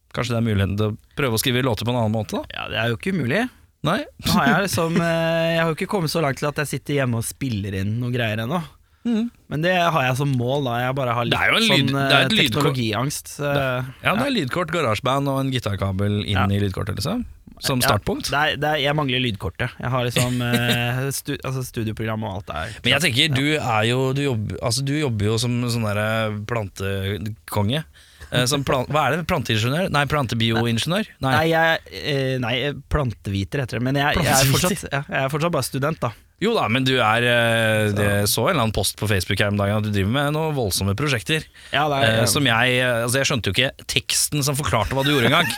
A: Kanskje det er muligheten til å prøve å skrive låter på en annen måte, da?
D: Ja, det er jo ikke umulig.
A: Nei?
D: Nå har jeg liksom eh, Jeg har jo ikke kommet så langt til at jeg sitter hjemme og spiller inn noe greier ennå.
A: Mhm.
D: Men det har jeg som mål, da. Jeg bare har litt
A: Det er jo en lyd-
D: sånn eh,
A: det er et lydkort.
D: teknologiangst. eh,
A: Ja, det er lydkort, garasjeband og en gitarkabel inn
D: Ja.
A: i lydkortet, liksom. Som
D: ja.
A: startpunkt.
D: Det er, det er, jeg mangler lydkortet. Jeg har liksom eh, stu, altså studioprogram og alt der.
A: Men jeg tenker, du er jo Du jobber, altså, du jobber jo som sånn derre plantekonge. Eh, Som plan, hva er det? Planteingeniør? Nei, plantebioingeniør? Nei.
D: Nei, jeg, eh, nei, planteviter heter det. Men jeg, jeg, er
A: Planteviter.
D: fortsatt, ja, jeg er fortsatt bare student, da.
A: Jo da, men du er eh, det så en eller annen post på Facebook her om dagen at du driver med noen voldsomme prosjekter.
D: Ja, det er,
A: Eh, som jeg eh, Altså, jeg skjønte jo ikke teksten som forklarte hva du gjorde engang.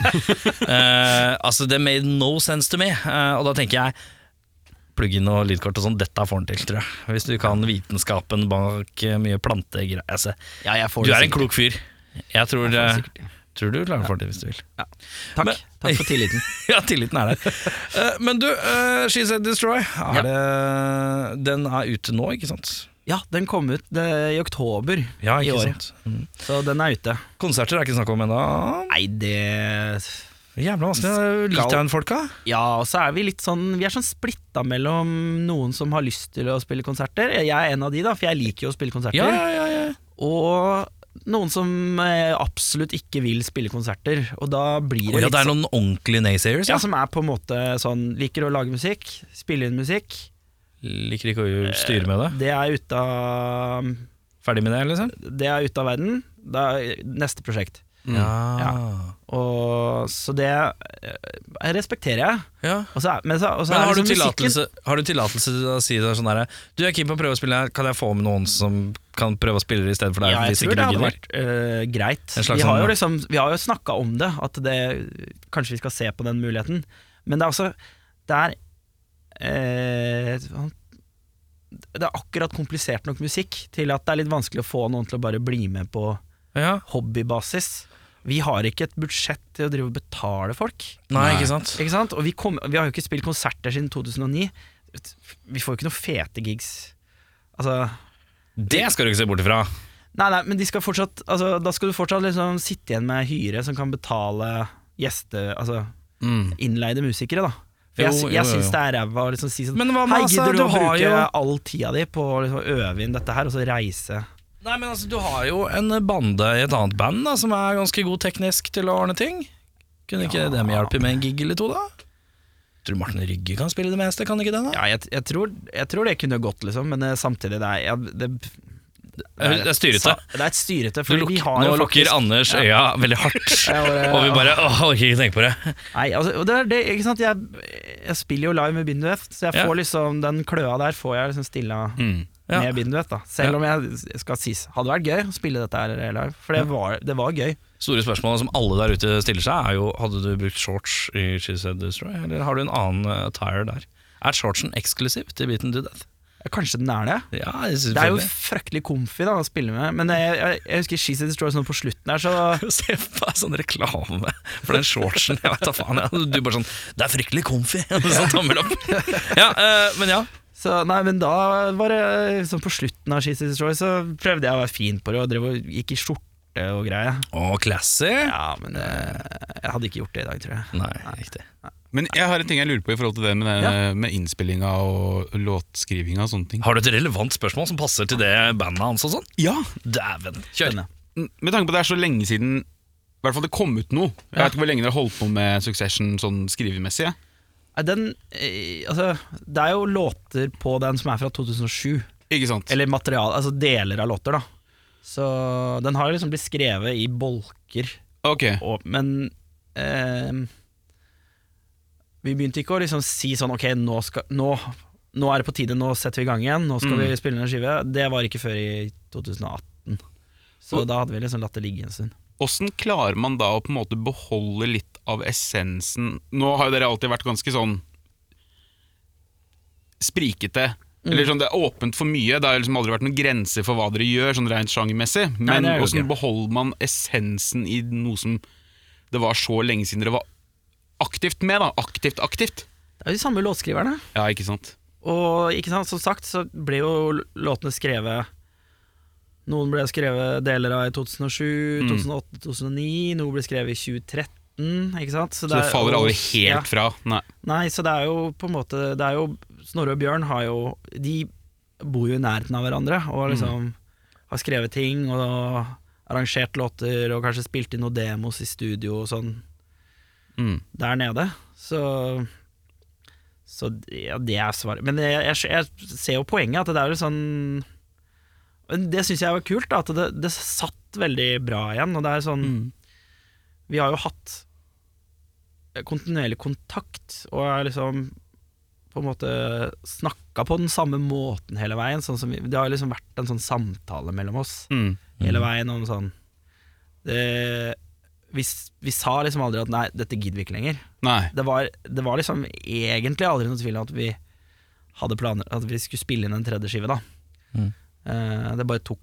A: eh, altså, det made no sense to me. Eh, og da tenker jeg Plugg-in og lydkort og sånn, dette får han til, tror jeg. Hvis du kan vitenskapen bak eh, mye plantegreier. Altså,
D: ja, jeg får
A: du
D: det
A: er en
D: sikkert.
A: klok fyr. Jeg tror, eh,
D: Jeg får det sikkert.
A: tror du klarer å få det til hvis du vil.
D: Takk.
A: Men-
D: Takk for tilliten.
A: ja, tilliten er der. Eh, men du, eh, She Said Destroy, er
D: Ja.
A: det, den er ute nå, ikke sant?
D: Ja, den kom ut eh, i oktober
A: Ja,
D: i år,
A: sant. Mm.
D: så den er ute.
A: Konserter er ikke snakk om ennå.
D: Nei, det
A: Jævla vanskelig. Litauen-folka.
D: Ja, og så er vi litt sånn Vi er sånn splitta mellom noen som har lyst til å spille konserter. Jeg er en av de, da, for jeg liker jo å spille konserter.
A: Ja, ja, ja, ja.
D: Og noen som eh, absolutt ikke vil spille konserter. Og da blir det
A: Å ja,
D: litt
A: det er
D: sånn
A: noen ordentlige naysayers, altså.
D: ja,
A: ja.
D: Som er på en måte sånn Liker å lage musikk, spille inn musikk.
A: Liker ikke å styre med det.
D: Det er ute av
A: Ferdig med det, liksom?
D: Det er ute av verden. Det er neste prosjekt.
A: Mm. Ja.
D: Og, så det eh, respekterer jeg.
A: ja.
D: Og så er, men så, og så
A: Men
D: er
A: har du,
D: liksom musikken-
A: tillatelse, har du tillatelse til å si det sånn derre Du, jeg er keen på å prøve å spille, kan jeg få med noen som kan prøve å spille i stedet for deg?
D: Ja, jeg
A: hvis ikke
D: tror det
A: du
D: hadde
A: gidder?»
D: vært øh, greit.
A: En slags
D: Vi har jo,
A: sånn-
D: liksom, vi har jo snakka om det, at det, kanskje vi skal se på den muligheten. Men det er altså Det er eh, han- Det er akkurat komplisert nok musikk til at det er litt vanskelig å få noen til å bare bli med på
A: ja.
D: hobbybasis. Vi har ikke et budsjett til å drive og betale folk.
A: Nei,
B: Nei.
A: ikke sant?
D: Ikke sant? Og vi, kom, vi har jo ikke spilt konserter siden 2009. Vi får jo ikke noen fete gigs. Altså
A: Det skal du ikke se bort ifra.
D: Nei, nei, men de skal fortsatt altså, Da skal du fortsatt liksom sitte igjen med hyre som kan betale gjeste... Altså
B: Mm.
D: innleide musikere, da. For jeg,
A: Jo, jo,
D: jeg
A: jo,
D: syns
A: jo.
D: det er ræva å liksom si sånn
A: Men hva med,
D: Hei,
A: altså,
D: gidder du,
A: du
D: å
A: har
D: bruke
A: jo-
D: all tida di på å liksom, øve inn dette her, og så reise?
A: Nei, men altså, Du har jo en bande i et annet band da, som er ganske god teknisk til å ordne ting. Kunne ikke dem hjelpe med en gig eller to, da? Tror du Martin Rygge kan spille det meste, kan ikke den? da?
D: Ja, jeg, jeg, tror, jeg tror det kunne gått, liksom, men eh, samtidig det er, ja, det,
A: Eh, det er styrete.
D: sa- Det er et styrete,
A: Du
D: for vi
A: lukker-
D: har
A: nå
D: jo
A: lukker
D: faktisk
A: Anders øya veldig hardt,
D: Jeg bare-
A: og vi bare åh, orker ikke tenke på det.
D: Nei, altså, og det er det, ikke sant? Jeg, jeg spiller jo live med Binduet, så jeg
A: Ja.
D: får liksom den kløa der får jeg liksom stilla
B: Mm.
A: Ja.
D: med Binduet, da. Selv om jeg skal sies hadde vært gøy å spille dette her live, for det var, det var gøy.
A: Store spørsmål som alle der ute stiller seg, er jo hadde du brukt shorts i She Said Destroy, eller har du en annen eh, attire der? Er shortsen eksklusiv til Beaten to Death?
D: Kanskje den er det.
A: Ja,
D: Det er jo fryktelig comfy da, å spille med, men jeg, jeg, jeg husker She's Destroy sånn på slutten der, så
A: Se for deg sånn reklame for den shortsen. Jeg vet da faen. jeg. Du bare sånn 'Det er fryktelig comfy'. og Sånn tommel opp. Ja, eh, men ja.
D: så, nei, men da var det sånn på slutten av She's Destroy, så prøvde jeg å være fin på det, og drev og gikk i skjorte og greie.
A: Å, classy.
D: Ja, men eh, jeg hadde ikke gjort det i dag, tror jeg.
A: Nei, riktig.
B: Men jeg har en ting jeg lurer på i forhold til det med, den, eh, med innspillinga og låtskrivinga og sånne ting.
A: Har du et relevant spørsmål som passer til det bandet hans og sånn?
B: Ja,
A: Dæven. Kjør.
D: Spennende.
B: Med tanke på at det er så lenge siden i hvert fall det kom ut noe. Jeg vet ikke hvor lenge dere har holdt på med Succession sånn skrivemessig. ja.
D: Nei, Den, eh, altså, det er jo låter på den som er fra 2007,
B: Ikke sant?
D: eller material, altså deler av låter, da. Så den har liksom blitt skrevet i bolker,
B: ok,
D: og, men eh, Vi begynte ikke å liksom si sånn ok, nå, skal, nå, nå er det på tide, nå setter vi i gang igjen, nå skal
B: Mm.
D: vi spille inn en skive. Det var ikke før i 2018. Så da hadde vi liksom latt det ligge en stund.
B: Åssen klarer man da å på en måte beholde litt av essensen Nå har jo dere alltid vært ganske sånn sprikete.
D: Mm.
B: Eller sånn, Det er åpent for mye. Det har liksom aldri vært noen grenser for hva dere gjør, sånn rent sjangermessig.
D: Nei,
B: Men
D: det er jo
B: åssen
D: ikke.
B: beholder man essensen i noe som det var så lenge siden dere var aktivt med, da. Aktivt, aktivt.
D: Det er jo de samme låtskriverne.
B: Ja, ikke sant?
D: Og ikke sant, som sagt så ble jo låtene skrevet Noen ble skrevet deler av i 2007,
B: Mm.
D: 2008, 2009, noe ble skrevet i 2013. Ikke sant?
B: Så det
D: er-
B: faller aldri
D: Ja.
B: helt fra. Nei.
D: Nei, så det er jo på en måte Det er jo Snorre og Bjørn har jo De bor jo i nærheten av hverandre og
B: Mm.
D: liksom har skrevet ting og arrangert låter og kanskje spilt inn noen demos i studio og sånn
B: Mm.
D: der nede. Så Så ja, det er svaret. Men jeg, jeg, jeg ser jo poenget, at det er jo sånn Men det syns jeg var kult, da, at det, det satt veldig bra igjen. Og det er sånn Vi har jo hatt kontinuerlig kontakt, og er liksom på en måte snakka på den samme måten hele veien. Sånn som vi, det har liksom vært en sånn samtale mellom oss
B: Mm.
D: hele veien om sånn det, vi, s- vi sa liksom aldri at nei, dette gidder vi ikke lenger.
B: Nei.
D: Det var, det var liksom egentlig aldri noen tvil om at vi hadde planer At vi skulle spille inn en tredje skive, da.
A: Mm.
D: Eh, det bare tok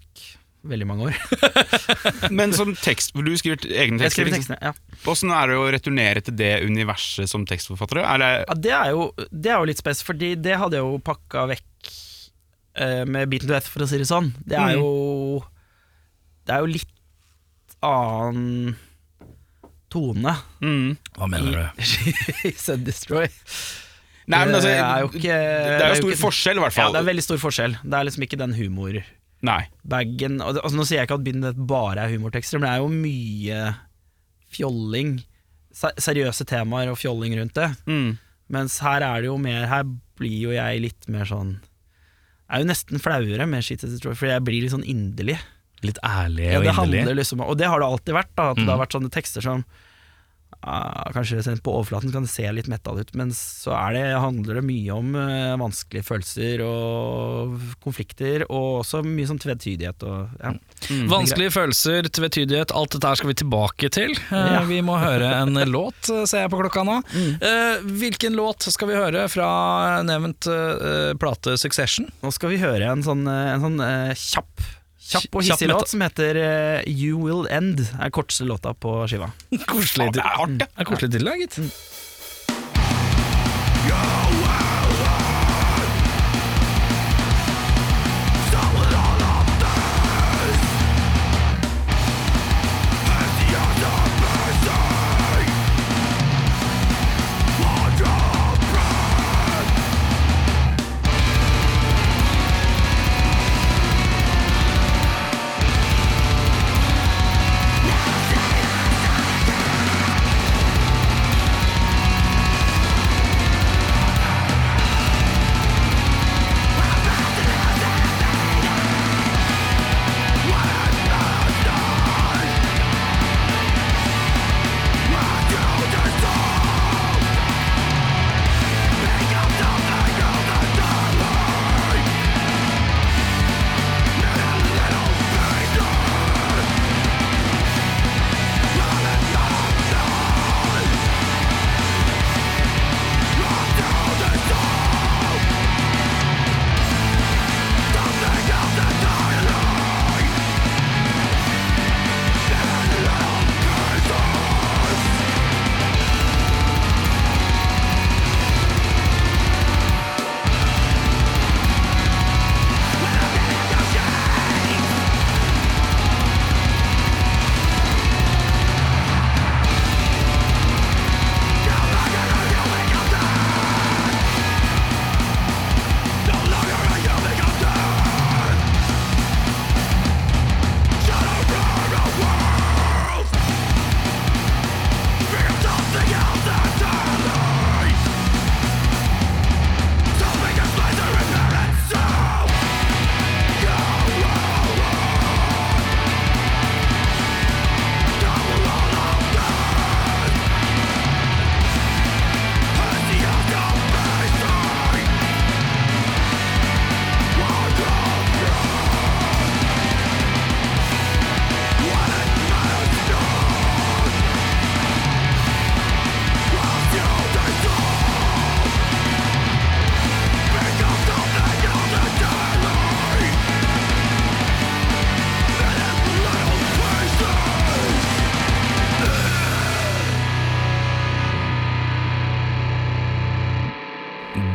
D: veldig mange år.
B: Men som tekst, for du skriver t- egne
D: Jeg
B: tekster.
D: skrev
B: ikke sant?
D: tekstene, ja.
B: Hvordan er det å returnere til det universet som tekstforfattere? Er det,
D: Ja, det, er jo, det er jo litt spes, fordi det hadde jeg jo pakka vekk eh, med Beaten to Death, for å si det sånn. Det
B: Mm.
D: er jo Det er jo litt annen tone
B: mm.
A: Hva mener du?
D: i Send Destroy.
B: Nei, men altså,
D: det er jo ikke
B: det er jo stor
D: ikke-
B: forskjell, i hvert
D: Ja,
B: fall.
D: det er veldig stor forskjell. Det er liksom ikke den humor
B: Nei.
D: bagen og det- altså, Nå sier jeg ikke at Beaten Death bare er humortekster, men det er jo mye fjolling. se- Seriøse temaer og fjolling rundt det.
B: Mm.
D: Mens her er det jo mer Her blir jo jeg litt mer sånn Jeg er jo nesten flauere med Shit Is Destroy, for jeg blir litt sånn inderlig.
A: Litt ærlig
D: Ja,
A: og
D: det handler
A: inderlig.
D: liksom Og det har det alltid vært, da. At det har vært sånne tekster som ah, Kanskje sett på overflaten kan det se litt metall ut, men så er det, handler det mye om eh, vanskelige følelser og konflikter, og også mye sånn tvetydighet og ja.
A: Vanskelige følelser, tvetydighet, alt dette her skal vi tilbake til. Eh,
D: Ja.
A: Vi må høre en låt, eh, ser jeg på klokka nå. Eh, hvilken låt skal vi høre fra nevnt eh, plate Succession?
D: Nå skal vi høre en sånn, eh, en sånn eh, kjapp Kjapp
A: Kjapp
D: og hissig
A: metall.
D: låt som heter eh, You Will End. er korteste låta på skiva.
A: Koselig til- Det er koselig til, da, gitt.
E: Thank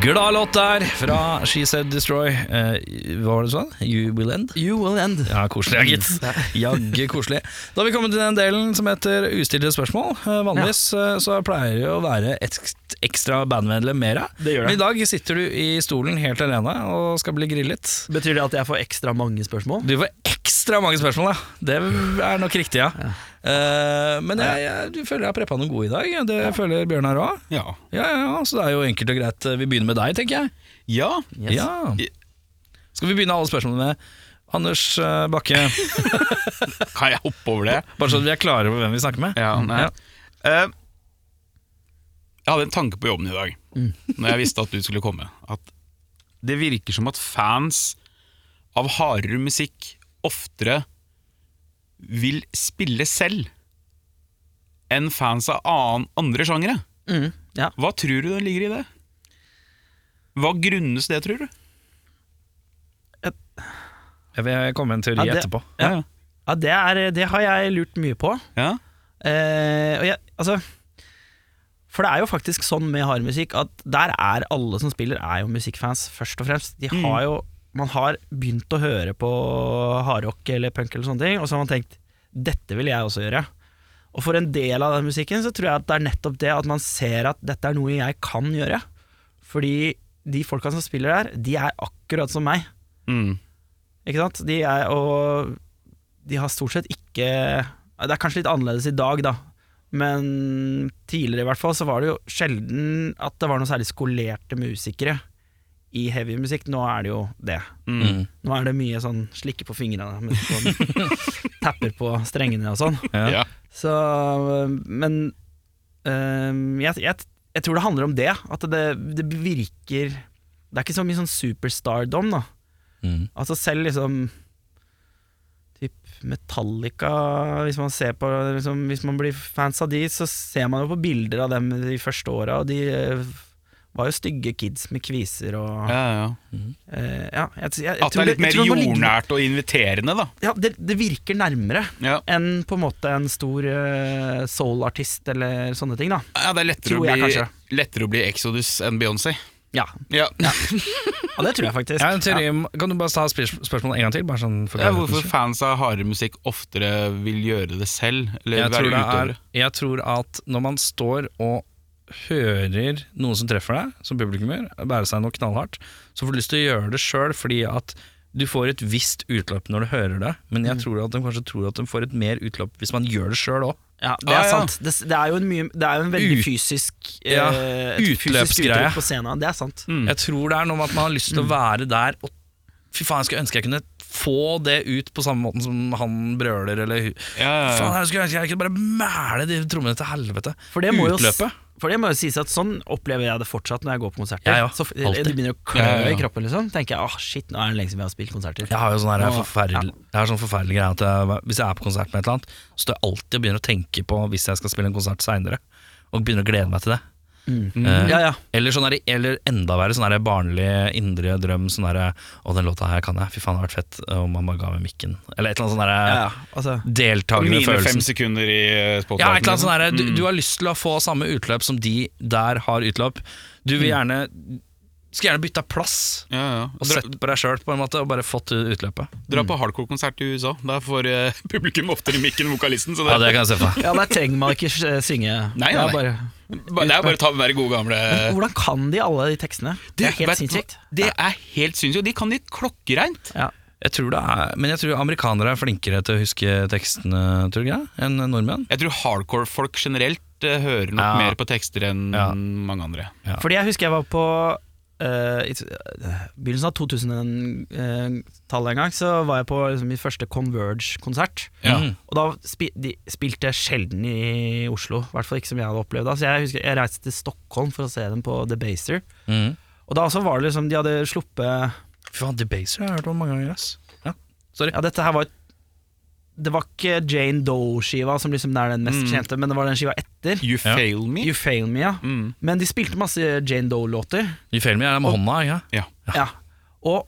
A: Gladlåt der fra She Said Destroy. Eh, hva var det du sa? You Will End?
D: You will end.
A: Ja, koselig, ja,
D: Mm.
A: gitt. Jaggu koselig. Da har vi kommet til den delen som heter ustilte spørsmål. Eh, Vanligvis eh, så pleier det å være et ekstra bandmedlem mer av.
D: Det gjør
A: Men
D: det.
A: i dag sitter du i stolen helt alene og skal bli grillet.
D: Betyr det at jeg får ekstra mange spørsmål?
A: Du får ekstra mange spørsmål, da. Det er nok riktig, ja. Eh, men jeg, jeg du føler jeg har preppa noen gode i dag. Det føler Bjørnar òg.
B: Ja.
A: Ja, ja, ja, så det er jo enkelt og greit. Vi begynner med deg, tenker jeg.
B: ja.
D: Yes.
A: Ja. Skal vi begynne alle spørsmålene med Anders eh, Bakke,
B: Kan jeg hoppe over det?
A: bare så vi er klare over hvem vi snakker med? Mm,
B: Ja, nei.
A: Ja.
B: Eh, jeg hadde en tanke på jobben i dag, når jeg visste at du skulle komme. At det virker som at fans av hardere musikk oftere vil spille selv enn fans av annen, andre sjangere.
D: Mm, ja.
B: Hva tror du det ligger i det? Hva grunnes det, tror du?
A: Jeg vil komme med en teori
D: Ja, det-
A: etterpå.
D: Ja. Ja, det, er, det har jeg lurt mye på.
B: ja.
D: Eh, og jeg, altså, for det er jo faktisk sånn med hardmusikk at der er alle som spiller, er jo musikkfans, først og fremst. De har jo, man har begynt å høre på hardrock eller punk eller sånne ting, og så har man tenkt dette vil jeg også gjøre. Og for en del av den musikken så tror jeg at det er nettopp det at man ser at dette er noe jeg kan gjøre. Fordi de folka som spiller der, de er akkurat som meg.
B: Mm.
D: Ikke sant? De er, og de har stort sett ikke Det er kanskje litt annerledes i dag, da. Men tidligere i hvert fall så var det jo sjelden at det var noe særlig skolerte musikere i heavy musikk. Nå er det jo det.
B: Mm.
D: Nå er det mye sånn slikke på fingrene, mens man tapper på strengene og sånn.
A: Ja.
B: Ja.
D: Så, men øhm, jeg, jeg, jeg tror det handler om det. At det, det virker Det er ikke så mye sånn superstardom, da.
A: Mm.
D: Altså selv liksom Typ Metallica Hvis man ser på liksom, Hvis man blir fans av de Så ser man jo på bilder av dem de første åra Og de eh, var jo stygge kids med kviser og,
B: Ja, ja.
D: eh, ja, jeg, jeg, jeg
B: At det
D: tror
B: er litt
D: jeg
B: mer
D: tror man må ligge-
B: jordnært og inviterende, da.
D: Ja, det, det virker nærmere
B: Ja.
D: Enn på en måte en stor eh, soul-artist Eller sånne ting da
B: Ja, det er lettere, å
D: Tror
B: bli,
D: jeg kanskje.
B: lettere å bli Exodus enn Beyoncé.
D: Ja,
B: Ja.
D: ja det tror jeg faktisk
A: Jeg har en teori om, Kan du bare ta spør spørsmålet en gang til? Bare sånn for
B: Ja,
A: klarhetens
B: hvorfor
A: skyld?
B: fans av hardere musikk oftere vil gjøre det selv, eller
A: jeg tror,
B: være
A: det
B: utøvere.
A: er, jeg tror at når man står og hører noen som treffer deg, som publikummer, bære seg noe knallhardt, så får du lyst til å gjøre det sjøl, fordi at du får et visst utløp når du hører det, men jeg tror at de kanskje tror at de får et mer utløp hvis man gjør det sjøl òg.
D: Ja, det
B: Ah,
D: er
B: ja.
D: sant. Det, det, er jo en mye, det er jo en veldig
A: Ut-
D: fysisk
A: Ja,
D: eh, et fysisk
A: utløpsgreie.
D: uttrykk på scenen. Det er sant.
B: Mm.
A: Jeg tror det er noe med at man har lyst
D: Mm.
A: til å være der og Fy faen, jeg skulle ønske jeg kunne få det ut på samme måten som han brøler eller hu-
B: Ja, ja,
A: Faen,
B: ja.
A: jeg skulle ønske jeg kunne bare mæle de trommene til helvete.
D: For det, må jo, s-
A: Utløpet.
D: for det må jo sies at sånn opplever jeg det fortsatt når jeg går på konserter.
A: Ja, ja,
D: Så f- eh,
A: alltid.
D: det begynner å klø
B: Ja, ja, ja.
D: i kroppen, liksom. Tenker jeg åh shit, nå er det lenge siden vi har spilt konserter.
A: Jeg har jo sånn her, jeg er
D: Nå-
A: forferdelig, jeg har sånn forferdelig greie at jeg, hvis jeg er på konsert med et eller annet, så står jeg alltid og begynner å tenke på hvis jeg skal spille en konsert seinere, og begynner å glede meg til det. Eh,
D: Mm. Ja, ja.
A: Eller, sånn her, eller enda verre, sånn her barnlig indre drøm. Sånn her, 'Å, den låta her kan jeg. Fy faen, det hadde vært fett om man bare ga meg mikken.' Eller et eller annet sånn her
D: ja, ja. Altså,
A: deltakende
B: Mine fem
A: følelsen.
B: sekunder i eh,
A: Ja, et
B: spotlighten.
A: eller annet sånn her, du,
B: Mm.
A: du har lyst til å få samme utløp som de der har utløp. Du vil gjerne Skulle gjerne bytta plass
B: Ja, ja.
A: og
B: Dra,
A: sett på deg sjøl, på en måte, og bare fått utløpet.
B: dra på hardcore-konsert i USA. Der får eh, publikum oftere mikken enn vokalisten. Så det,
A: Ja, det kan jeg se for meg.
D: ja, der trenger man ikke eh, synge.
B: Nei, nei,
D: Det er
B: nei.
D: bare-
B: det er bare å ta den der gode gamle
D: Hvordan kan de alle de tekstene?
B: Du,
D: Det er
B: vet
D: helt
B: du hva?
D: sinnssykt.
B: Det er helt sinnssykt. og De kan de klokkereint.
D: Ja.
A: Jeg tror det er, men jeg tror amerikanere er flinkere til å huske tekstene tror du ikke det, enn nordmenn.
B: Jeg tror hardcore-folk generelt eh, hører nok
A: Ja.
B: mer på tekster enn
A: Ja.
B: mange andre.
A: Ja.
D: Fordi jeg husker jeg var på eh, i t- eh, begynnelsen av 2000-tallet en gang, så var jeg på liksom, min første Converge-konsert.
B: Ja.
A: Mm.
D: Og da spi de spilte jeg sjelden i Oslo, i hvert fall ikke som jeg hadde opplevd. da. Så jeg husker jeg reiste til Stockholm for å se dem på The Baser.
A: Mm.
D: Og da også var det liksom, de hadde sluppet
A: Fy faen, Debaser har jeg hørt om mange ganger. Ass. Ja.
D: Ja, dette her var Det var ikke Jane Doe-skiva som liksom er den mest
B: Mm.
D: kjente, men det var den skiva etter.
B: You
A: Ja.
B: fail me.
D: You Fail Me, ja.
B: Mm.
D: Men de spilte masse Jane Doe-låter.
A: You fail me er det med hånda, ikke sant?
D: Ja. Og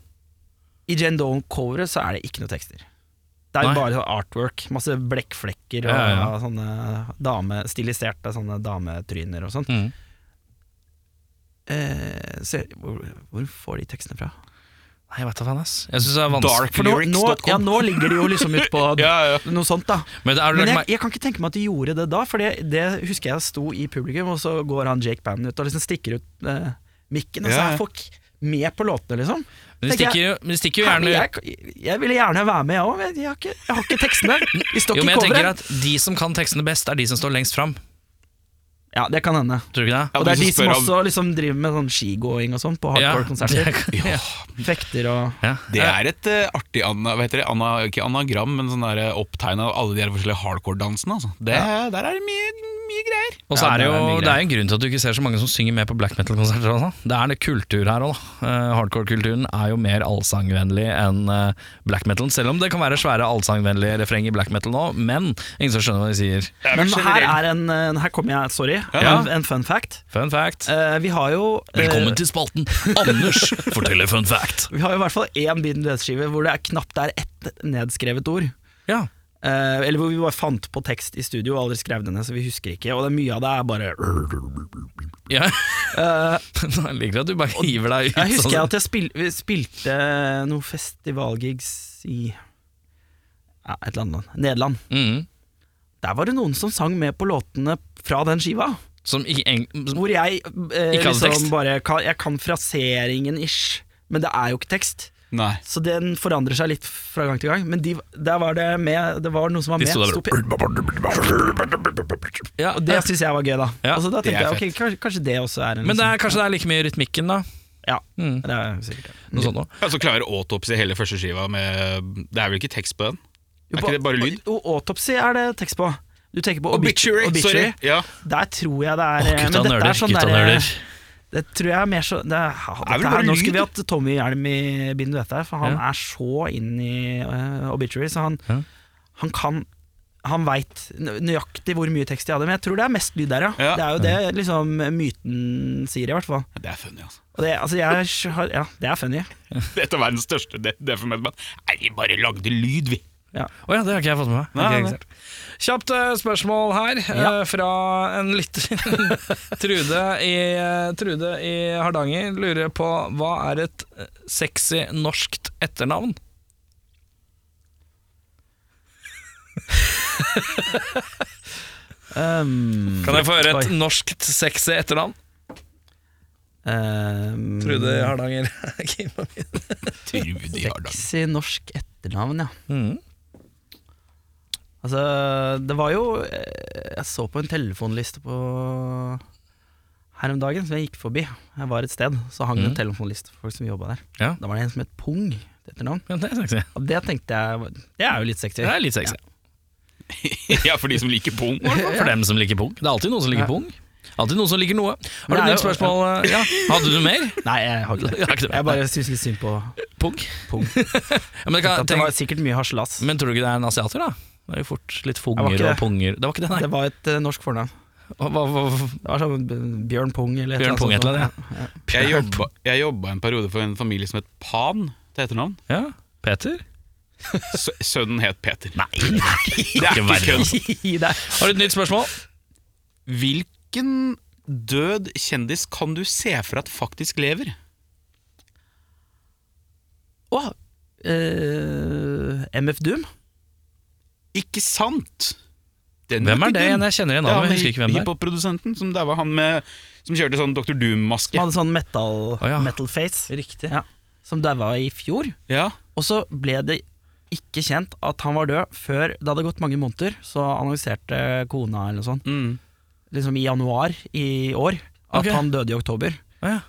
D: i Jane Dolan-coveret så er det ikke noe tekster. Det er
A: Nei.
D: bare sånn artwork, masse blekkflekker og
A: Ja, ja,
D: sånne dame, stiliserte sånne dametryner og sånt.
A: Mm.
D: eh, ser, hvor, hvor får de tekstene fra?
A: Nei, jeg vet da faen, ass. Jeg synes det er vanskelig.
D: For nå, nå,
B: Darklyrics.com.
D: ja, nå ligger de jo liksom ut på
B: Ja, ja.
D: noe sånt, da.
A: Men er du lagt
D: Men jeg,
A: merke
D: jeg kan ikke tenke meg at de gjorde det da, for det, det husker jeg sto i publikum, og så går han Jake Bannon ut og liksom stikker ut eh, mikken, og
B: Ja,
D: så
B: ja.
D: er folk med på låtene, liksom.
A: Men de
D: Tenker
A: stikker,
D: jeg,
A: jo- men de stikker jo
D: "Herre,
A: gjerne
D: jeg, jeg ville gjerne være med, jeg òg, men jeg har ikke, jeg har ikke tekstene. De står
A: Jo, men
D: ikke i
A: jeg tenker
D: coveret.
A: at De som kan tekstene best, er de som står lengst fram.
D: Ja, det kan hende.
A: Tror du ikke det?
B: Ja,
D: Og det
B: du
D: er de
B: som
D: som
B: spør om-
D: også liksom driver med sånn skigåing og sånn på hardcore-konserter.
A: det, ja.
D: Fekter og
A: Ja.
B: Det er et eh, artig ana, hva heter det, ana, ikke anagram, men sånn der, eh, opptegn av alle de her forskjellige hardcore-dansene. Altså. Det, Der er det mye, mye greier.
A: Og så
B: Ja,
A: er det jo
B: mye
A: det
B: greier.
A: er jo en grunn til at du ikke ser så mange som synger med på black metal-konserter. også. Det er en kultur her òg. Hardcore-kulturen er jo mer allsangvennlig enn eh, black metal. Selv om det kan være svære allsangvennlige refreng i black metal nå, men ingen som skjønner hva de sier.
B: Det er vel
D: Men her
B: generelt-
D: er en eh, Her kommer jeg, sorry,
B: Ja.
D: en, en fun fact.
A: Fun fact.
D: Eh, vi har jo eh,
A: Velkommen til spalten Anders forteller fun fact.
D: Vi har jo i hvert fall én Beaten Death-skive hvor det er knapt er ett nedskrevet ord.
A: Ja.
D: Eh, eller hvor vi bare fant på tekst i studio og aldri skrev det ned, så vi husker ikke. Og det er mye av det er bare
A: ja.
D: Eh,
A: Jeg liker at du bare hiver deg ut.
D: Jeg husker
A: sånn.
D: at jeg spil, vi spilte noen festivalgigs i ja, et eller annet land. Nederland.
A: Mhm.
D: Der var det noen som sang med på låtene fra den skiva.
A: Som ikke eng-
D: Hvor jeg eh,
A: Ikke hadde tekst.
D: liksom bare kan, Jeg kan fraseringen ish, men det er jo ikke tekst.
B: Nei.
D: Så den forandrer seg litt fra gang til gang. Men de, der var det med Det var noen som var
A: De
D: med.
A: sto der
D: sto på-
A: ja,
D: og det syns jeg var gøy, da.
A: Ja,
D: altså, da
B: det
D: tenkte
B: er
D: jeg ok, kanskje, kanskje det også er en
A: Men det
D: liksom-
A: er, kanskje det er like mye rytmikken, da.
D: Ja,
A: Mm.
D: det er sikkert det.
A: Noe sånt nå.
B: Ja, så klarer Autopsy hele første skiva med Det er vel ikke tekst på den? Er ikke det bare lyd?
D: Jo, autopsy er det tekst på. Du tenker på
B: Obituary,
D: obituary. obituary.
B: sorry! Ja.
D: Der tror jeg det er
A: Å,
D: men
A: gutta
D: dette er
A: nøler.
D: sånn
A: gutta
D: der-
A: nøler.
D: Det tror jeg er mer så det er,
B: vel
D: dette
B: bare
D: her, Nå
B: lyd,
D: skulle vi hatt Tommy Hjelm i Bind Duett her, for han
A: Ja.
D: er så inn i eh, obituary, så han,
A: Ja.
D: han kan han veit nøyaktig hvor mye tekst de hadde, men jeg tror det er mest lyd der, ja.
B: Ja.
D: Det er jo det liksom, myten sier, i hvert fall.
B: Det er funny, altså.
D: Og det, altså, jeg, har- ja, det er funny.
B: Et av verdens største de- death metal-band. Nei, vi bare lagde lyd, vi.
A: Å ja, det har ikke jeg fått med meg.
B: Nei,
A: Ok,
B: nei.
A: ikke sant. Kjapt eh, spørsmål her, eh, fra en lytter. Trude, i, eh, Trude i Hardanger lurer på hva er et eh, sexy norskt etternavn?
D: Um,
A: Kan jeg få høre et
D: Oi.
A: norskt sexy etternavn?
D: um,
A: Trude i Hardanger. Kim og Min.
B: Trude i Hardanger.
D: Sexy norsk etternavn, ja.
A: Mhm.
D: Altså, det var jo eh, Jeg så på en telefonliste på her om dagen, som jeg gikk forbi. Jeg var et sted, så hang det
A: Mm.
D: en telefonliste for folk som jobba der.
A: Ja.
D: Da var det en som het Pung til etternavn.
A: Ja, det er sexy.
D: Og det tenkte jeg var- Det er jo litt sexy.
A: Det er litt sexy.
B: Ja, for de som liker pung.
A: For dem som liker pung. Det er alltid noen som liker
D: Ja.
A: pung. Alltid noen som liker noe. Har
D: Men
A: du
D: det er
A: et
D: jo-
A: spørsmål? eh, Ja. Hadde du mer?
D: Nei, jeg har ikke
A: Jeg har
D: det.
A: ikke det.
D: Jeg bare syns litt synd på
A: Pung?
D: Pung.
A: Ja, men, det kan,
D: At det
A: tenk,
D: var sikkert mye haslas.
A: men tror du ikke det er en asiater, da? Det er jo fort litt
D: Det var
A: funger
D: ikke
A: og
D: det.
A: punger Det var ikke det, nei.
D: Det var et eh, norsk fornavn.
A: Hva, hva, hva,
D: Det var sånn B- Bjørn Pung eller et
A: Bjørn Pung et
D: sånt.
A: eller annet,
B: Jeg jobba, jeg jobba en periode for en familie som het Pan til etternavn.
A: ja. Peter?
B: S sønnen het Peter.
A: Nei, det er ikke
B: verre.
A: kødd.
D: I det.
A: Har du et nytt spørsmål?
B: Hvilken død kjendis kan du se for at faktisk lever?
D: Å, eh, MF Doom?
B: Ikke sant? Den
A: Hvem
B: vet
A: er det
B: ikke.
A: igjen? Jeg kjenner igjen
B: Ja,
A: navnet,
B: han
A: men jeg husker ikke hvem det er.
B: Hiphop-produsenten som der var han med Som kjørte sånn Dr.
D: Som
B: Doom-maske.
D: hadde sånn metal,
A: Å, ja.
D: metal face.
A: Riktig.
D: Ja. Som daua i fjor.
B: Ja.
D: Og så ble det ikke kjent at han var død før det hadde gått mange måneder. Så annonserte kona eller noe sånt,
B: Mm.
D: liksom i januar i år, at
A: Ok.
D: han døde i oktober.
A: Å, ja.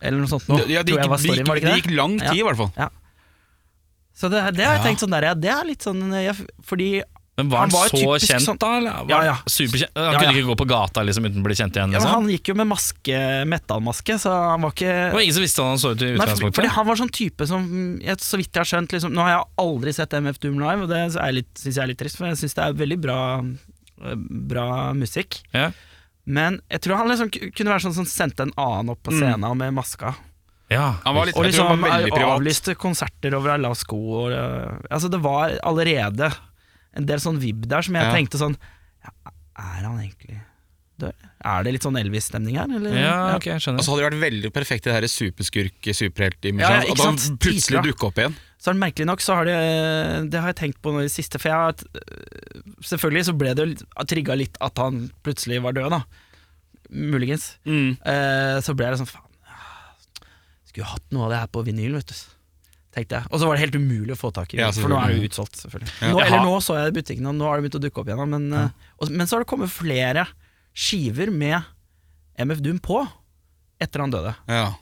D: Eller noe sånt noe.
B: ja, det
D: tror
B: gikk,
D: jeg var
B: det,
D: storyen,
B: gikk,
D: var
B: det
D: det ikke
B: gikk
D: det?
B: lang
D: Ja.
B: tid, i hvert fall.
D: Så det, det har jeg
B: Ja.
D: tenkt sånn der, ja, det er litt sånn ja, f- Fordi
A: Men var han,
D: Han var
A: så
D: typisk
A: kjent,
D: sånn-
A: da? Eller? Var
D: Ja, ja.
A: Superkjent? Han
D: Ja,
A: kunne
D: ja.
A: ikke gå på gata liksom, uten å bli kjent igjen?
D: ja, men
A: Liksom.
D: han gikk jo med maske, metallmaske, så han var ikke
A: Det var ingen som visste hvordan han så ut i
D: Nei, for- fordi
A: utgangspunktet?
D: han var sånn type som jeg, Så vidt jeg har skjønt liksom, Nå har jeg aldri sett MF Doom live, og det syns jeg er litt, synes jeg er litt trist, for jeg syns det er veldig bra, eh, bra musikk.
A: Ja.
D: Men jeg tror han liksom ku- kunne være sånn som sendte en annen opp på scenen med maska.
A: Ja.
B: Han var litt,
D: Og
B: jeg Mm. tror han
D: liksom
B: var veldig
D: eh,
B: privat.
D: avlyste konserter over ei lav sko. Og, eh, altså det var allerede en del sånn vibb der som jeg
B: Ja.
D: tenkte sånn ja, Er han egentlig dør. Er det litt sånn Elvis-stemning her? Eller?
A: Ja, ok, jeg skjønner.
B: Altså hadde det vært veldig perfekt i det her superskurk-superhelt-imaget.
D: Ja, ja, ikke
B: at han
D: sant?
B: plutselig
D: Dritbra.
B: dukket opp igjen.
D: Så er det merkelig nok, så har det Det har jeg tenkt på nå i det siste, for jeg har t- Selvfølgelig så ble det jo trigga litt at han plutselig var død, da. Muligens.
A: Mm.
D: Eh, så ble jeg litt sånn faen ah, Skulle jo hatt noe av det her på vinyl, vet du. Tenkte jeg. Og så var det helt umulig å få tak i,
B: Ja,
D: for nå er det
B: selvfølgelig.
D: jo utsolgt, selvfølgelig.
B: Ja.
D: Nå,
B: Jeg
D: eller
B: har-
D: nå så jeg det i butikken, og nå har det begynt å dukke opp igjen. da, Men, eh, og, men så har det kommet flere skiver med MF Doom på etter han døde.
B: Ja.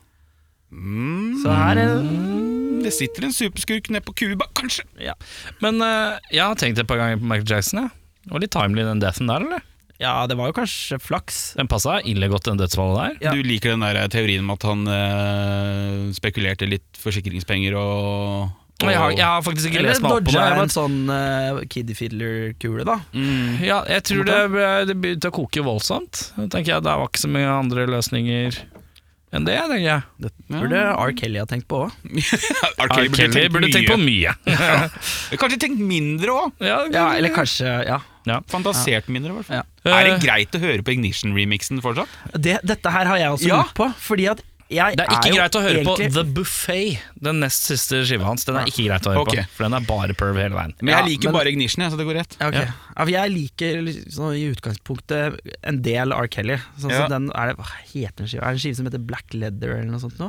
B: Mm.
D: Så her er
B: Det sitter en superskurk nede på Cuba, kanskje.
D: ja.
A: Men eh, jeg har tenkt et par ganger på Michael Jackson. Ja. Det var litt timely, den deathen der, eller?
D: ja, det var jo kanskje flaks.
A: Den passa ille godt, den dødsfallet der.
D: Ja.
B: Du liker den der teorien om at han eh, spekulerte litt forsikringspenger og, og
A: Men Jeg har, jeg har faktisk ikke
D: Eller
A: lest meg opp på det.
D: dodga
A: Jeg
D: jeg
A: bare
D: en sånn uh, kiddie fiddler-kule, da.
B: Mm.
A: Ja, jeg tror det, ble- det begynte å koke voldsomt. Da tenker jeg Det var ikke så mye andre løsninger enn det, tenker jeg.
D: Det burde R. Kelly ha tenkt på òg.
B: R. Kelly burde tenkt
A: burde tenkt på
B: mye.
A: mye.
B: Kanskje tenkt mindre òg.
A: Ja,
D: Ja, eller kanskje ja.
B: Fantasert mindre, i hvert fall.
A: Ja.
B: Er det greit å høre på Ignition-remixen fortsatt?
D: det, Dette her har jeg også
B: Ja.
D: lurt på, fordi at jeg
A: Det er ikke
D: jo
A: greit å høre
D: egentlig,
A: på The Buffet, den nest siste skiva hans. Den er ikke greit å høre
B: Ok.
A: på, for den er bare perv hele veien.
B: Men
D: Ja,
B: jeg liker
D: men-
B: bare Ignition, jeg, så det går rett.
D: Ja, ok.
A: Ja.
D: Ja, for jeg liker sånn, i utgangspunktet en del R. Kelly. Sånn
B: Ja.
D: som den, er det, hva heter den skiva? Er det en skive som heter Black Leather eller noe sånt? Nå?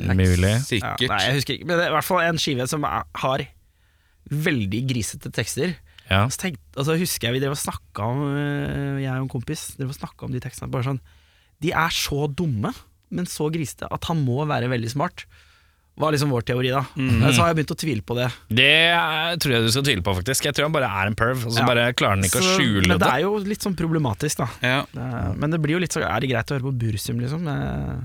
A: Mm, Mulig.
D: Ja,
B: Sikkert.
D: nei, jeg husker ikke. Men det er i hvert fall en skive som er, har veldig grisete tekster.
A: Ja.
D: Og så tenkte, og så husker jeg vi drev og snakka om øh, Jeg og en kompis drev og snakket om de tekstene. Bare sånn De er så dumme, men så grisete, at han må være veldig smart. Var liksom vår teori, da.
A: Mm.
D: Så har jeg begynt å tvile på det.
A: Det er- tror jeg du skal tvile på, faktisk. Jeg tror han bare er en perv, og så
D: Ja.
A: bare klarer han ikke å
D: Så-
A: skjule
D: men
A: det.
D: det er jo litt sånn problematisk, da.
B: Ja.
D: Det er- Men det blir jo litt så Er det greit å høre på Bursum, liksom? Eh,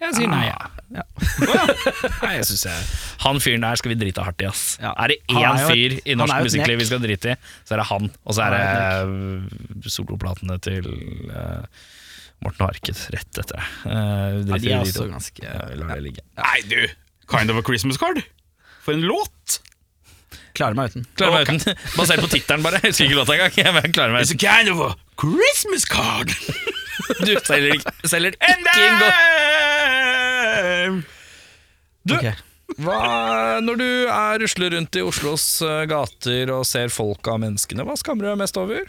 A: Jeg sier nei, Ah. ja. nei, jeg synes jeg Han fyren der skal vi drite hardt i, ass.
D: Ja.
A: Er det
D: Han
A: én
D: er jo
A: fyr
D: et-
A: i
D: han
A: norsk
D: er jo et
A: musikkliv
D: nek.
A: vi skal drite i, så er det han. Og så er
D: Han
A: det
D: er
A: eh, soloplatene til eh, Morten Harket rett etter det. Eh, vi
D: Ja, de
A: driter
D: er
A: i de to.
D: også ganske
A: Ja, vi lar det ligge.
B: Nei, du! Kind of a Christmas card. For en låt!
D: Klarer meg uten.
A: Klarer meg uten. Basert på tittelen, bare. Jeg husker ikke låta engang. Jeg bare klarer meg
B: It's a
A: uten.
B: kind of a Christmas card!
A: Du selger, ikke- selger ikke
B: And
A: inn godt.
B: I'm
A: Du,
D: Ok.
A: hva, når du er rusler rundt i Oslos eh, gater og ser folka og menneskene, hva skammer du deg mest over?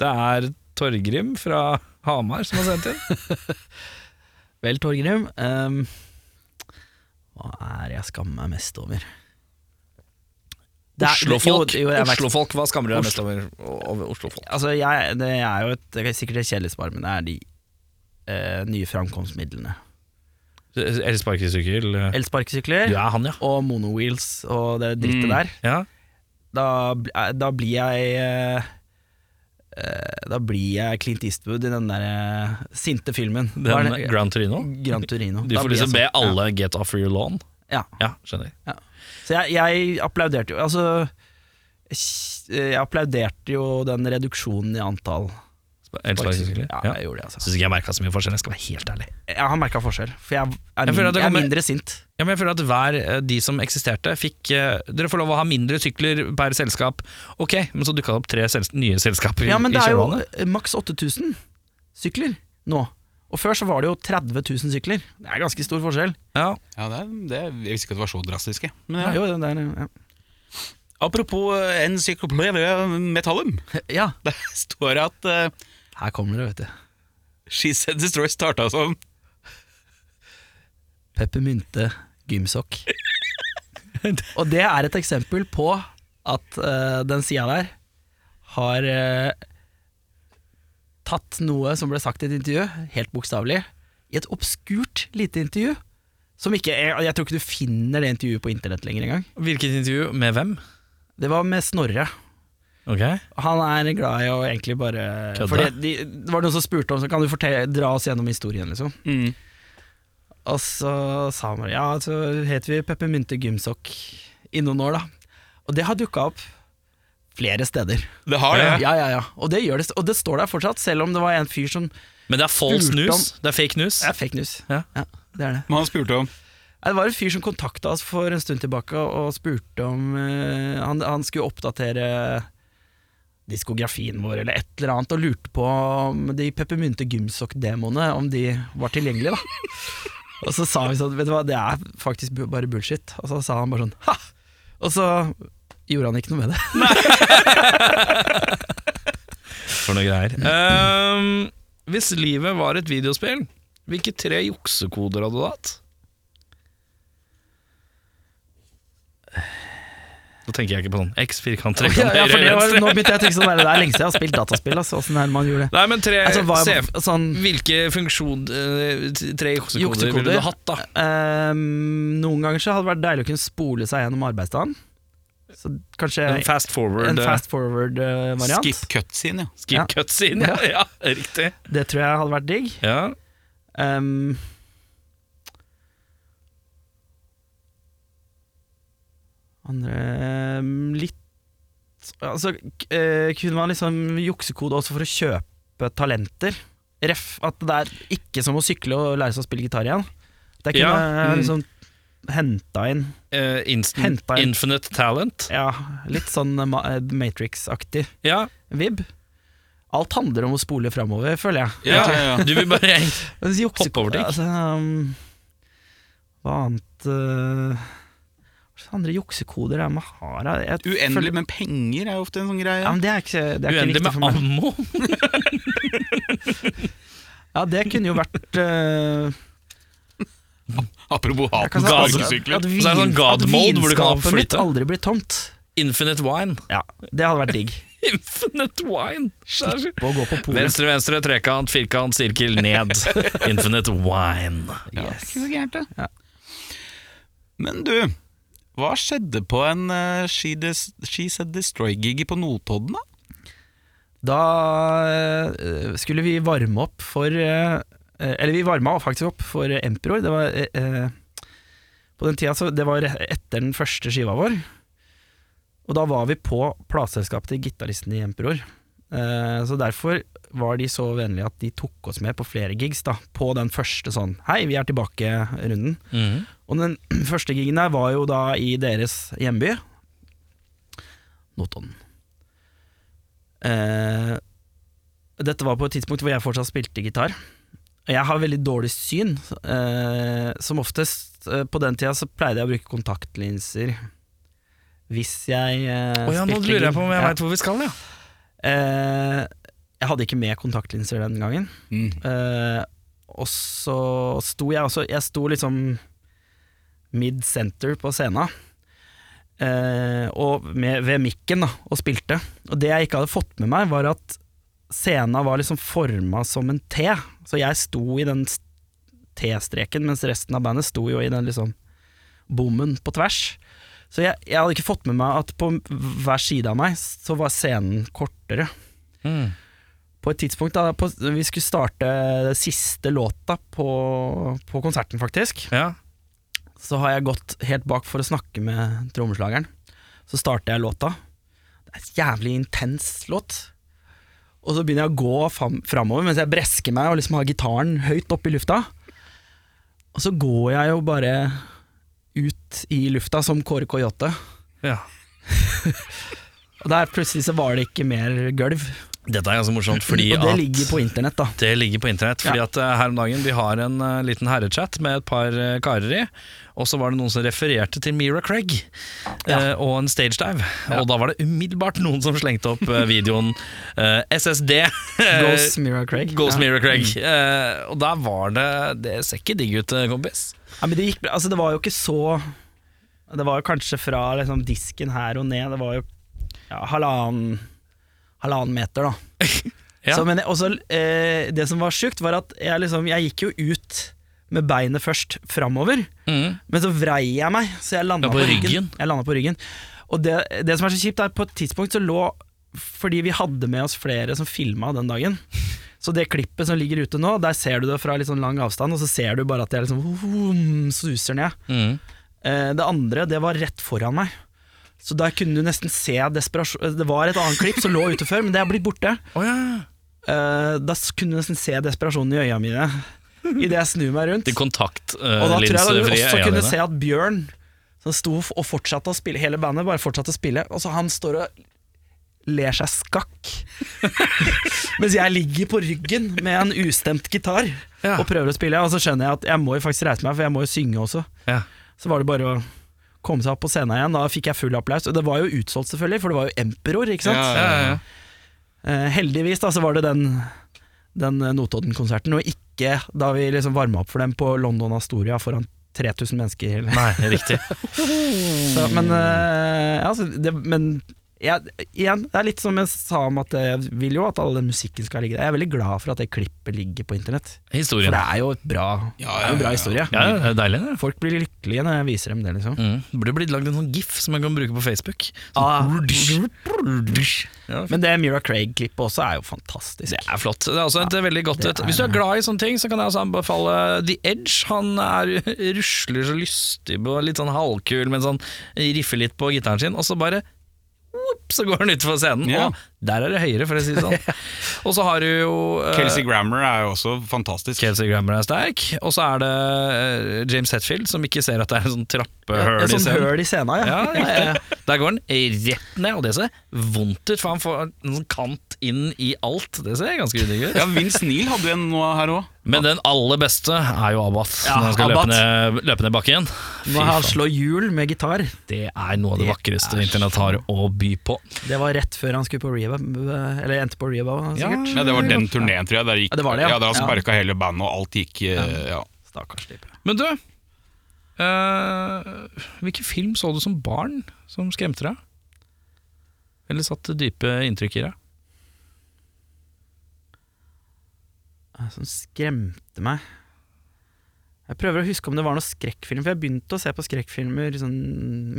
A: Det er Torgrim fra Hamar som har sendt inn.
D: Vel, Torgrim. ehm, hva er jeg skammer meg mest over? Det er-
A: Oslofolk,
D: jo- jo, jeg vet-
A: Oslofolk, hva skammer du deg mest over? over Oslofolk?
D: Altså, jeg, det er jo et, det er sikkert et kjedelig svar, men det er de eh, nye framkomstmidlene.
A: Eller sparkesykkel?
D: Elsparkesykler
A: Ja, han, ja.
D: og monowheels og det drittet
B: Mm.
D: der.
A: ja.
D: Da, bl- eh, da blir jeg eh, eh, Da blir jeg Clint Eastwood i den der eh, sinte filmen. Hva
A: Den,
D: er det?
A: Gran Torino?
D: Gran Turino.
A: Du
D: Da
A: får
D: blir jeg
A: liksom
D: sånn.
A: be alle get off your lawn.
D: Ja. ja.
A: Ja, skjønner.
D: Ja. Så jeg, jeg applauderte jo Altså, jeg applauderte jo den reduksjonen i antall
A: Sp- Elsparkesykler?
D: Ja,
A: Ja.
D: jeg gjorde det, altså.
A: Syns ikke jeg merka så mye forskjell, jeg skal være helt ærlig.
D: Jeg har merka forskjell, for jeg er,
A: Jeg føler at
D: min,
A: det
D: jeg er
A: kommer-
D: mindre sint.
A: Ja, men jeg føler at hver eh, de som eksisterte, fikk eh, Dere får lov å ha mindre sykler per selskap. Ok, men så dukka det opp tre sels nye selskaper i-
D: Ja,
A: i
D: men det er jo
A: kjølvannet.
D: eh, maks 8000 sykler nå. Og før så var det jo 30 000 sykler. Det er ganske stor forskjell.
A: Ja.
B: Ja, det, er- det, er- jeg visste ikke at det var så drastisk. jeg. Men ja.
D: Jo, den der,
B: Apropos eh, Encyclopedia Metallum.
D: ja. ja,
B: Der står det at eh,
D: her kommer det, vet du.
B: She Said Destroy starta som
D: Peppermynte gymsokk. Og det er et eksempel på at eh, den sida der har eh, tatt noe som ble sagt i et intervju, helt bokstavelig, i et obskurt lite intervju. Som ikke, jeg, jeg tror ikke du finner det intervjuet på internett lenger engang.
A: Hvilket intervju? Med hvem?
D: Det var med Snorre.
A: Ok
D: Han er glad i å egentlig bare
A: Kødde?
D: Fordi de, Det var noen som spurte om så Kan du fortelle, dra oss gjennom historien, liksom.
B: Mm.
D: Og så sa han bare Ja, så het vi Peppermynte Gymsokk i noen år, da. Og det har dukka opp flere steder.
B: Det har det.
D: Ja, ja, ja. Og det, gjør det, og det står der fortsatt, selv om det var en fyr som
A: Men det er false
D: Spurte
A: news? Det er fake news?
D: Det er fake news.
A: Ja.
D: det er det.
B: Men han spurte om
D: Nei, Det var en fyr som kontakta oss for en stund tilbake og spurte om eh, han, han skulle oppdatere diskografien vår eller et eller annet, og lurte på om de Peppermynte Gymsokk-demoene Om de var tilgjengelige, da. Og så sa vi sånn, vet du hva, det er faktisk bu- bare bullshit. Og så sa han bare sånn ha! Og så gjorde han ikke noe med det.
A: For noe greier. Ehm, hvis livet var et videospill, hvilke tre juksekoder hadde du hatt? Da tenker jeg ikke på sånn X, firkant, trekant,
D: Ja, for
A: høyre,
D: det var,
A: venstre.
D: nå begynte jeg å tenke sånn, det er lenge siden jeg har spilt dataspill, altså, åssen er det man gjorde det?
A: Nei, men tre
D: Altså, hva,
A: Eh, se,
D: sånn,
A: Hvilke funksjon eh, t- Tre juksekoder
D: Juksekoder?
A: ville du hatt, da?
D: Ehm, noen ganger så hadde det vært deilig å kunne spole seg gjennom arbeidsdagen. Så kanskje
A: En fast forward,
D: en
A: eh,
D: fast forward-variant.
B: Skip cutscene, ja.
A: skip
D: ja.
A: cuts inn. Ja, ja, riktig.
D: Det tror jeg hadde vært digg.
A: Ja.
D: Ehm, andre ehm, Litt Altså, k- eh, kunne man liksom juksekode også for å kjøpe talenter? Ref. At det er ikke som å sykle og lære seg å spille gitar igjen. Det kunne
A: Ja,
D: jeg
A: mm.
D: liksom henta inn
A: Eh, instant,
D: Henta en-
A: infinite talent.
D: Ja, litt sånn eh, ma- eh, Matrix-aktig
A: Ja,
D: vib. Alt handler om å spole framover, føler jeg.
B: Ja, ja, ja.
A: Du vil bare
D: Men så jukse-
A: Hoppe over ting.
D: Altså, um, hva annet eh, Hva slags andre juksekoder er det man har? da? Jeg
B: Uendelig
D: føler-
B: med penger er jo ofte en sånn greie.
D: ja, men Det er ikke, det er ikke
A: Uendelig
D: riktig
A: med
D: for meg.
A: ammo.
D: Ja, det kunne jo vært eh,
B: Apropos
D: jeg
B: haten
D: kan
B: på
D: si-
B: sparkesykler.
D: at
A: Så er det sånn
D: vin-
A: god
D: at
A: mode hvor du kan
D: vinskapet mitt
A: flytte.
D: aldri blir tomt.
A: Infinite wine.
D: Ja, Det hadde vært digg.
A: Infinite wine!
D: Slippe å gå på polet.
A: Venstre, venstre, trekant, firkant, sirkel, ned. Infinite wine.
B: Ja, det er
D: Yes.
B: ikke så gærent, det.
D: Ja.
B: Men du, hva skjedde på en eh, She, Des She Said Destroy-gig på Notodden, da?
D: Da eh, skulle vi varme opp for eh, Eller vi varma faktisk opp for Emperor. Det var eh, eh, På den tida så Det var etter den første skiva vår. Og da var vi på plateselskapet til gitaristen i Emperor. Eh, Så derfor var de så vennlige at de tok oss med på flere gigs, da. På den første sånn Hei, vi er tilbake-runden.
A: Mhm.
D: Og den første gigen der var jo da i deres hjemby, Notodden. Eh, dette var på et tidspunkt hvor jeg fortsatt spilte gitar. Jeg har veldig dårlig syn. Eh, som oftest eh, på den tida så pleide jeg å bruke kontaktlinser hvis jeg eh,
A: Å ja, nå
D: spilte
A: lurer jeg på om jeg
D: gig.
A: veit hvor vi skal, ja.
D: Eh, jeg hadde ikke med kontaktlinser den gangen.
B: Mm.
D: Eh, og så sto jeg også Jeg sto liksom mid center på scenen. eh, og med, ved mikken, da, og spilte. Og det jeg ikke hadde fått med meg, var at scenen var liksom forma som en T. Så jeg sto i den s- T-streken, mens resten av bandet sto jo i den liksom bommen på tvers. Så jeg, jeg hadde ikke fått med meg at på hver side av meg så var scenen kortere på et tidspunkt da på, Vi skulle starte siste låta på, på konserten, faktisk.
A: ja.
D: Så har jeg gått helt bak for å snakke med trommeslageren. Så starter jeg låta. Det er en jævlig intens låt. Og så begynner jeg å gå fam- framover mens jeg bresker meg og liksom har gitaren høyt oppe i lufta. Og så går jeg jo bare ut i lufta som Kåre Coyote.
A: ja.
D: Og der plutselig så var det ikke mer gulv.
A: Dette er ganske morsomt, fordi
D: og det
A: at
D: ligger på internett, da.
A: Det ligger på internett. Fordi at eh, her om dagen Vi har en eh, liten herrechat med et par eh, karer i. Og så var det noen som refererte til Mira Craig eh, og en stage dive. Og da var det umiddelbart noen som slengte opp eh, videoen eh, SSD.
D: Ghost Mira Craig.
A: Eh, Ghost
D: Ja.
A: Mira Craig. Eh, og der var det Det ser ikke digg ut, eh, kompis.
D: Ja, men det, gikk, altså det var jo ikke så Det var jo kanskje fra liksom, disken her og ned. Det var jo ja, halvannen halvannen meter, da.
A: Ja.
D: så, men jeg- også, eh, det som var sjukt, var at jeg, liksom, jeg gikk jo ut med beinet først framover. Men så vrei jeg meg, så jeg landa
A: Ja,
D: på,
A: på
D: ryggen.
A: ryggen.
D: Jeg landet på ryggen. Og det, det som er så kjipt, er på et tidspunkt så lå Fordi vi hadde med oss flere som filma den dagen. Så det klippet som ligger ute nå, der ser du det fra litt sånn lang avstand, og så ser du bare at jeg liksom vroom, suser ned. Eh, Det andre, det var rett foran meg. Så der kunne du nesten se desperasjon eh, Det var et annet klipp som lå ute før, men det er blitt borte.
A: Å ja.
D: Eh, Da s- kunne du nesten se desperasjonen i øya mine. idet jeg snur meg rundt.
A: De
D: Og
B: Eh,
D: da tror jeg du
A: kontaktlinsefrie
D: også
A: øya
D: kunne
A: dine.
D: se at Bjørn som sto f- og fortsatte å spille, hele bandet bare fortsatte å spille, og så han står og ler seg skakk. Mens jeg ligger på ryggen med en ustemt gitar
A: Ja.
D: og prøver å spille, og så skjønner jeg at jeg må jo faktisk reise meg, for jeg må jo synge også.
A: Ja.
D: Så var det bare å komme seg opp på scenen igjen, da fikk jeg full applaus. Og det var jo utsolgt selvfølgelig, for det var jo Emperor, ikke sant.
B: Ja,
A: Ja, ja, ja.
D: Eh, heldigvis da, så var det den, den eh, Notodden-konserten, og ikke da vi liksom varma opp for dem på London Astoria foran 3000 mennesker. Eller.
A: Nei, riktig.
D: Så, men eh, altså, det, men jeg, igjen, det er litt som jeg sa om at jeg vil jo at all den musikken skal ligge der. Jeg er veldig glad for at det klippet ligger på internett, for
A: Historien.
D: det er jo et bra,
B: Ja, ja,
D: det er jo en
B: ja.
D: bra historie.
A: Ja, ja, det er deilig, det.
D: Folk blir lykkelige når jeg viser dem det, liksom.
A: Mm. Det burde blitt lagd en sånn gif som man kan bruke på Facebook. Sånn
D: Ah.
A: Ja,
D: Men det Mira Craig-klippet også er jo fantastisk.
A: Mm. Det er flott. Det er også et veldig godt
D: det er
A: Hvis du er glad i sånne ting, så kan jeg også anbefale The Edge. Han er rusler så lystig og litt sånn halvkul mens han riffer litt på gitaren sin, og så bare whoop, så går han ut for scenen.
B: Ja.
A: Og der er det høyere, for å si det sånn. og så har du jo eh,
B: Kelsey Grammer er jo også fantastisk.
A: Kelsey Grammer er sterk, og så er det eh, James Hetfield som ikke ser at det er en sånn trappehull
D: Et
A: i
D: sånt
A: scenen.
D: høl i scena, ja.
A: Ja, ja, ja. Der går den rett ned, og det ser vondt ut, for han får en sånn kant inn i alt. Det ser ganske udigg ut.
B: Ja, Vince Neil hadde jo en nå her òg.
A: Men den aller beste er jo Abbath,
D: Ja,
A: når han skal
D: Abbath.
A: løpe ned, løpe ned bakken. Fy
D: Når han
A: faen,
D: slår hjul med gitar.
A: det er noe av det
D: Det
A: vakreste
D: er
A: internett har å by på.
D: Det var rett før han skulle på rehab, eller endte på rehab. sikkert.
B: Ja, det var den turneen, tror jeg. Der gikk,
D: Ja, det var det, ja.
B: ja. der han
D: Ja.
B: sparka hele bandet, og alt gikk eh, ja.
D: Stakkars type.
A: Men du, eh, hvilken film så du som barn som skremte deg? Eller satte dype inntrykk i deg?
D: Som sånn skremte meg. Jeg prøver å huske om det var noen skrekkfilm, for jeg begynte å se på skrekkfilmer, sånn,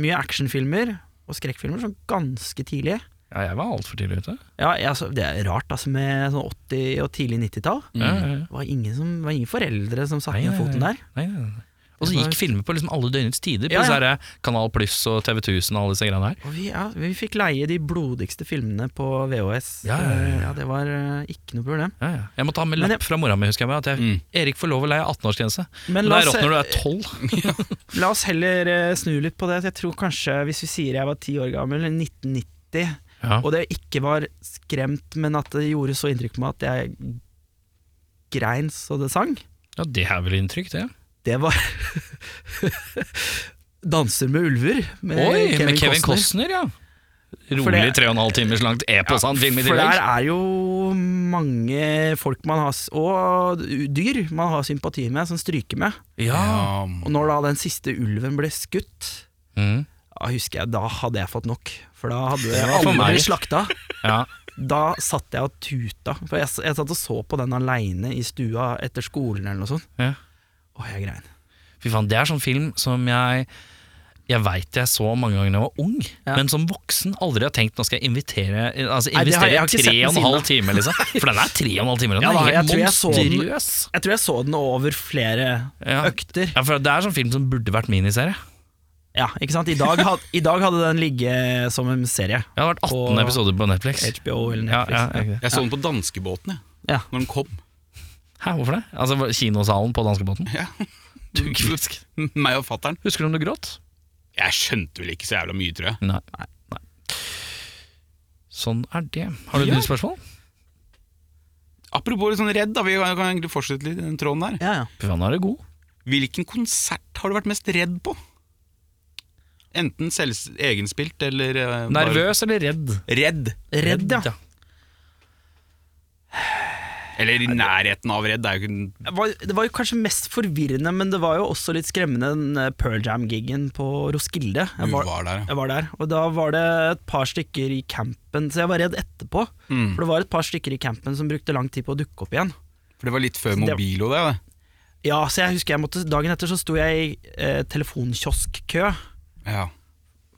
D: mye actionfilmer og skrekkfilmer sånn ganske tidlig.
A: Ja, jeg var altfor tidlig ute.
D: Ja, jeg, altså, Det er rart, altså, med sånn 80- og tidlig 90-tall.
A: Ja, ja, ja.
D: Det var ingen, som, det var ingen foreldre som satte
A: Nei,
D: ned
A: nei,
D: foten der.
A: Nei, nei, nei. Og så
D: Det var-
A: gikk filmer på liksom alle døgnets tider, på
D: Ja, ja.
A: disse her Kanal Pluss og TV 1000 og alle disse greiene her.
D: Og vi, ja, vi fikk leie de blodigste filmene på VHS.
A: Ja, ja, ja, ja.
D: Eh, Det var eh, ikke noe problem.
A: Ja, ja. Jeg måtte ha med
D: Men
A: lapp fra mora mi, husker jeg meg. At jeg,
B: Mm.
A: Erik får lov å leie 18-årsgrense.
D: Men
A: Det er
D: la oss
A: rått
D: se-
A: når du er 12.
D: La oss heller eh, snu litt på det. Jeg tror kanskje Hvis vi sier jeg var ti år gammel, eller 1990,
A: Ja.
D: og det ikke var skremt, men at det gjorde så inntrykk på meg at jeg grein så det sang,
A: Ja, det er vel inntrykk, det.
D: det var 'Danser med ulver' med
A: Oi,
D: Kevin,
A: med Kevin
D: Costner.
A: Costner, ja.
D: For
A: Rolig
D: det-
A: tre og en halv timers langt epos av en film i
D: For der
A: tillegg.
D: er jo mange folk man har s- Og dyr man har sympati med, som stryker med.
A: Ja.
B: Ja.
D: Og når da den siste ulven ble skutt,
A: Mm.
D: da husker jeg, da hadde jeg fått nok. For da hadde jeg
A: var for
D: alle
A: meg.
D: blitt slakta.
A: ja.
D: Da satt jeg og tuta. For jeg, jeg satt og så på den aleine i stua etter skolen eller noe sånt.
A: Ja.
D: Åh, jeg grein.
A: Fy faen, det er sånn film som jeg jeg veit jeg så mange ganger da jeg var ung,
D: Ja.
A: men som voksen aldri har tenkt Nå skal jeg invitere Altså
D: Nei, det har-
A: investere
D: jeg har
A: tre
D: ikke sett den
A: og en halv
D: siden,
A: time, liksom. For den er tre og en halv time, og den
D: Ja, da,
A: er
D: jeg
A: helt
D: tror jeg så den-
A: monstrøs.
D: Jeg tror jeg så den over flere
A: Ja.
D: økter.
A: Ja, for det er sånn film som burde vært miniserie.
D: Ja, ikke sant? I dag, had, I dag hadde den ligget som en serie.
A: Det hadde vært 18
D: På
A: episoder på Netflix.
D: HBO eller
A: Ja,
D: Netflix.
A: ja, ja.
B: Jeg så den på danskebåten, jeg.
D: Ja.
B: Når den kom.
A: Hæ, hvorfor det? Altså Kinosalen på danskebåten?
B: Ja.
A: Du kvisk.
B: Meg og fattern.
A: Husker du om du gråt?
B: Jeg skjønte vel ikke så jævla mye, tror jeg.
A: Nei. Sånn er det. Har du et
B: Ja.
A: nytt spørsmål?
B: Apropos litt sånn redd, da, vi kan kan egentlig fortsette litt i den tråden der.
D: Ja, ja.
A: Fy faen, nå er du god.
B: Hvilken konsert har du vært mest redd på? Enten selv, egenspilt eller eh, bare-
A: Nervøs eller redd?
B: Redd.
D: Redd, ja.
B: Eller i nærheten av redd. Det er jo ikke den-
D: Det var, det var jo kanskje mest forvirrende, men det var jo også litt skremmende, den eh, Pearl Jam-gigen på Roskilde.
B: Du
D: Jeg var,
B: var der, ja.
D: jeg var der, og da var det et par stykker i campen, så jeg var redd etterpå.
B: Mm.
D: For det var et par stykker i campen som brukte lang tid på å dukke opp igjen.
B: For det var litt før
D: det-
B: mobil og det. det.
D: Ja, så jeg husker jeg måtte Dagen etter så sto jeg i eh, telefonkiosk-kø,
B: Ja.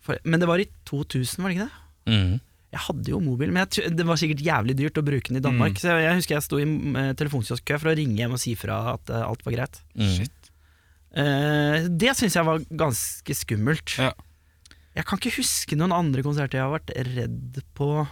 D: for- men det var i 2000, var det ikke det?
A: Mm.
D: Jeg hadde jo mobil, men jeg, tr- det var sikkert jævlig dyrt å bruke den i Danmark. Så jeg, jeg husker jeg sto i eh, telefonkiosk-kø for å ringe hjem og si fra at eh, alt var greit.
A: Mm.
D: Eh, det syns jeg var ganske skummelt.
B: Ja.
D: Jeg kan ikke huske noen andre konserter jeg har vært redd på.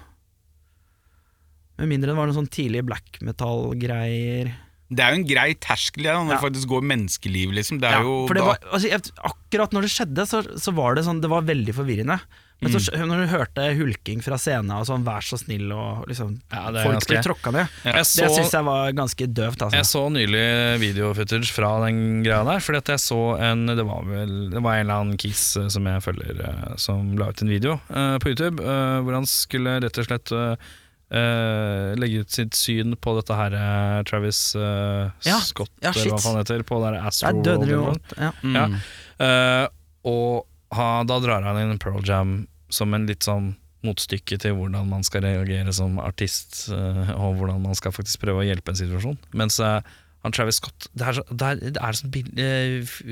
D: Med mindre det var noen sånn tidlige black metal-greier.
B: Det er jo en grei terskel ja, når
D: Ja.
B: det faktisk går menneskeliv, liksom. Det er
D: Ja,
B: jo
D: for det
B: da
D: var, altså, jeg, akkurat når det skjedde, så, så var det sånn Det var veldig forvirrende. Men så,
A: Mm.
D: skj- når du hørte hulking fra scenen og sånn 'vær så snill' og liksom
A: Ja, det er
D: Folk
A: ganske-
D: ble tråkka ned.
A: Jeg
D: Det
A: så-
D: syns jeg var ganske døvt.
A: Jeg
D: Altså.
A: så nylig video-footage fra den greia der. Fordi at jeg så en Det var vel Det var en eller annen kis eh, som jeg følger, eh, som la ut en video eh, på YouTube eh, hvor han skulle rett og slett eh, eh, legge ut sitt syn på dette her eh, Travis eh,
D: Ja,
A: Scott,
D: ja,
A: eller hva
D: shit.
A: faen det heter, på det der Astro
D: Der døde det jo
A: World.
D: alt. Ja.
B: mm.
A: ja. Eh, og ha, da drar han inn Pearl Jam som en litt sånn motstykke til hvordan man skal reagere som artist, eh, og hvordan man skal faktisk prøve å hjelpe en situasjon. Mens eh, han Travis Scott Det er, så, det er, det er sånn bil- eh, f-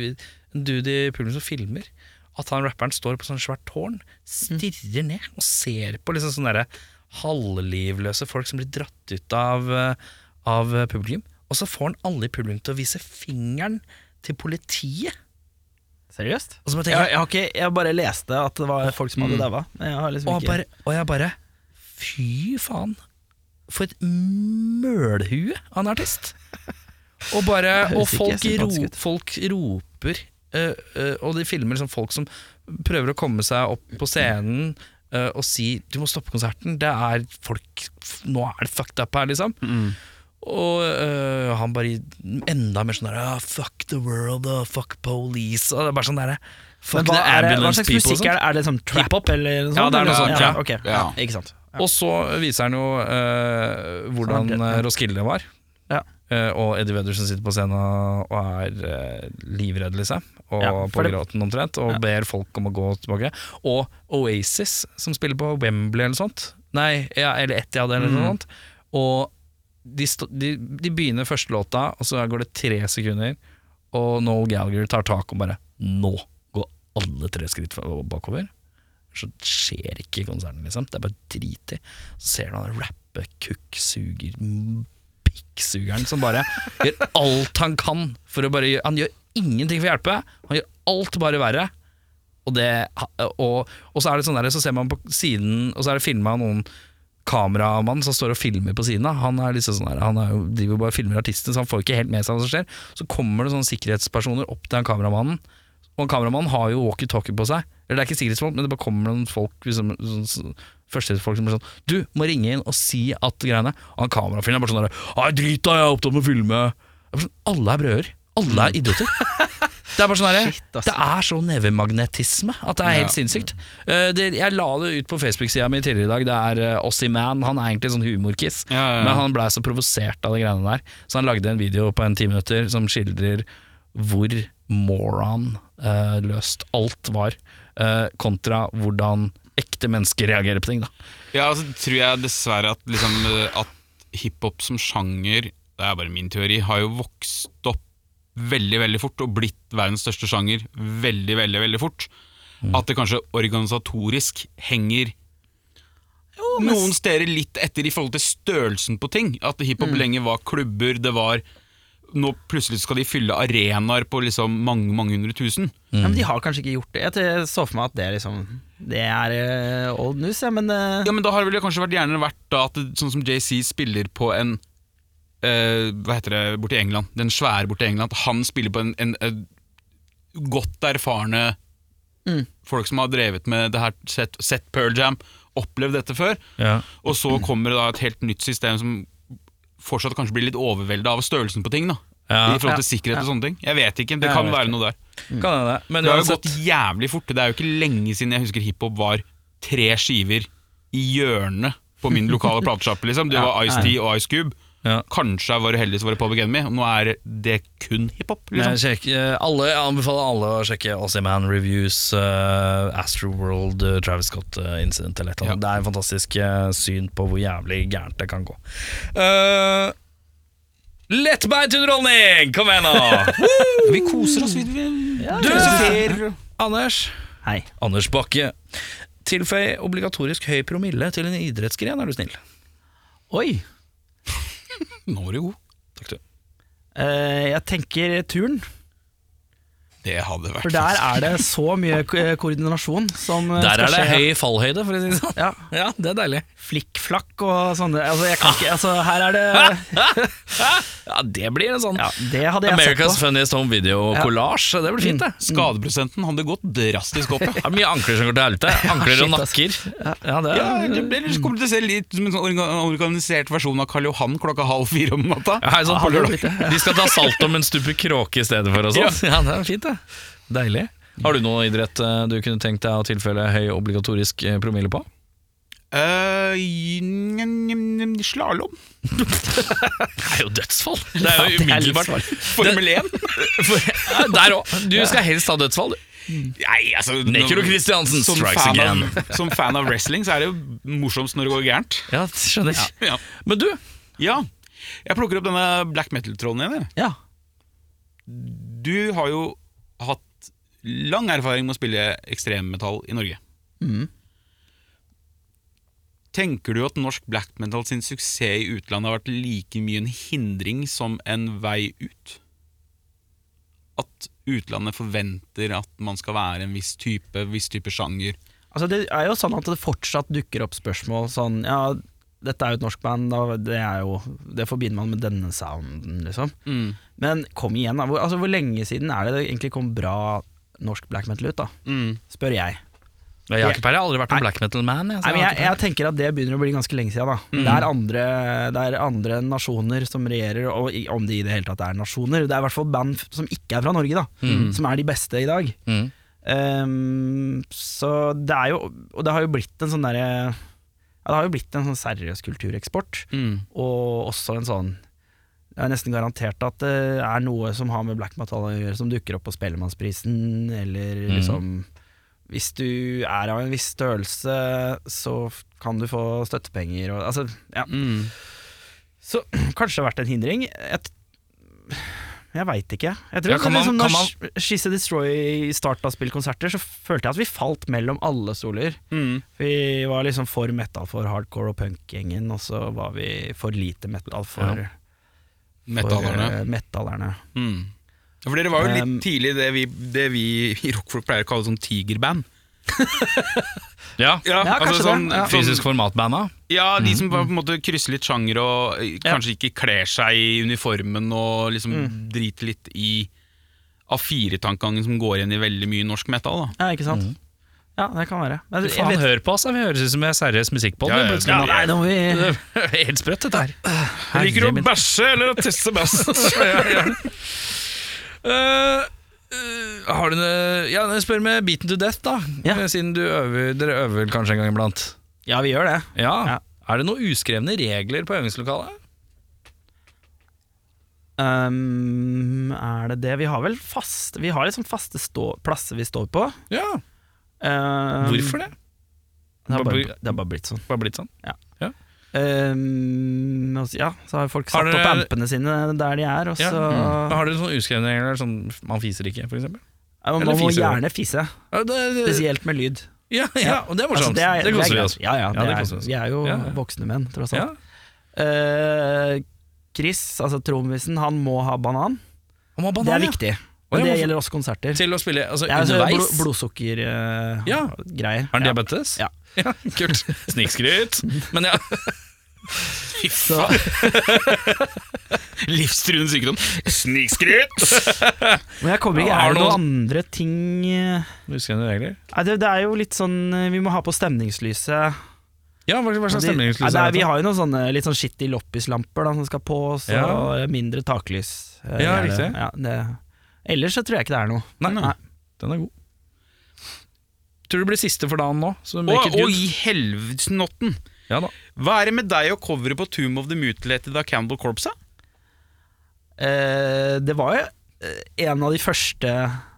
A: en dude i publikum som filmer. At han rapperen står på sånn svært tårn, stirrer ned og ser på liksom sånne derre halvlivløse folk som blir dratt ut av, eh, av publikum. Og så får han alle i publikum til å vise fingeren til politiet.
D: Seriøst?
A: Og så bare
D: Jeg,
A: tenker jeg,
D: jeg, har ikke, jeg bare leste at det var folk som hadde daua. Jeg har liksom
A: og, jeg
D: ikke
A: Mm. bare, og jeg bare Fy faen, for et mølhue av en artist! Og, bare, og
D: høres ikke
A: folk,
D: sympatisk
A: ro,
D: ut.
A: folk roper, eh, eh, og de filmer liksom folk som prøver å komme seg opp på scenen eh, og si 'du må stoppe konserten', det er folk Nå er det fucked up her, liksom.
D: Mm.
A: Og øh, han bare i- enda mer sånn der ah, Fuck the world, ah, fuck police Og det er bare sånn der Fuck
D: Men hva,
A: the
D: er det, hva
A: ambulance
D: slags
A: people og
D: musikk
A: sånt.
D: er det? Er det sånn trap-up eller noe sånt?
A: Ja, det er noe
D: eller?
A: sånt,
D: Ja,
A: ja.
D: ok. ja.
B: Ja.
D: Ikke sant.
A: Og så viser han jo øh,
D: Sånn
A: hvordan
D: er det, ja.
A: øh, Roskilde var
D: Ja.
A: Eh, Og Eddie Veddersen sitter på scenen og er øh, livredd liksom Og
D: Ja, for
A: på
D: det-
A: gråten omtrent Og
D: Ja.
A: ber folk om å gå tilbake Og Oasis som spiller på Wembley eller noe sånt Nei, ja, eller Etihad eller
D: Mm.
A: noe sånt Og de, sto- de, de begynner første låta Og så går det tre sekunder Og Noel Gallagher tar tak og bare Nå går alle tre skritt fra- bakover så skjer ikke konserten, liksom. Det er bare drit i. Så ser du han rappe kukksuger, m- pikksugeren, som bare gjør alt han kan for å bare gjøre Han gjør ingenting for å hjelpe, han gjør alt bare verre. Og, det, og, og så er det sånn der, så ser man på siden, og så er det filma noen kameramann som står og filmer på siden av. Han er liksom sånn der, han er jo, driver jo bare og filmer artisten, så han får ikke helt med seg hva som skjer. Så kommer det sånne sikkerhetspersoner opp til han kameramannen, og han kameramannen har jo walkietalkie på seg. Eller det er ikke sikkerhetsfolk, men det bare kommer noen folk liksom, sånn, sånn, Førstehjelpsfolk som blir sånn Du må ringe inn og si at greiene Og han kamerafyren er bare sånn der Nei, drit da, jeg er opptatt med å filme. Det er bare Sånn, alle er brødre. Alle er idioter. Det er bare sånn der,
D: Shit, ass.
A: Det er så nevemagnetisme at det er helt
B: Ja.
A: sinnssykt. Eh, det, jeg la det ut på Facebook-sida mi tidligere i dag. Det er eh, Ossiman. Han er egentlig sånn humorkiss.
B: Ja, ja, ja.
A: Men han blei så provosert av de greiene der, så han lagde en video på en ti minutter som skildrer hvor moron eh, løst alt var, eh, kontra hvordan ekte mennesker reagerer på ting. da
B: Ja, altså tror jeg dessverre at, liksom, eh, at hiphop som sjanger, det er bare min teori, har jo vokst opp veldig, veldig fort og blitt verdens største sjanger veldig, veldig, veldig fort. At det kanskje organisatorisk henger noen steder litt etter i forhold til størrelsen på ting. At hiphop lenge var klubber, det var Nå plutselig skal de fylle arenaer på liksom mange, mange hundre tusen.
A: Mm.
D: Ja, men de har kanskje ikke gjort det. Jeg t- så for meg at det er liksom Det er eh, old news, ja, men eh,
B: Ja, men da har det vel kanskje vært gjerne vært da at det- sånn som JC spiller på en eh, Hva heter det borti England? Den svære borti England. At han spiller på en, en, en godt erfarne
A: Mm.
B: folk som har drevet med det her, sett, sett Pearl Jam, opplevd dette før. Og så kommer det da et helt nytt system som fortsatt kanskje blir litt overvelda av størrelsen på ting. da
A: Ja.
B: I forhold til sikkerhet og sånne ting. Jeg vet ikke, det
A: Ja,
B: kan
A: jeg vet
B: være noe der.
A: Kan hende. Men
B: Det har jo
A: uansett-
B: gått jævlig fort. Det er jo ikke lenge siden jeg husker hiphop var tre skiver i hjørnet på min lokale platesjappe. Liksom. Det var Ice-T og Ice Cube.
A: Ja.
B: Kanskje jeg var heldig som var det Public Enemy. Og nå er det kun hiphop.
A: Men
B: Liksom.
A: sjekk, eh, alle, jeg anbefaler alle å sjekke Ossiman Reviews, uh, Astroworld, eh, Travis Scott eh, Incident eller et eller annet. Det er en fantastisk eh, syn på hvor jævlig gærent det kan gå. Uh, Lettbeint underholdning! Kom igjen, nå!
B: Vi koser oss. Vi,
A: Du,
D: Ser-
A: Anders.
D: Hei.
A: Anders Bakke. Tilføy obligatorisk høy promille til en idrettsgren, er du snill.
D: Oi.
B: Nå var du god.
A: Takk du.
D: Eh, jeg tenker turn.
B: Det hadde vært
D: For der er det så mye ko- eh, koordinasjon som eh,
A: Der er
D: skal
A: det
D: skje.
A: høy fallhøyde, for å si det sånn.
D: Ja,
A: Ja, det er deilig. Ah.
D: Flikkflakk og sånne altså, jeg kan ikke, altså, Her er det
A: Ja, det blir en sånn
D: ja, Det hadde jeg
A: America's
D: sett på.
A: Funniest Home Video-collage. Det blir fint, det.
B: Skadeprosenten hadde gått drastisk opp,
A: Det er mye ankler som går til helvete. Ankler og
D: shit, ass.
A: nakker. Ja, det
B: ja.
A: er
B: det blir så kommer det til å se litt som en sånn orga- organisert versjon av Karl Johan klokka halv fire om natta.
A: ja, her, sånn,
B: På lørdag.
A: De skal ta salt om en stupe kråke i stedet for og sånn. Ja, det er fint, det. Deilig. Har du noe idrett eh, du kunne tenkt deg å tilfelle høy obligatorisk eh, promille på?
B: Eh, njem, njem, njem, Slalåm.
A: Det er jo dødsfall! Det er jo umiddelbart.
B: Formel 1.
A: Ja, Der òg. Du skal helst ha dødsfall, du.
B: Nei, altså nå-
A: Nekro Kristiansen
B: som
A: strikes
B: fan
A: again.
B: Av, som fan av wrestling så er det jo morsomst når det går gærent.
A: Ja, skjønner.
B: Ja.
A: Men du,
B: ja. Jeg plukker opp denne black metal-tråden igjen. jeg.
D: Ja.
B: Du har jo hatt lang erfaring med å spille ekstremmetall i Norge.
D: Mm.
B: Tenker du at norsk black metal sin suksess i utlandet har vært like mye en hindring som en vei ut? At utlandet forventer at man skal være en viss type, viss type sjanger?
D: Altså, det er jo sånn at det fortsatt dukker opp spørsmål sånn Ja, dette er jo et norsk band, og det er jo Det forbinder man med denne sounden, liksom. Men kom igjen, da. Hvor, altså, hvor lenge siden er det det egentlig kom bra norsk black metal ut, da? Spør jeg.
A: jeg har ikke peiling. Jeg har aldri vært en black metal-man.
D: Nei, men jeg, jeg tenker at det begynner å bli ganske lenge siden, da. Det, er andre, det er andre nasjoner som regjerer, og i- om de i det hele tatt er nasjoner. Det er i hvert fall band f- som ikke er fra Norge, da. Som er de beste i dag.
A: Mm.
D: Ehm, så det er jo Og det har jo blitt en sånn derre ja, Det har jo blitt en sånn seriøs kultureksport, og også en sånn det er nesten garantert at det er noe som har med black metal å gjøre, som dukker opp på Spellemannsprisen, eller liksom Hvis du er av en viss størrelse, så f- kan du få støttepenger og Altså, ja.
A: Mm.
D: Så kanskje det har vært en hindring. Jeg, t- jeg veit ikke. Jeg tror
A: Ja, kan
D: at liksom,
A: man- kan
D: når Sh- She's a Destroy starta å spille konserter, så følte jeg at vi falt mellom alle stoler.
A: Mm.
D: Vi var liksom for metal for hardcore og punk-gjengen, og så var vi for lite metal for
A: Ja.
B: Metallerne.
D: for, eh, metallerne.
B: Mm. Ja, For dere var jo litt
D: Um,
B: tidlig det vi, det vi i rockfolk pleier å kalle sånn tigerband.
A: Ja. altså sånn
D: Ja, kanskje det, ja. Mm.
A: Fysisk format-banda.
B: Sånn, Ja, de som bare på en måte krysser litt sjanger og eh,
D: Ja. Mm.
B: kanskje ikke kler seg i uniformen og liksom driter litt i A4-tankegangen som går igjen i veldig mye norsk metal. da.
D: Ja, ikke sant? Ja, det kan være. Men jeg
A: Mm. Faen,
D: vet-
A: hør på oss, da. Vi høres ut som vi er seriøs musikk på
B: Ja, ja,
A: den.
D: ja, nei, nå må vi
A: Helt sprøtt, dette her.
B: Liker du å
A: bæsje eller å tisse best? ja, ja. Eh, eh, har du noe Ja, jeg spør med Beaten to Death, da. Eh,
D: Ja.
A: Siden du øver, dere øver vel kanskje en gang iblant.
D: Ja, vi gjør det.
A: Ja.
D: Ja.
A: Er det noen uskrevne regler på øvingslokalet?
D: Ehm, er det det? Vi har vel fast Vi har liksom faste stå, plasser vi står på.
A: Ja.
D: Ehm,
A: Hvorfor det?
D: Det har bare, det har bare blitt sånn.
A: Bare blitt sånn.
D: Ehm, og så- ja, så har folk
A: Har
D: satt
A: dere-
D: opp ampene sine der de er, og
A: Ja.
D: så
A: Mm. Men Har dere noen uskrevne regler som man fiser ikke, for eksempel?
D: Ja, Man
A: Eller
D: må
A: fiser.
D: gjerne fise,
A: Ja, det,
D: spesielt med lyd.
A: ja, ja, og det er
D: Altså,
A: morsomt. det,
D: er-
A: koser
D: det er
A: vi
D: greit.
A: oss med.
D: Ja, ja, det
A: det
D: er-
A: koser vi oss.
D: Vi er jo
A: Ja, ja.
D: voksne menn, tross
A: Ja.
D: alt. Ehm, Chris, altså trommisen, han må ha banan.
A: Og man har
D: det
A: banan,
D: er
A: ja. Å,
D: viktig. Og
A: ja,
D: det
A: hvorfor-
D: gjelder også konserter.
A: Til å spille altså,
D: Det er altså
A: underveis.
D: blod, blodsukkergreie.
A: Ja. Har han diabetes?
D: Ja.
A: ja kult. Snikskryt. Men ja,
D: Så,
B: Livstruende sykdom. Snikskryt!
D: men jeg kommer ikke
A: Ja, har
D: Er det
A: noen-
D: noen andre ting eh,
A: uskrevne regler.
D: Nei, det, det er jo litt sånn eh, Vi må ha på stemningslyset.
A: Ja, hva hva slags
D: De-
A: stemning
D: Nei, det er, vi har jo noen sånne litt sånn skitty loppislamper da, som skal på, og så
A: Ja.
D: mindre taklys. eh,
A: Ja,
D: er det.
A: riktig.
D: Ja, det. Ellers så tror jeg ikke det er noe.
A: Nei, Den er god. Tror du det blir siste for dagen nå? Så
B: Og,
A: make it
B: og
A: good.
B: i helvesnotten!
A: Ja da.
B: Hva er det med deg og coveret på Tomb of the Mutilated av Campbell Corps? da?
D: Eh, det var jo eh, en av de første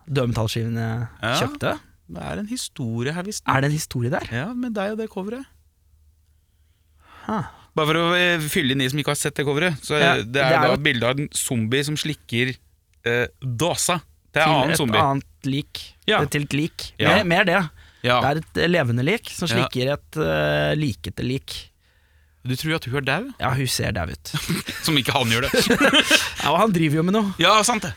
D: dødmetallskivene jeg
B: Ja.
D: kjøpte.
B: Det er en historie her, visst.
D: Er det en historie der?
B: Ja, med deg og det coveret.
D: Huh.
B: Bare for å eh, fylle inn de som ikke har sett det coveret. Så eh,
D: Ja,
B: det er, da
D: jo-
B: et bilde av en zombie som slikker eh, dåsa. Det er
D: Til
B: en annen
D: et
B: zombie.
D: annet lik.
A: Ja.
D: Det er Til et lik.
B: Ja.
D: Mer, mer det.
B: Ja.
D: Det er et eh, levende lik som
B: Ja.
D: slikker et eh, likete lik.
B: Du tror at hun er dau?
D: Ja, hun ser dau ut.
B: Som ikke han gjør det.
D: Ja, og han driver jo med noe.
B: ja, sant det.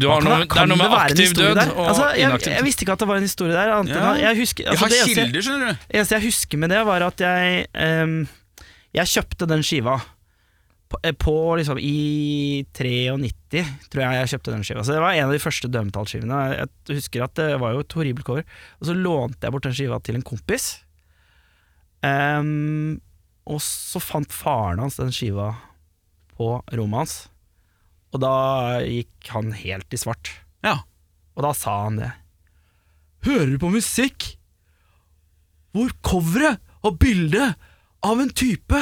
A: Du har
D: Kan
A: noe, det er noe med
D: være en
A: aktiv
D: historie
A: død
D: der?
A: og
D: altså, jeg,
A: inaktiv
D: jeg visste ikke at det var en historie der. annet enn
B: Ja.
D: at Jeg husker,
B: Jeg
D: altså,
B: har
D: det eneste-
B: kilder, skjønner du.
D: eneste jeg husker med det, var at jeg ehm, Jeg kjøpte den skiva på, eh, på liksom i 93, tror jeg jeg kjøpte den skiva. Så det var en av de første Dømmetall-skivene. Jeg husker at det var jo et horribelt cover. Og så lånte jeg bort den skiva til en kompis. Ehm, og så fant faren hans den skiva på rommet hans. Og da gikk han helt i svart.
B: Ja.
D: Og da sa han det. Hører du på musikk? Hvor coveret har bilde av en type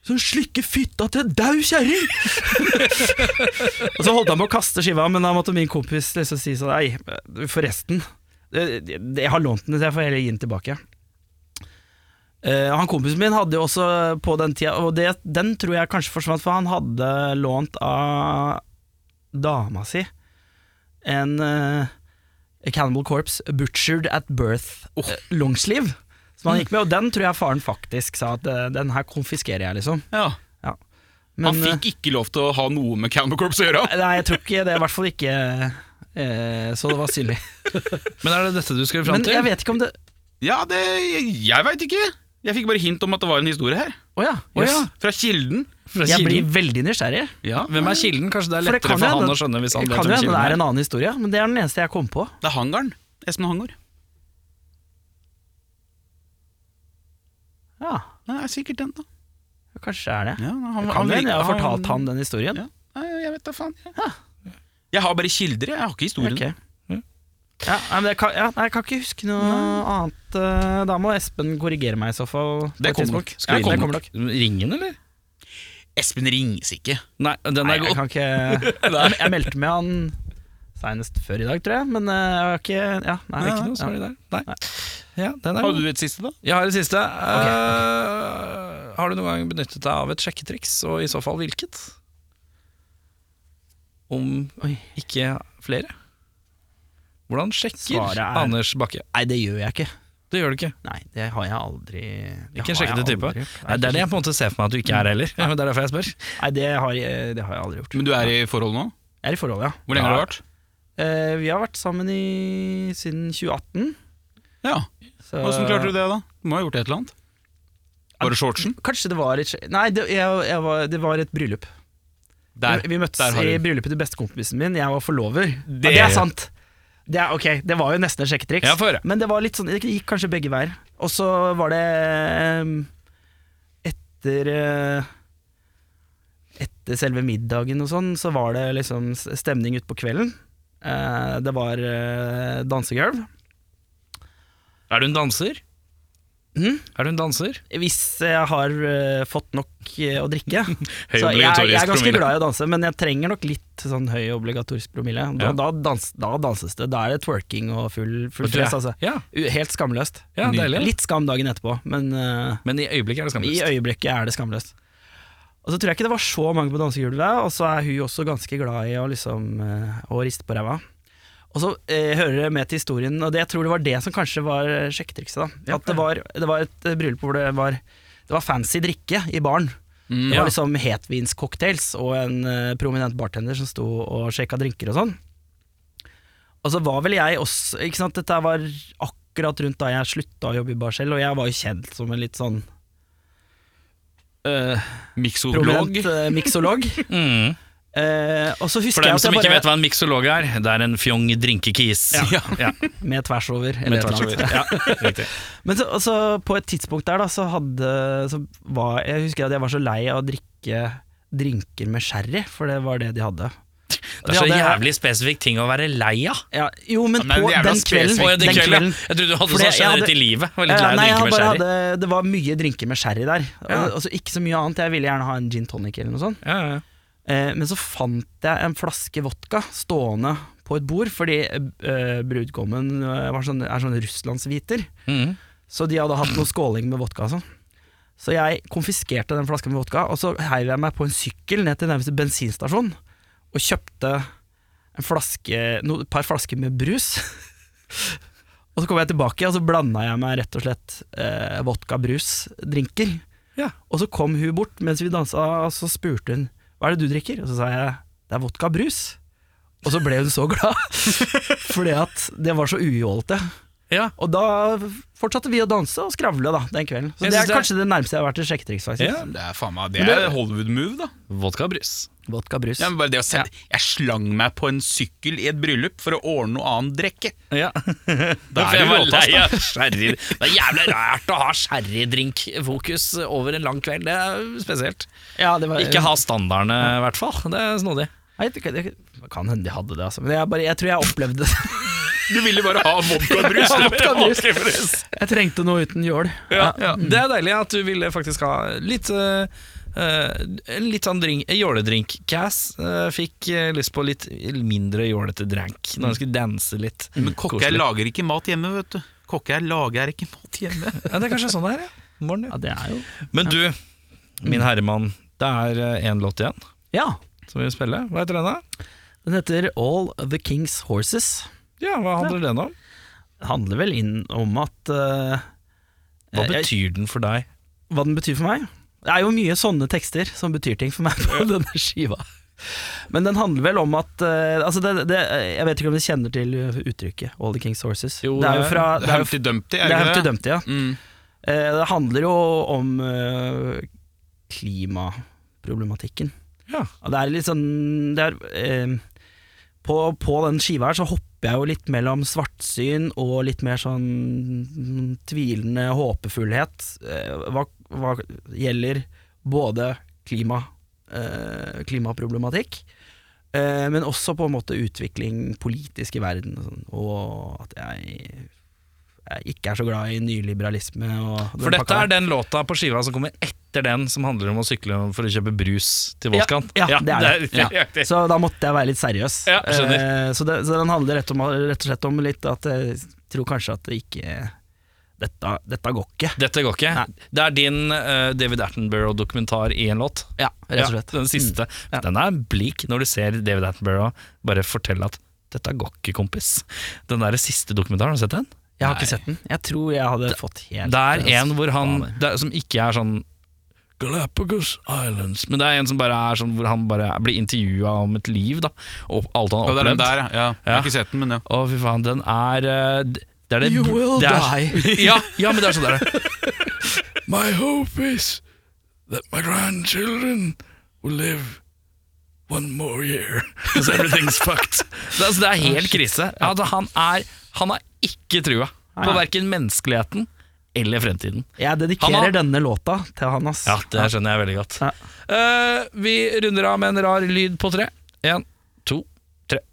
D: som slikker fitta til en dau kjerring! og så holdt han på å kaste skiva, men da måtte min kompis liksom si sånn Nei, forresten. det- det- Jeg har lånt den, så jeg får heller gi den tilbake. Eh, han Kompisen min hadde jo også på den tida, og det, den tror jeg kanskje forsvant, for han hadde lånt av dama si en eh, Cannibal Corpse Butchered at Birth eh, longsleeve. Som han gikk med, og den tror jeg faren faktisk sa at eh, den her konfiskerer jeg, liksom.
B: ja.
D: Ja.
B: han fikk ikke lov til å ha noe med Cannibal Corpse å gjøre.
D: eh, Nei, jeg tror ikke det. I hvert fall ikke eh, så det var synlig.
A: Men er det dette du skal fram
D: Men
A: til?
D: jeg vet ikke om det
B: Ja, det, jeg, jeg veit ikke. Jeg fikk bare hint om at det var en historie her.
D: Å ja.
B: Å
D: jøss.
B: ja, Fra Kilden.
A: Fra
D: Jeg blir
A: kilden?
D: veldig nysgjerrig.
B: Ja.
A: Hvem er kilden? Kanskje det er lettere for,
D: jo
A: han
D: hende-
A: å skjønne hvis han
D: det
A: vet
D: kan jo
A: hvem
D: hende det er
A: kilden er.
D: en annen historie, men det er den eneste jeg kom på.
B: Det er hangaren. Espen Hangård.
D: Ja,
B: Det er sikkert den, da.
D: kanskje er det.
B: Ja, han,
D: Det
B: han,
D: kan hende
B: virker-
D: jeg har fortalt han den historien.
B: Ja. Nei, jeg vet da faen. Ja. Jeg har bare kilder, jeg. jeg har ikke historien.
D: Ok. Ja, nei, men jeg, kan, ja, nei, jeg kan ikke huske noe annet. eh, Da må Espen korrigere meg i så fall. på
B: Det
D: et
B: kommer
D: tidspunkt.
B: nok.
D: Ja,
A: Skal vi
D: det
A: ringe
D: kommer nok.
A: nok. Ringe den, eller?
B: Espen ringes ikke.
A: Nei, den
D: Nei,
A: er
D: jeg
A: god.
D: kan ikke Jeg jeg meldte med han senest før i dag, tror jeg, men eh, jeg har ikke Ja, nei.
A: Nei, ikke noe
D: ja.
A: sorry der. Nei. Ja, den er
B: Hadde
A: god.
B: du et siste, da?
A: Jeg har det siste. Eh, har du noen gang benyttet deg av et sjekketriks, og i så fall hvilket? Om
D: Oi.
A: ikke flere? Hvordan sjekker
D: Svaret er-
A: Anders Bakke?
D: Nei, det gjør jeg ikke.
A: Det gjør du ikke.
D: Nei, det har jeg aldri det
A: Ikke en
D: har jeg
A: sjekkete type.
D: aldri
A: Nei, det er det jeg på en måte ser for meg at du ikke er heller. Men det er derfor jeg spør.
D: gjort. Nei, det har, jeg, det har jeg aldri gjort.
B: Men du er i forhold nå?
D: Jeg er i forhold, ja.
B: Hvor lenge
A: Ja.
B: har du vært?
D: Eh, vi har vært sammen i, siden 2018.
B: Ja,
D: så-
B: Åssen klarte du det, da? Du må ha gjort et eller annet. Var det shortsen?
D: Kanskje det var et sj- Nei, det, jeg, jeg var, det var et bryllup.
B: Der.
D: Vi- vi møttes
B: der har
D: i
B: du.
D: bryllupet til bestekompisen min. Jeg var forlover. Det,
A: Det-
D: ja, det er sant. Det, er, ok, det var jo nesten et sjekketriks.
A: Ja, få høre.
D: Men det var litt sånn, det gikk kanskje begge veier. Og så var det ehm, etter eh, Etter selve middagen og sånn, så var det liksom s- stemning utpå kvelden. Eh, det var eh, dansegulv.
A: Er du en danser?
D: Mhm.
A: Er du en danser?
D: Hvis jeg har eh, fått nok eh, å drikke.
A: Høy
D: så jeg, jeg er
A: obligatorisk
D: ganske
A: promille.
D: glad i å danse, men jeg trenger nok litt sånn høy obligatorisk promille. Da,
A: Ja.
D: da, dans, da danses det. Da er det twerking og full, full
A: Vet du det?
D: fest, altså.
A: Ja,
D: U- Helt skamløst.
A: ja deilig.
D: Litt skam dagen etterpå, men eh,
A: Men i øyeblikket er det
D: i
A: skamløst.
D: øyeblikket er det skamløst. Og så tror jeg ikke det var så mange på dansegulvet, og så er hun også ganske glad i å, liksom, eh, å riste på ræva. Og så eh, hører det med til historien, og det, jeg tror det var det som kanskje var sjekketrikset. da. At det var, det var et eh, bryllup hvor det var, det var fancy drikke i baren.
B: Mm.
D: Det
A: Ja.
D: var liksom hetvinscocktails og en eh, prominent bartender som sto og sjekka drinker og sånn. Og så var vel jeg også ikke sant? Dette var akkurat rundt da jeg slutta å jobbe i bar selv, og jeg var jo kjent som en litt sånn eh,
B: Miksolog.
D: prominent eh, miksolog.
A: Mm.
D: Eh, og så
A: For
D: husker jeg
A: dem
D: at jeg
A: som ikke
D: bare
A: vet hva en miksolog er, det er en fjong drinkekis.
B: Ja.
D: Med tvers over, eller
A: Med
D: et
A: tvers
D: eller annet.
A: over. Ja, riktig.
D: Men så, og så på et tidspunkt der da, så hadde så var, Jeg husker at jeg var så lei av å drikke drinker med sherry, for det var det de hadde.
A: Det er så jævlig spesifikk ting å være lei av.
D: ja, Jo, men,
B: Men
D: på
B: det er jævla
D: den kvelden,
B: spesifikt.
A: Å, ja, den
D: den
A: kvelden, ja.
D: kvelden
A: Jeg trodde du hadde
D: Fordi
A: sånn
D: jeg
A: generelt
D: hadde-
A: i livet. Var litt
D: Ja,
A: lei av å drikke
D: nei, jeg
A: med
D: bare
A: sherry.
D: hadde, Det var mye drinker med sherry der. Og, og så ikke så mye annet. Jeg ville gjerne ha en gin tonic eller noe sånt.
A: Ja, ja, ja.
D: Eh, men så fant jeg en flaske vodka stående på et bord, fordi eh, brudgommen eh, var sånn, er sånn russlandsviter.
A: Mhm.
D: Så de hadde hatt noe skåling med vodka og sånn. Så jeg konfiskerte den flasken med vodka, og så heiv jeg meg på en sykkel ned til nærmeste bensinstasjon og kjøpte en flaske, no, et par flasker med brus. og så kom jeg tilbake, og så blanda jeg meg rett og slett eh, vodka-brus-drinker.
A: Ja.
D: Og så kom hun bort mens vi dansa, og så spurte hun hva er det du drikker? Og så sa jeg det er vodka-brus. Og så ble hun så glad, fordi at det var så ujålete.
A: Ja.
D: Og da fortsatte vi å danse og skravle da, den kvelden. Så
A: Jeg
D: det
A: synes det
D: er
A: er-
D: kanskje det nærmeste jeg har vært et sjekketriks, faktisk.
A: ja.
B: Det er faen meg Det er Hollywood-move, da.
A: Vodka brus.
D: Vodka brus.
B: Ja, men bare det å sende, Jeg slang meg på en sykkel i et bryllup for å ordne noe annet drikke.
A: Ja.
B: Da
A: For
B: er
A: jeg
B: du
A: var
B: råtass,
A: lei av
B: da.
A: altså. sherry. Det er jævlig rart å ha sherrydrinkfokus over en lang kveld. Det er spesielt.
D: Ja, det var,
A: Ikke ha standardene, i hvert fall. Det er snodig.
D: Nei, det kan- det kan hende de hadde det, altså. Men jeg, bare, jeg tror jeg opplevde det.
B: Du ville bare ha vodka og brus.
D: Vodka brus. Jeg trengte noe uten jål.
A: Ja, ja. Det er deilig at du ville faktisk ha litt eh, eh, En litt sånn drink- jåledrink. Cass eh, fikk eh, lyst på litt mindre jålete drank når han skulle danse litt.
B: Men kokker lager ikke mat hjemme, vet du. Kokker lager ikke mat hjemme.
A: Ja, det er kanskje sånn det er, ja. Morgen,
D: Ja, det er jo
A: ja. Men du, min herremann. Det er én låt igjen
D: Ja.
A: som vi vil spille. Hva heter den, da?
D: Den heter All the King's Horses.
A: Ja, Hva handler den om?
D: Det handler vel inn om at eh,
A: Hva
D: jeg-
A: betyr den for deg?
D: hva den betyr for meg. Det er jo mye sånne tekster som betyr ting for meg på denne skiva. Men den handler vel om at eh, altså det, det, Jeg vet ikke om du kjenner til uttrykket 'All the King's Horses'.
A: Jo,
D: det er
A: det
D: jo
A: er-
D: fra Det er, jo,
B: Humpty Dumpty,
D: det er Humpty
B: det?
D: Dumpty, ja.
B: Mm.
D: Eh, Det handler jo om eh, klimaproblematikken.
A: Ja.
D: Og det er litt sånn det er, eh, på, på den skiva her så hopper jeg jo litt mellom svartsyn og litt mer sånn mm, tvilende håpefullhet eh, hva, hva gjelder både klima, eh, klimaproblematikk, eh, men også på en måte utvikling politisk i verden og, sånn, og at jeg, jeg ikke er så glad i nyliberalisme. Og
A: For dette er den låta på skiva som kommer etter den som handler om å sykle for å kjøpe brus til vodkaen.
D: Ja, ja, det er det.
A: Ja.
D: Ja. Så da måtte jeg være litt seriøs.
A: Ja, skjønner.
D: Eh, så, det, så den handler rett, om, rett og slett om litt at jeg tror kanskje at det ikke Dette, dette går ikke.
A: Dette går ikke.
D: Nei.
A: Det er din eh, David Attenborough-dokumentar i en låt.
D: Ja, rett og slett. Mm.
A: Ja, den siste.
D: Ja.
A: Den er blik når du ser David Attenborough bare fortelle at dette går ikke, kompis. Den der siste dokumentaren, har du sett den?
D: Jeg har ikke sett den. Jeg tror jeg hadde fått helt
A: Det er en hvor han
D: fader.
A: det, er- Som ikke er sånn Galapagos Islands Men det er en som bare er sånn Hvor han bare blir intervjua om et liv, da. Og alt han
B: Og
A: har
B: det er den
A: opplevd.
B: der, ja. ja. Jeg
A: Ja.
B: har ikke sett den, men ja.
A: Å, fy faen, den er eh, d- det er det,
D: You will
A: det er,
D: die.
A: ja, ja, men det er sånn det er. My hope is that my grandchildren will live one more year. Because everything's fucked. Det, er- altså, det er helt krise. Altså, han, er, han har ikke trua på
D: Nei.
A: verken menneskeligheten eller fremtiden.
D: Jeg
A: Han
D: dedikerer
A: har-
D: denne låta til han, ass.
A: Ja, det skjønner jeg veldig godt.
D: Ja.
A: Eh, vi runder av med en rar lyd på tre. Én, to, tre.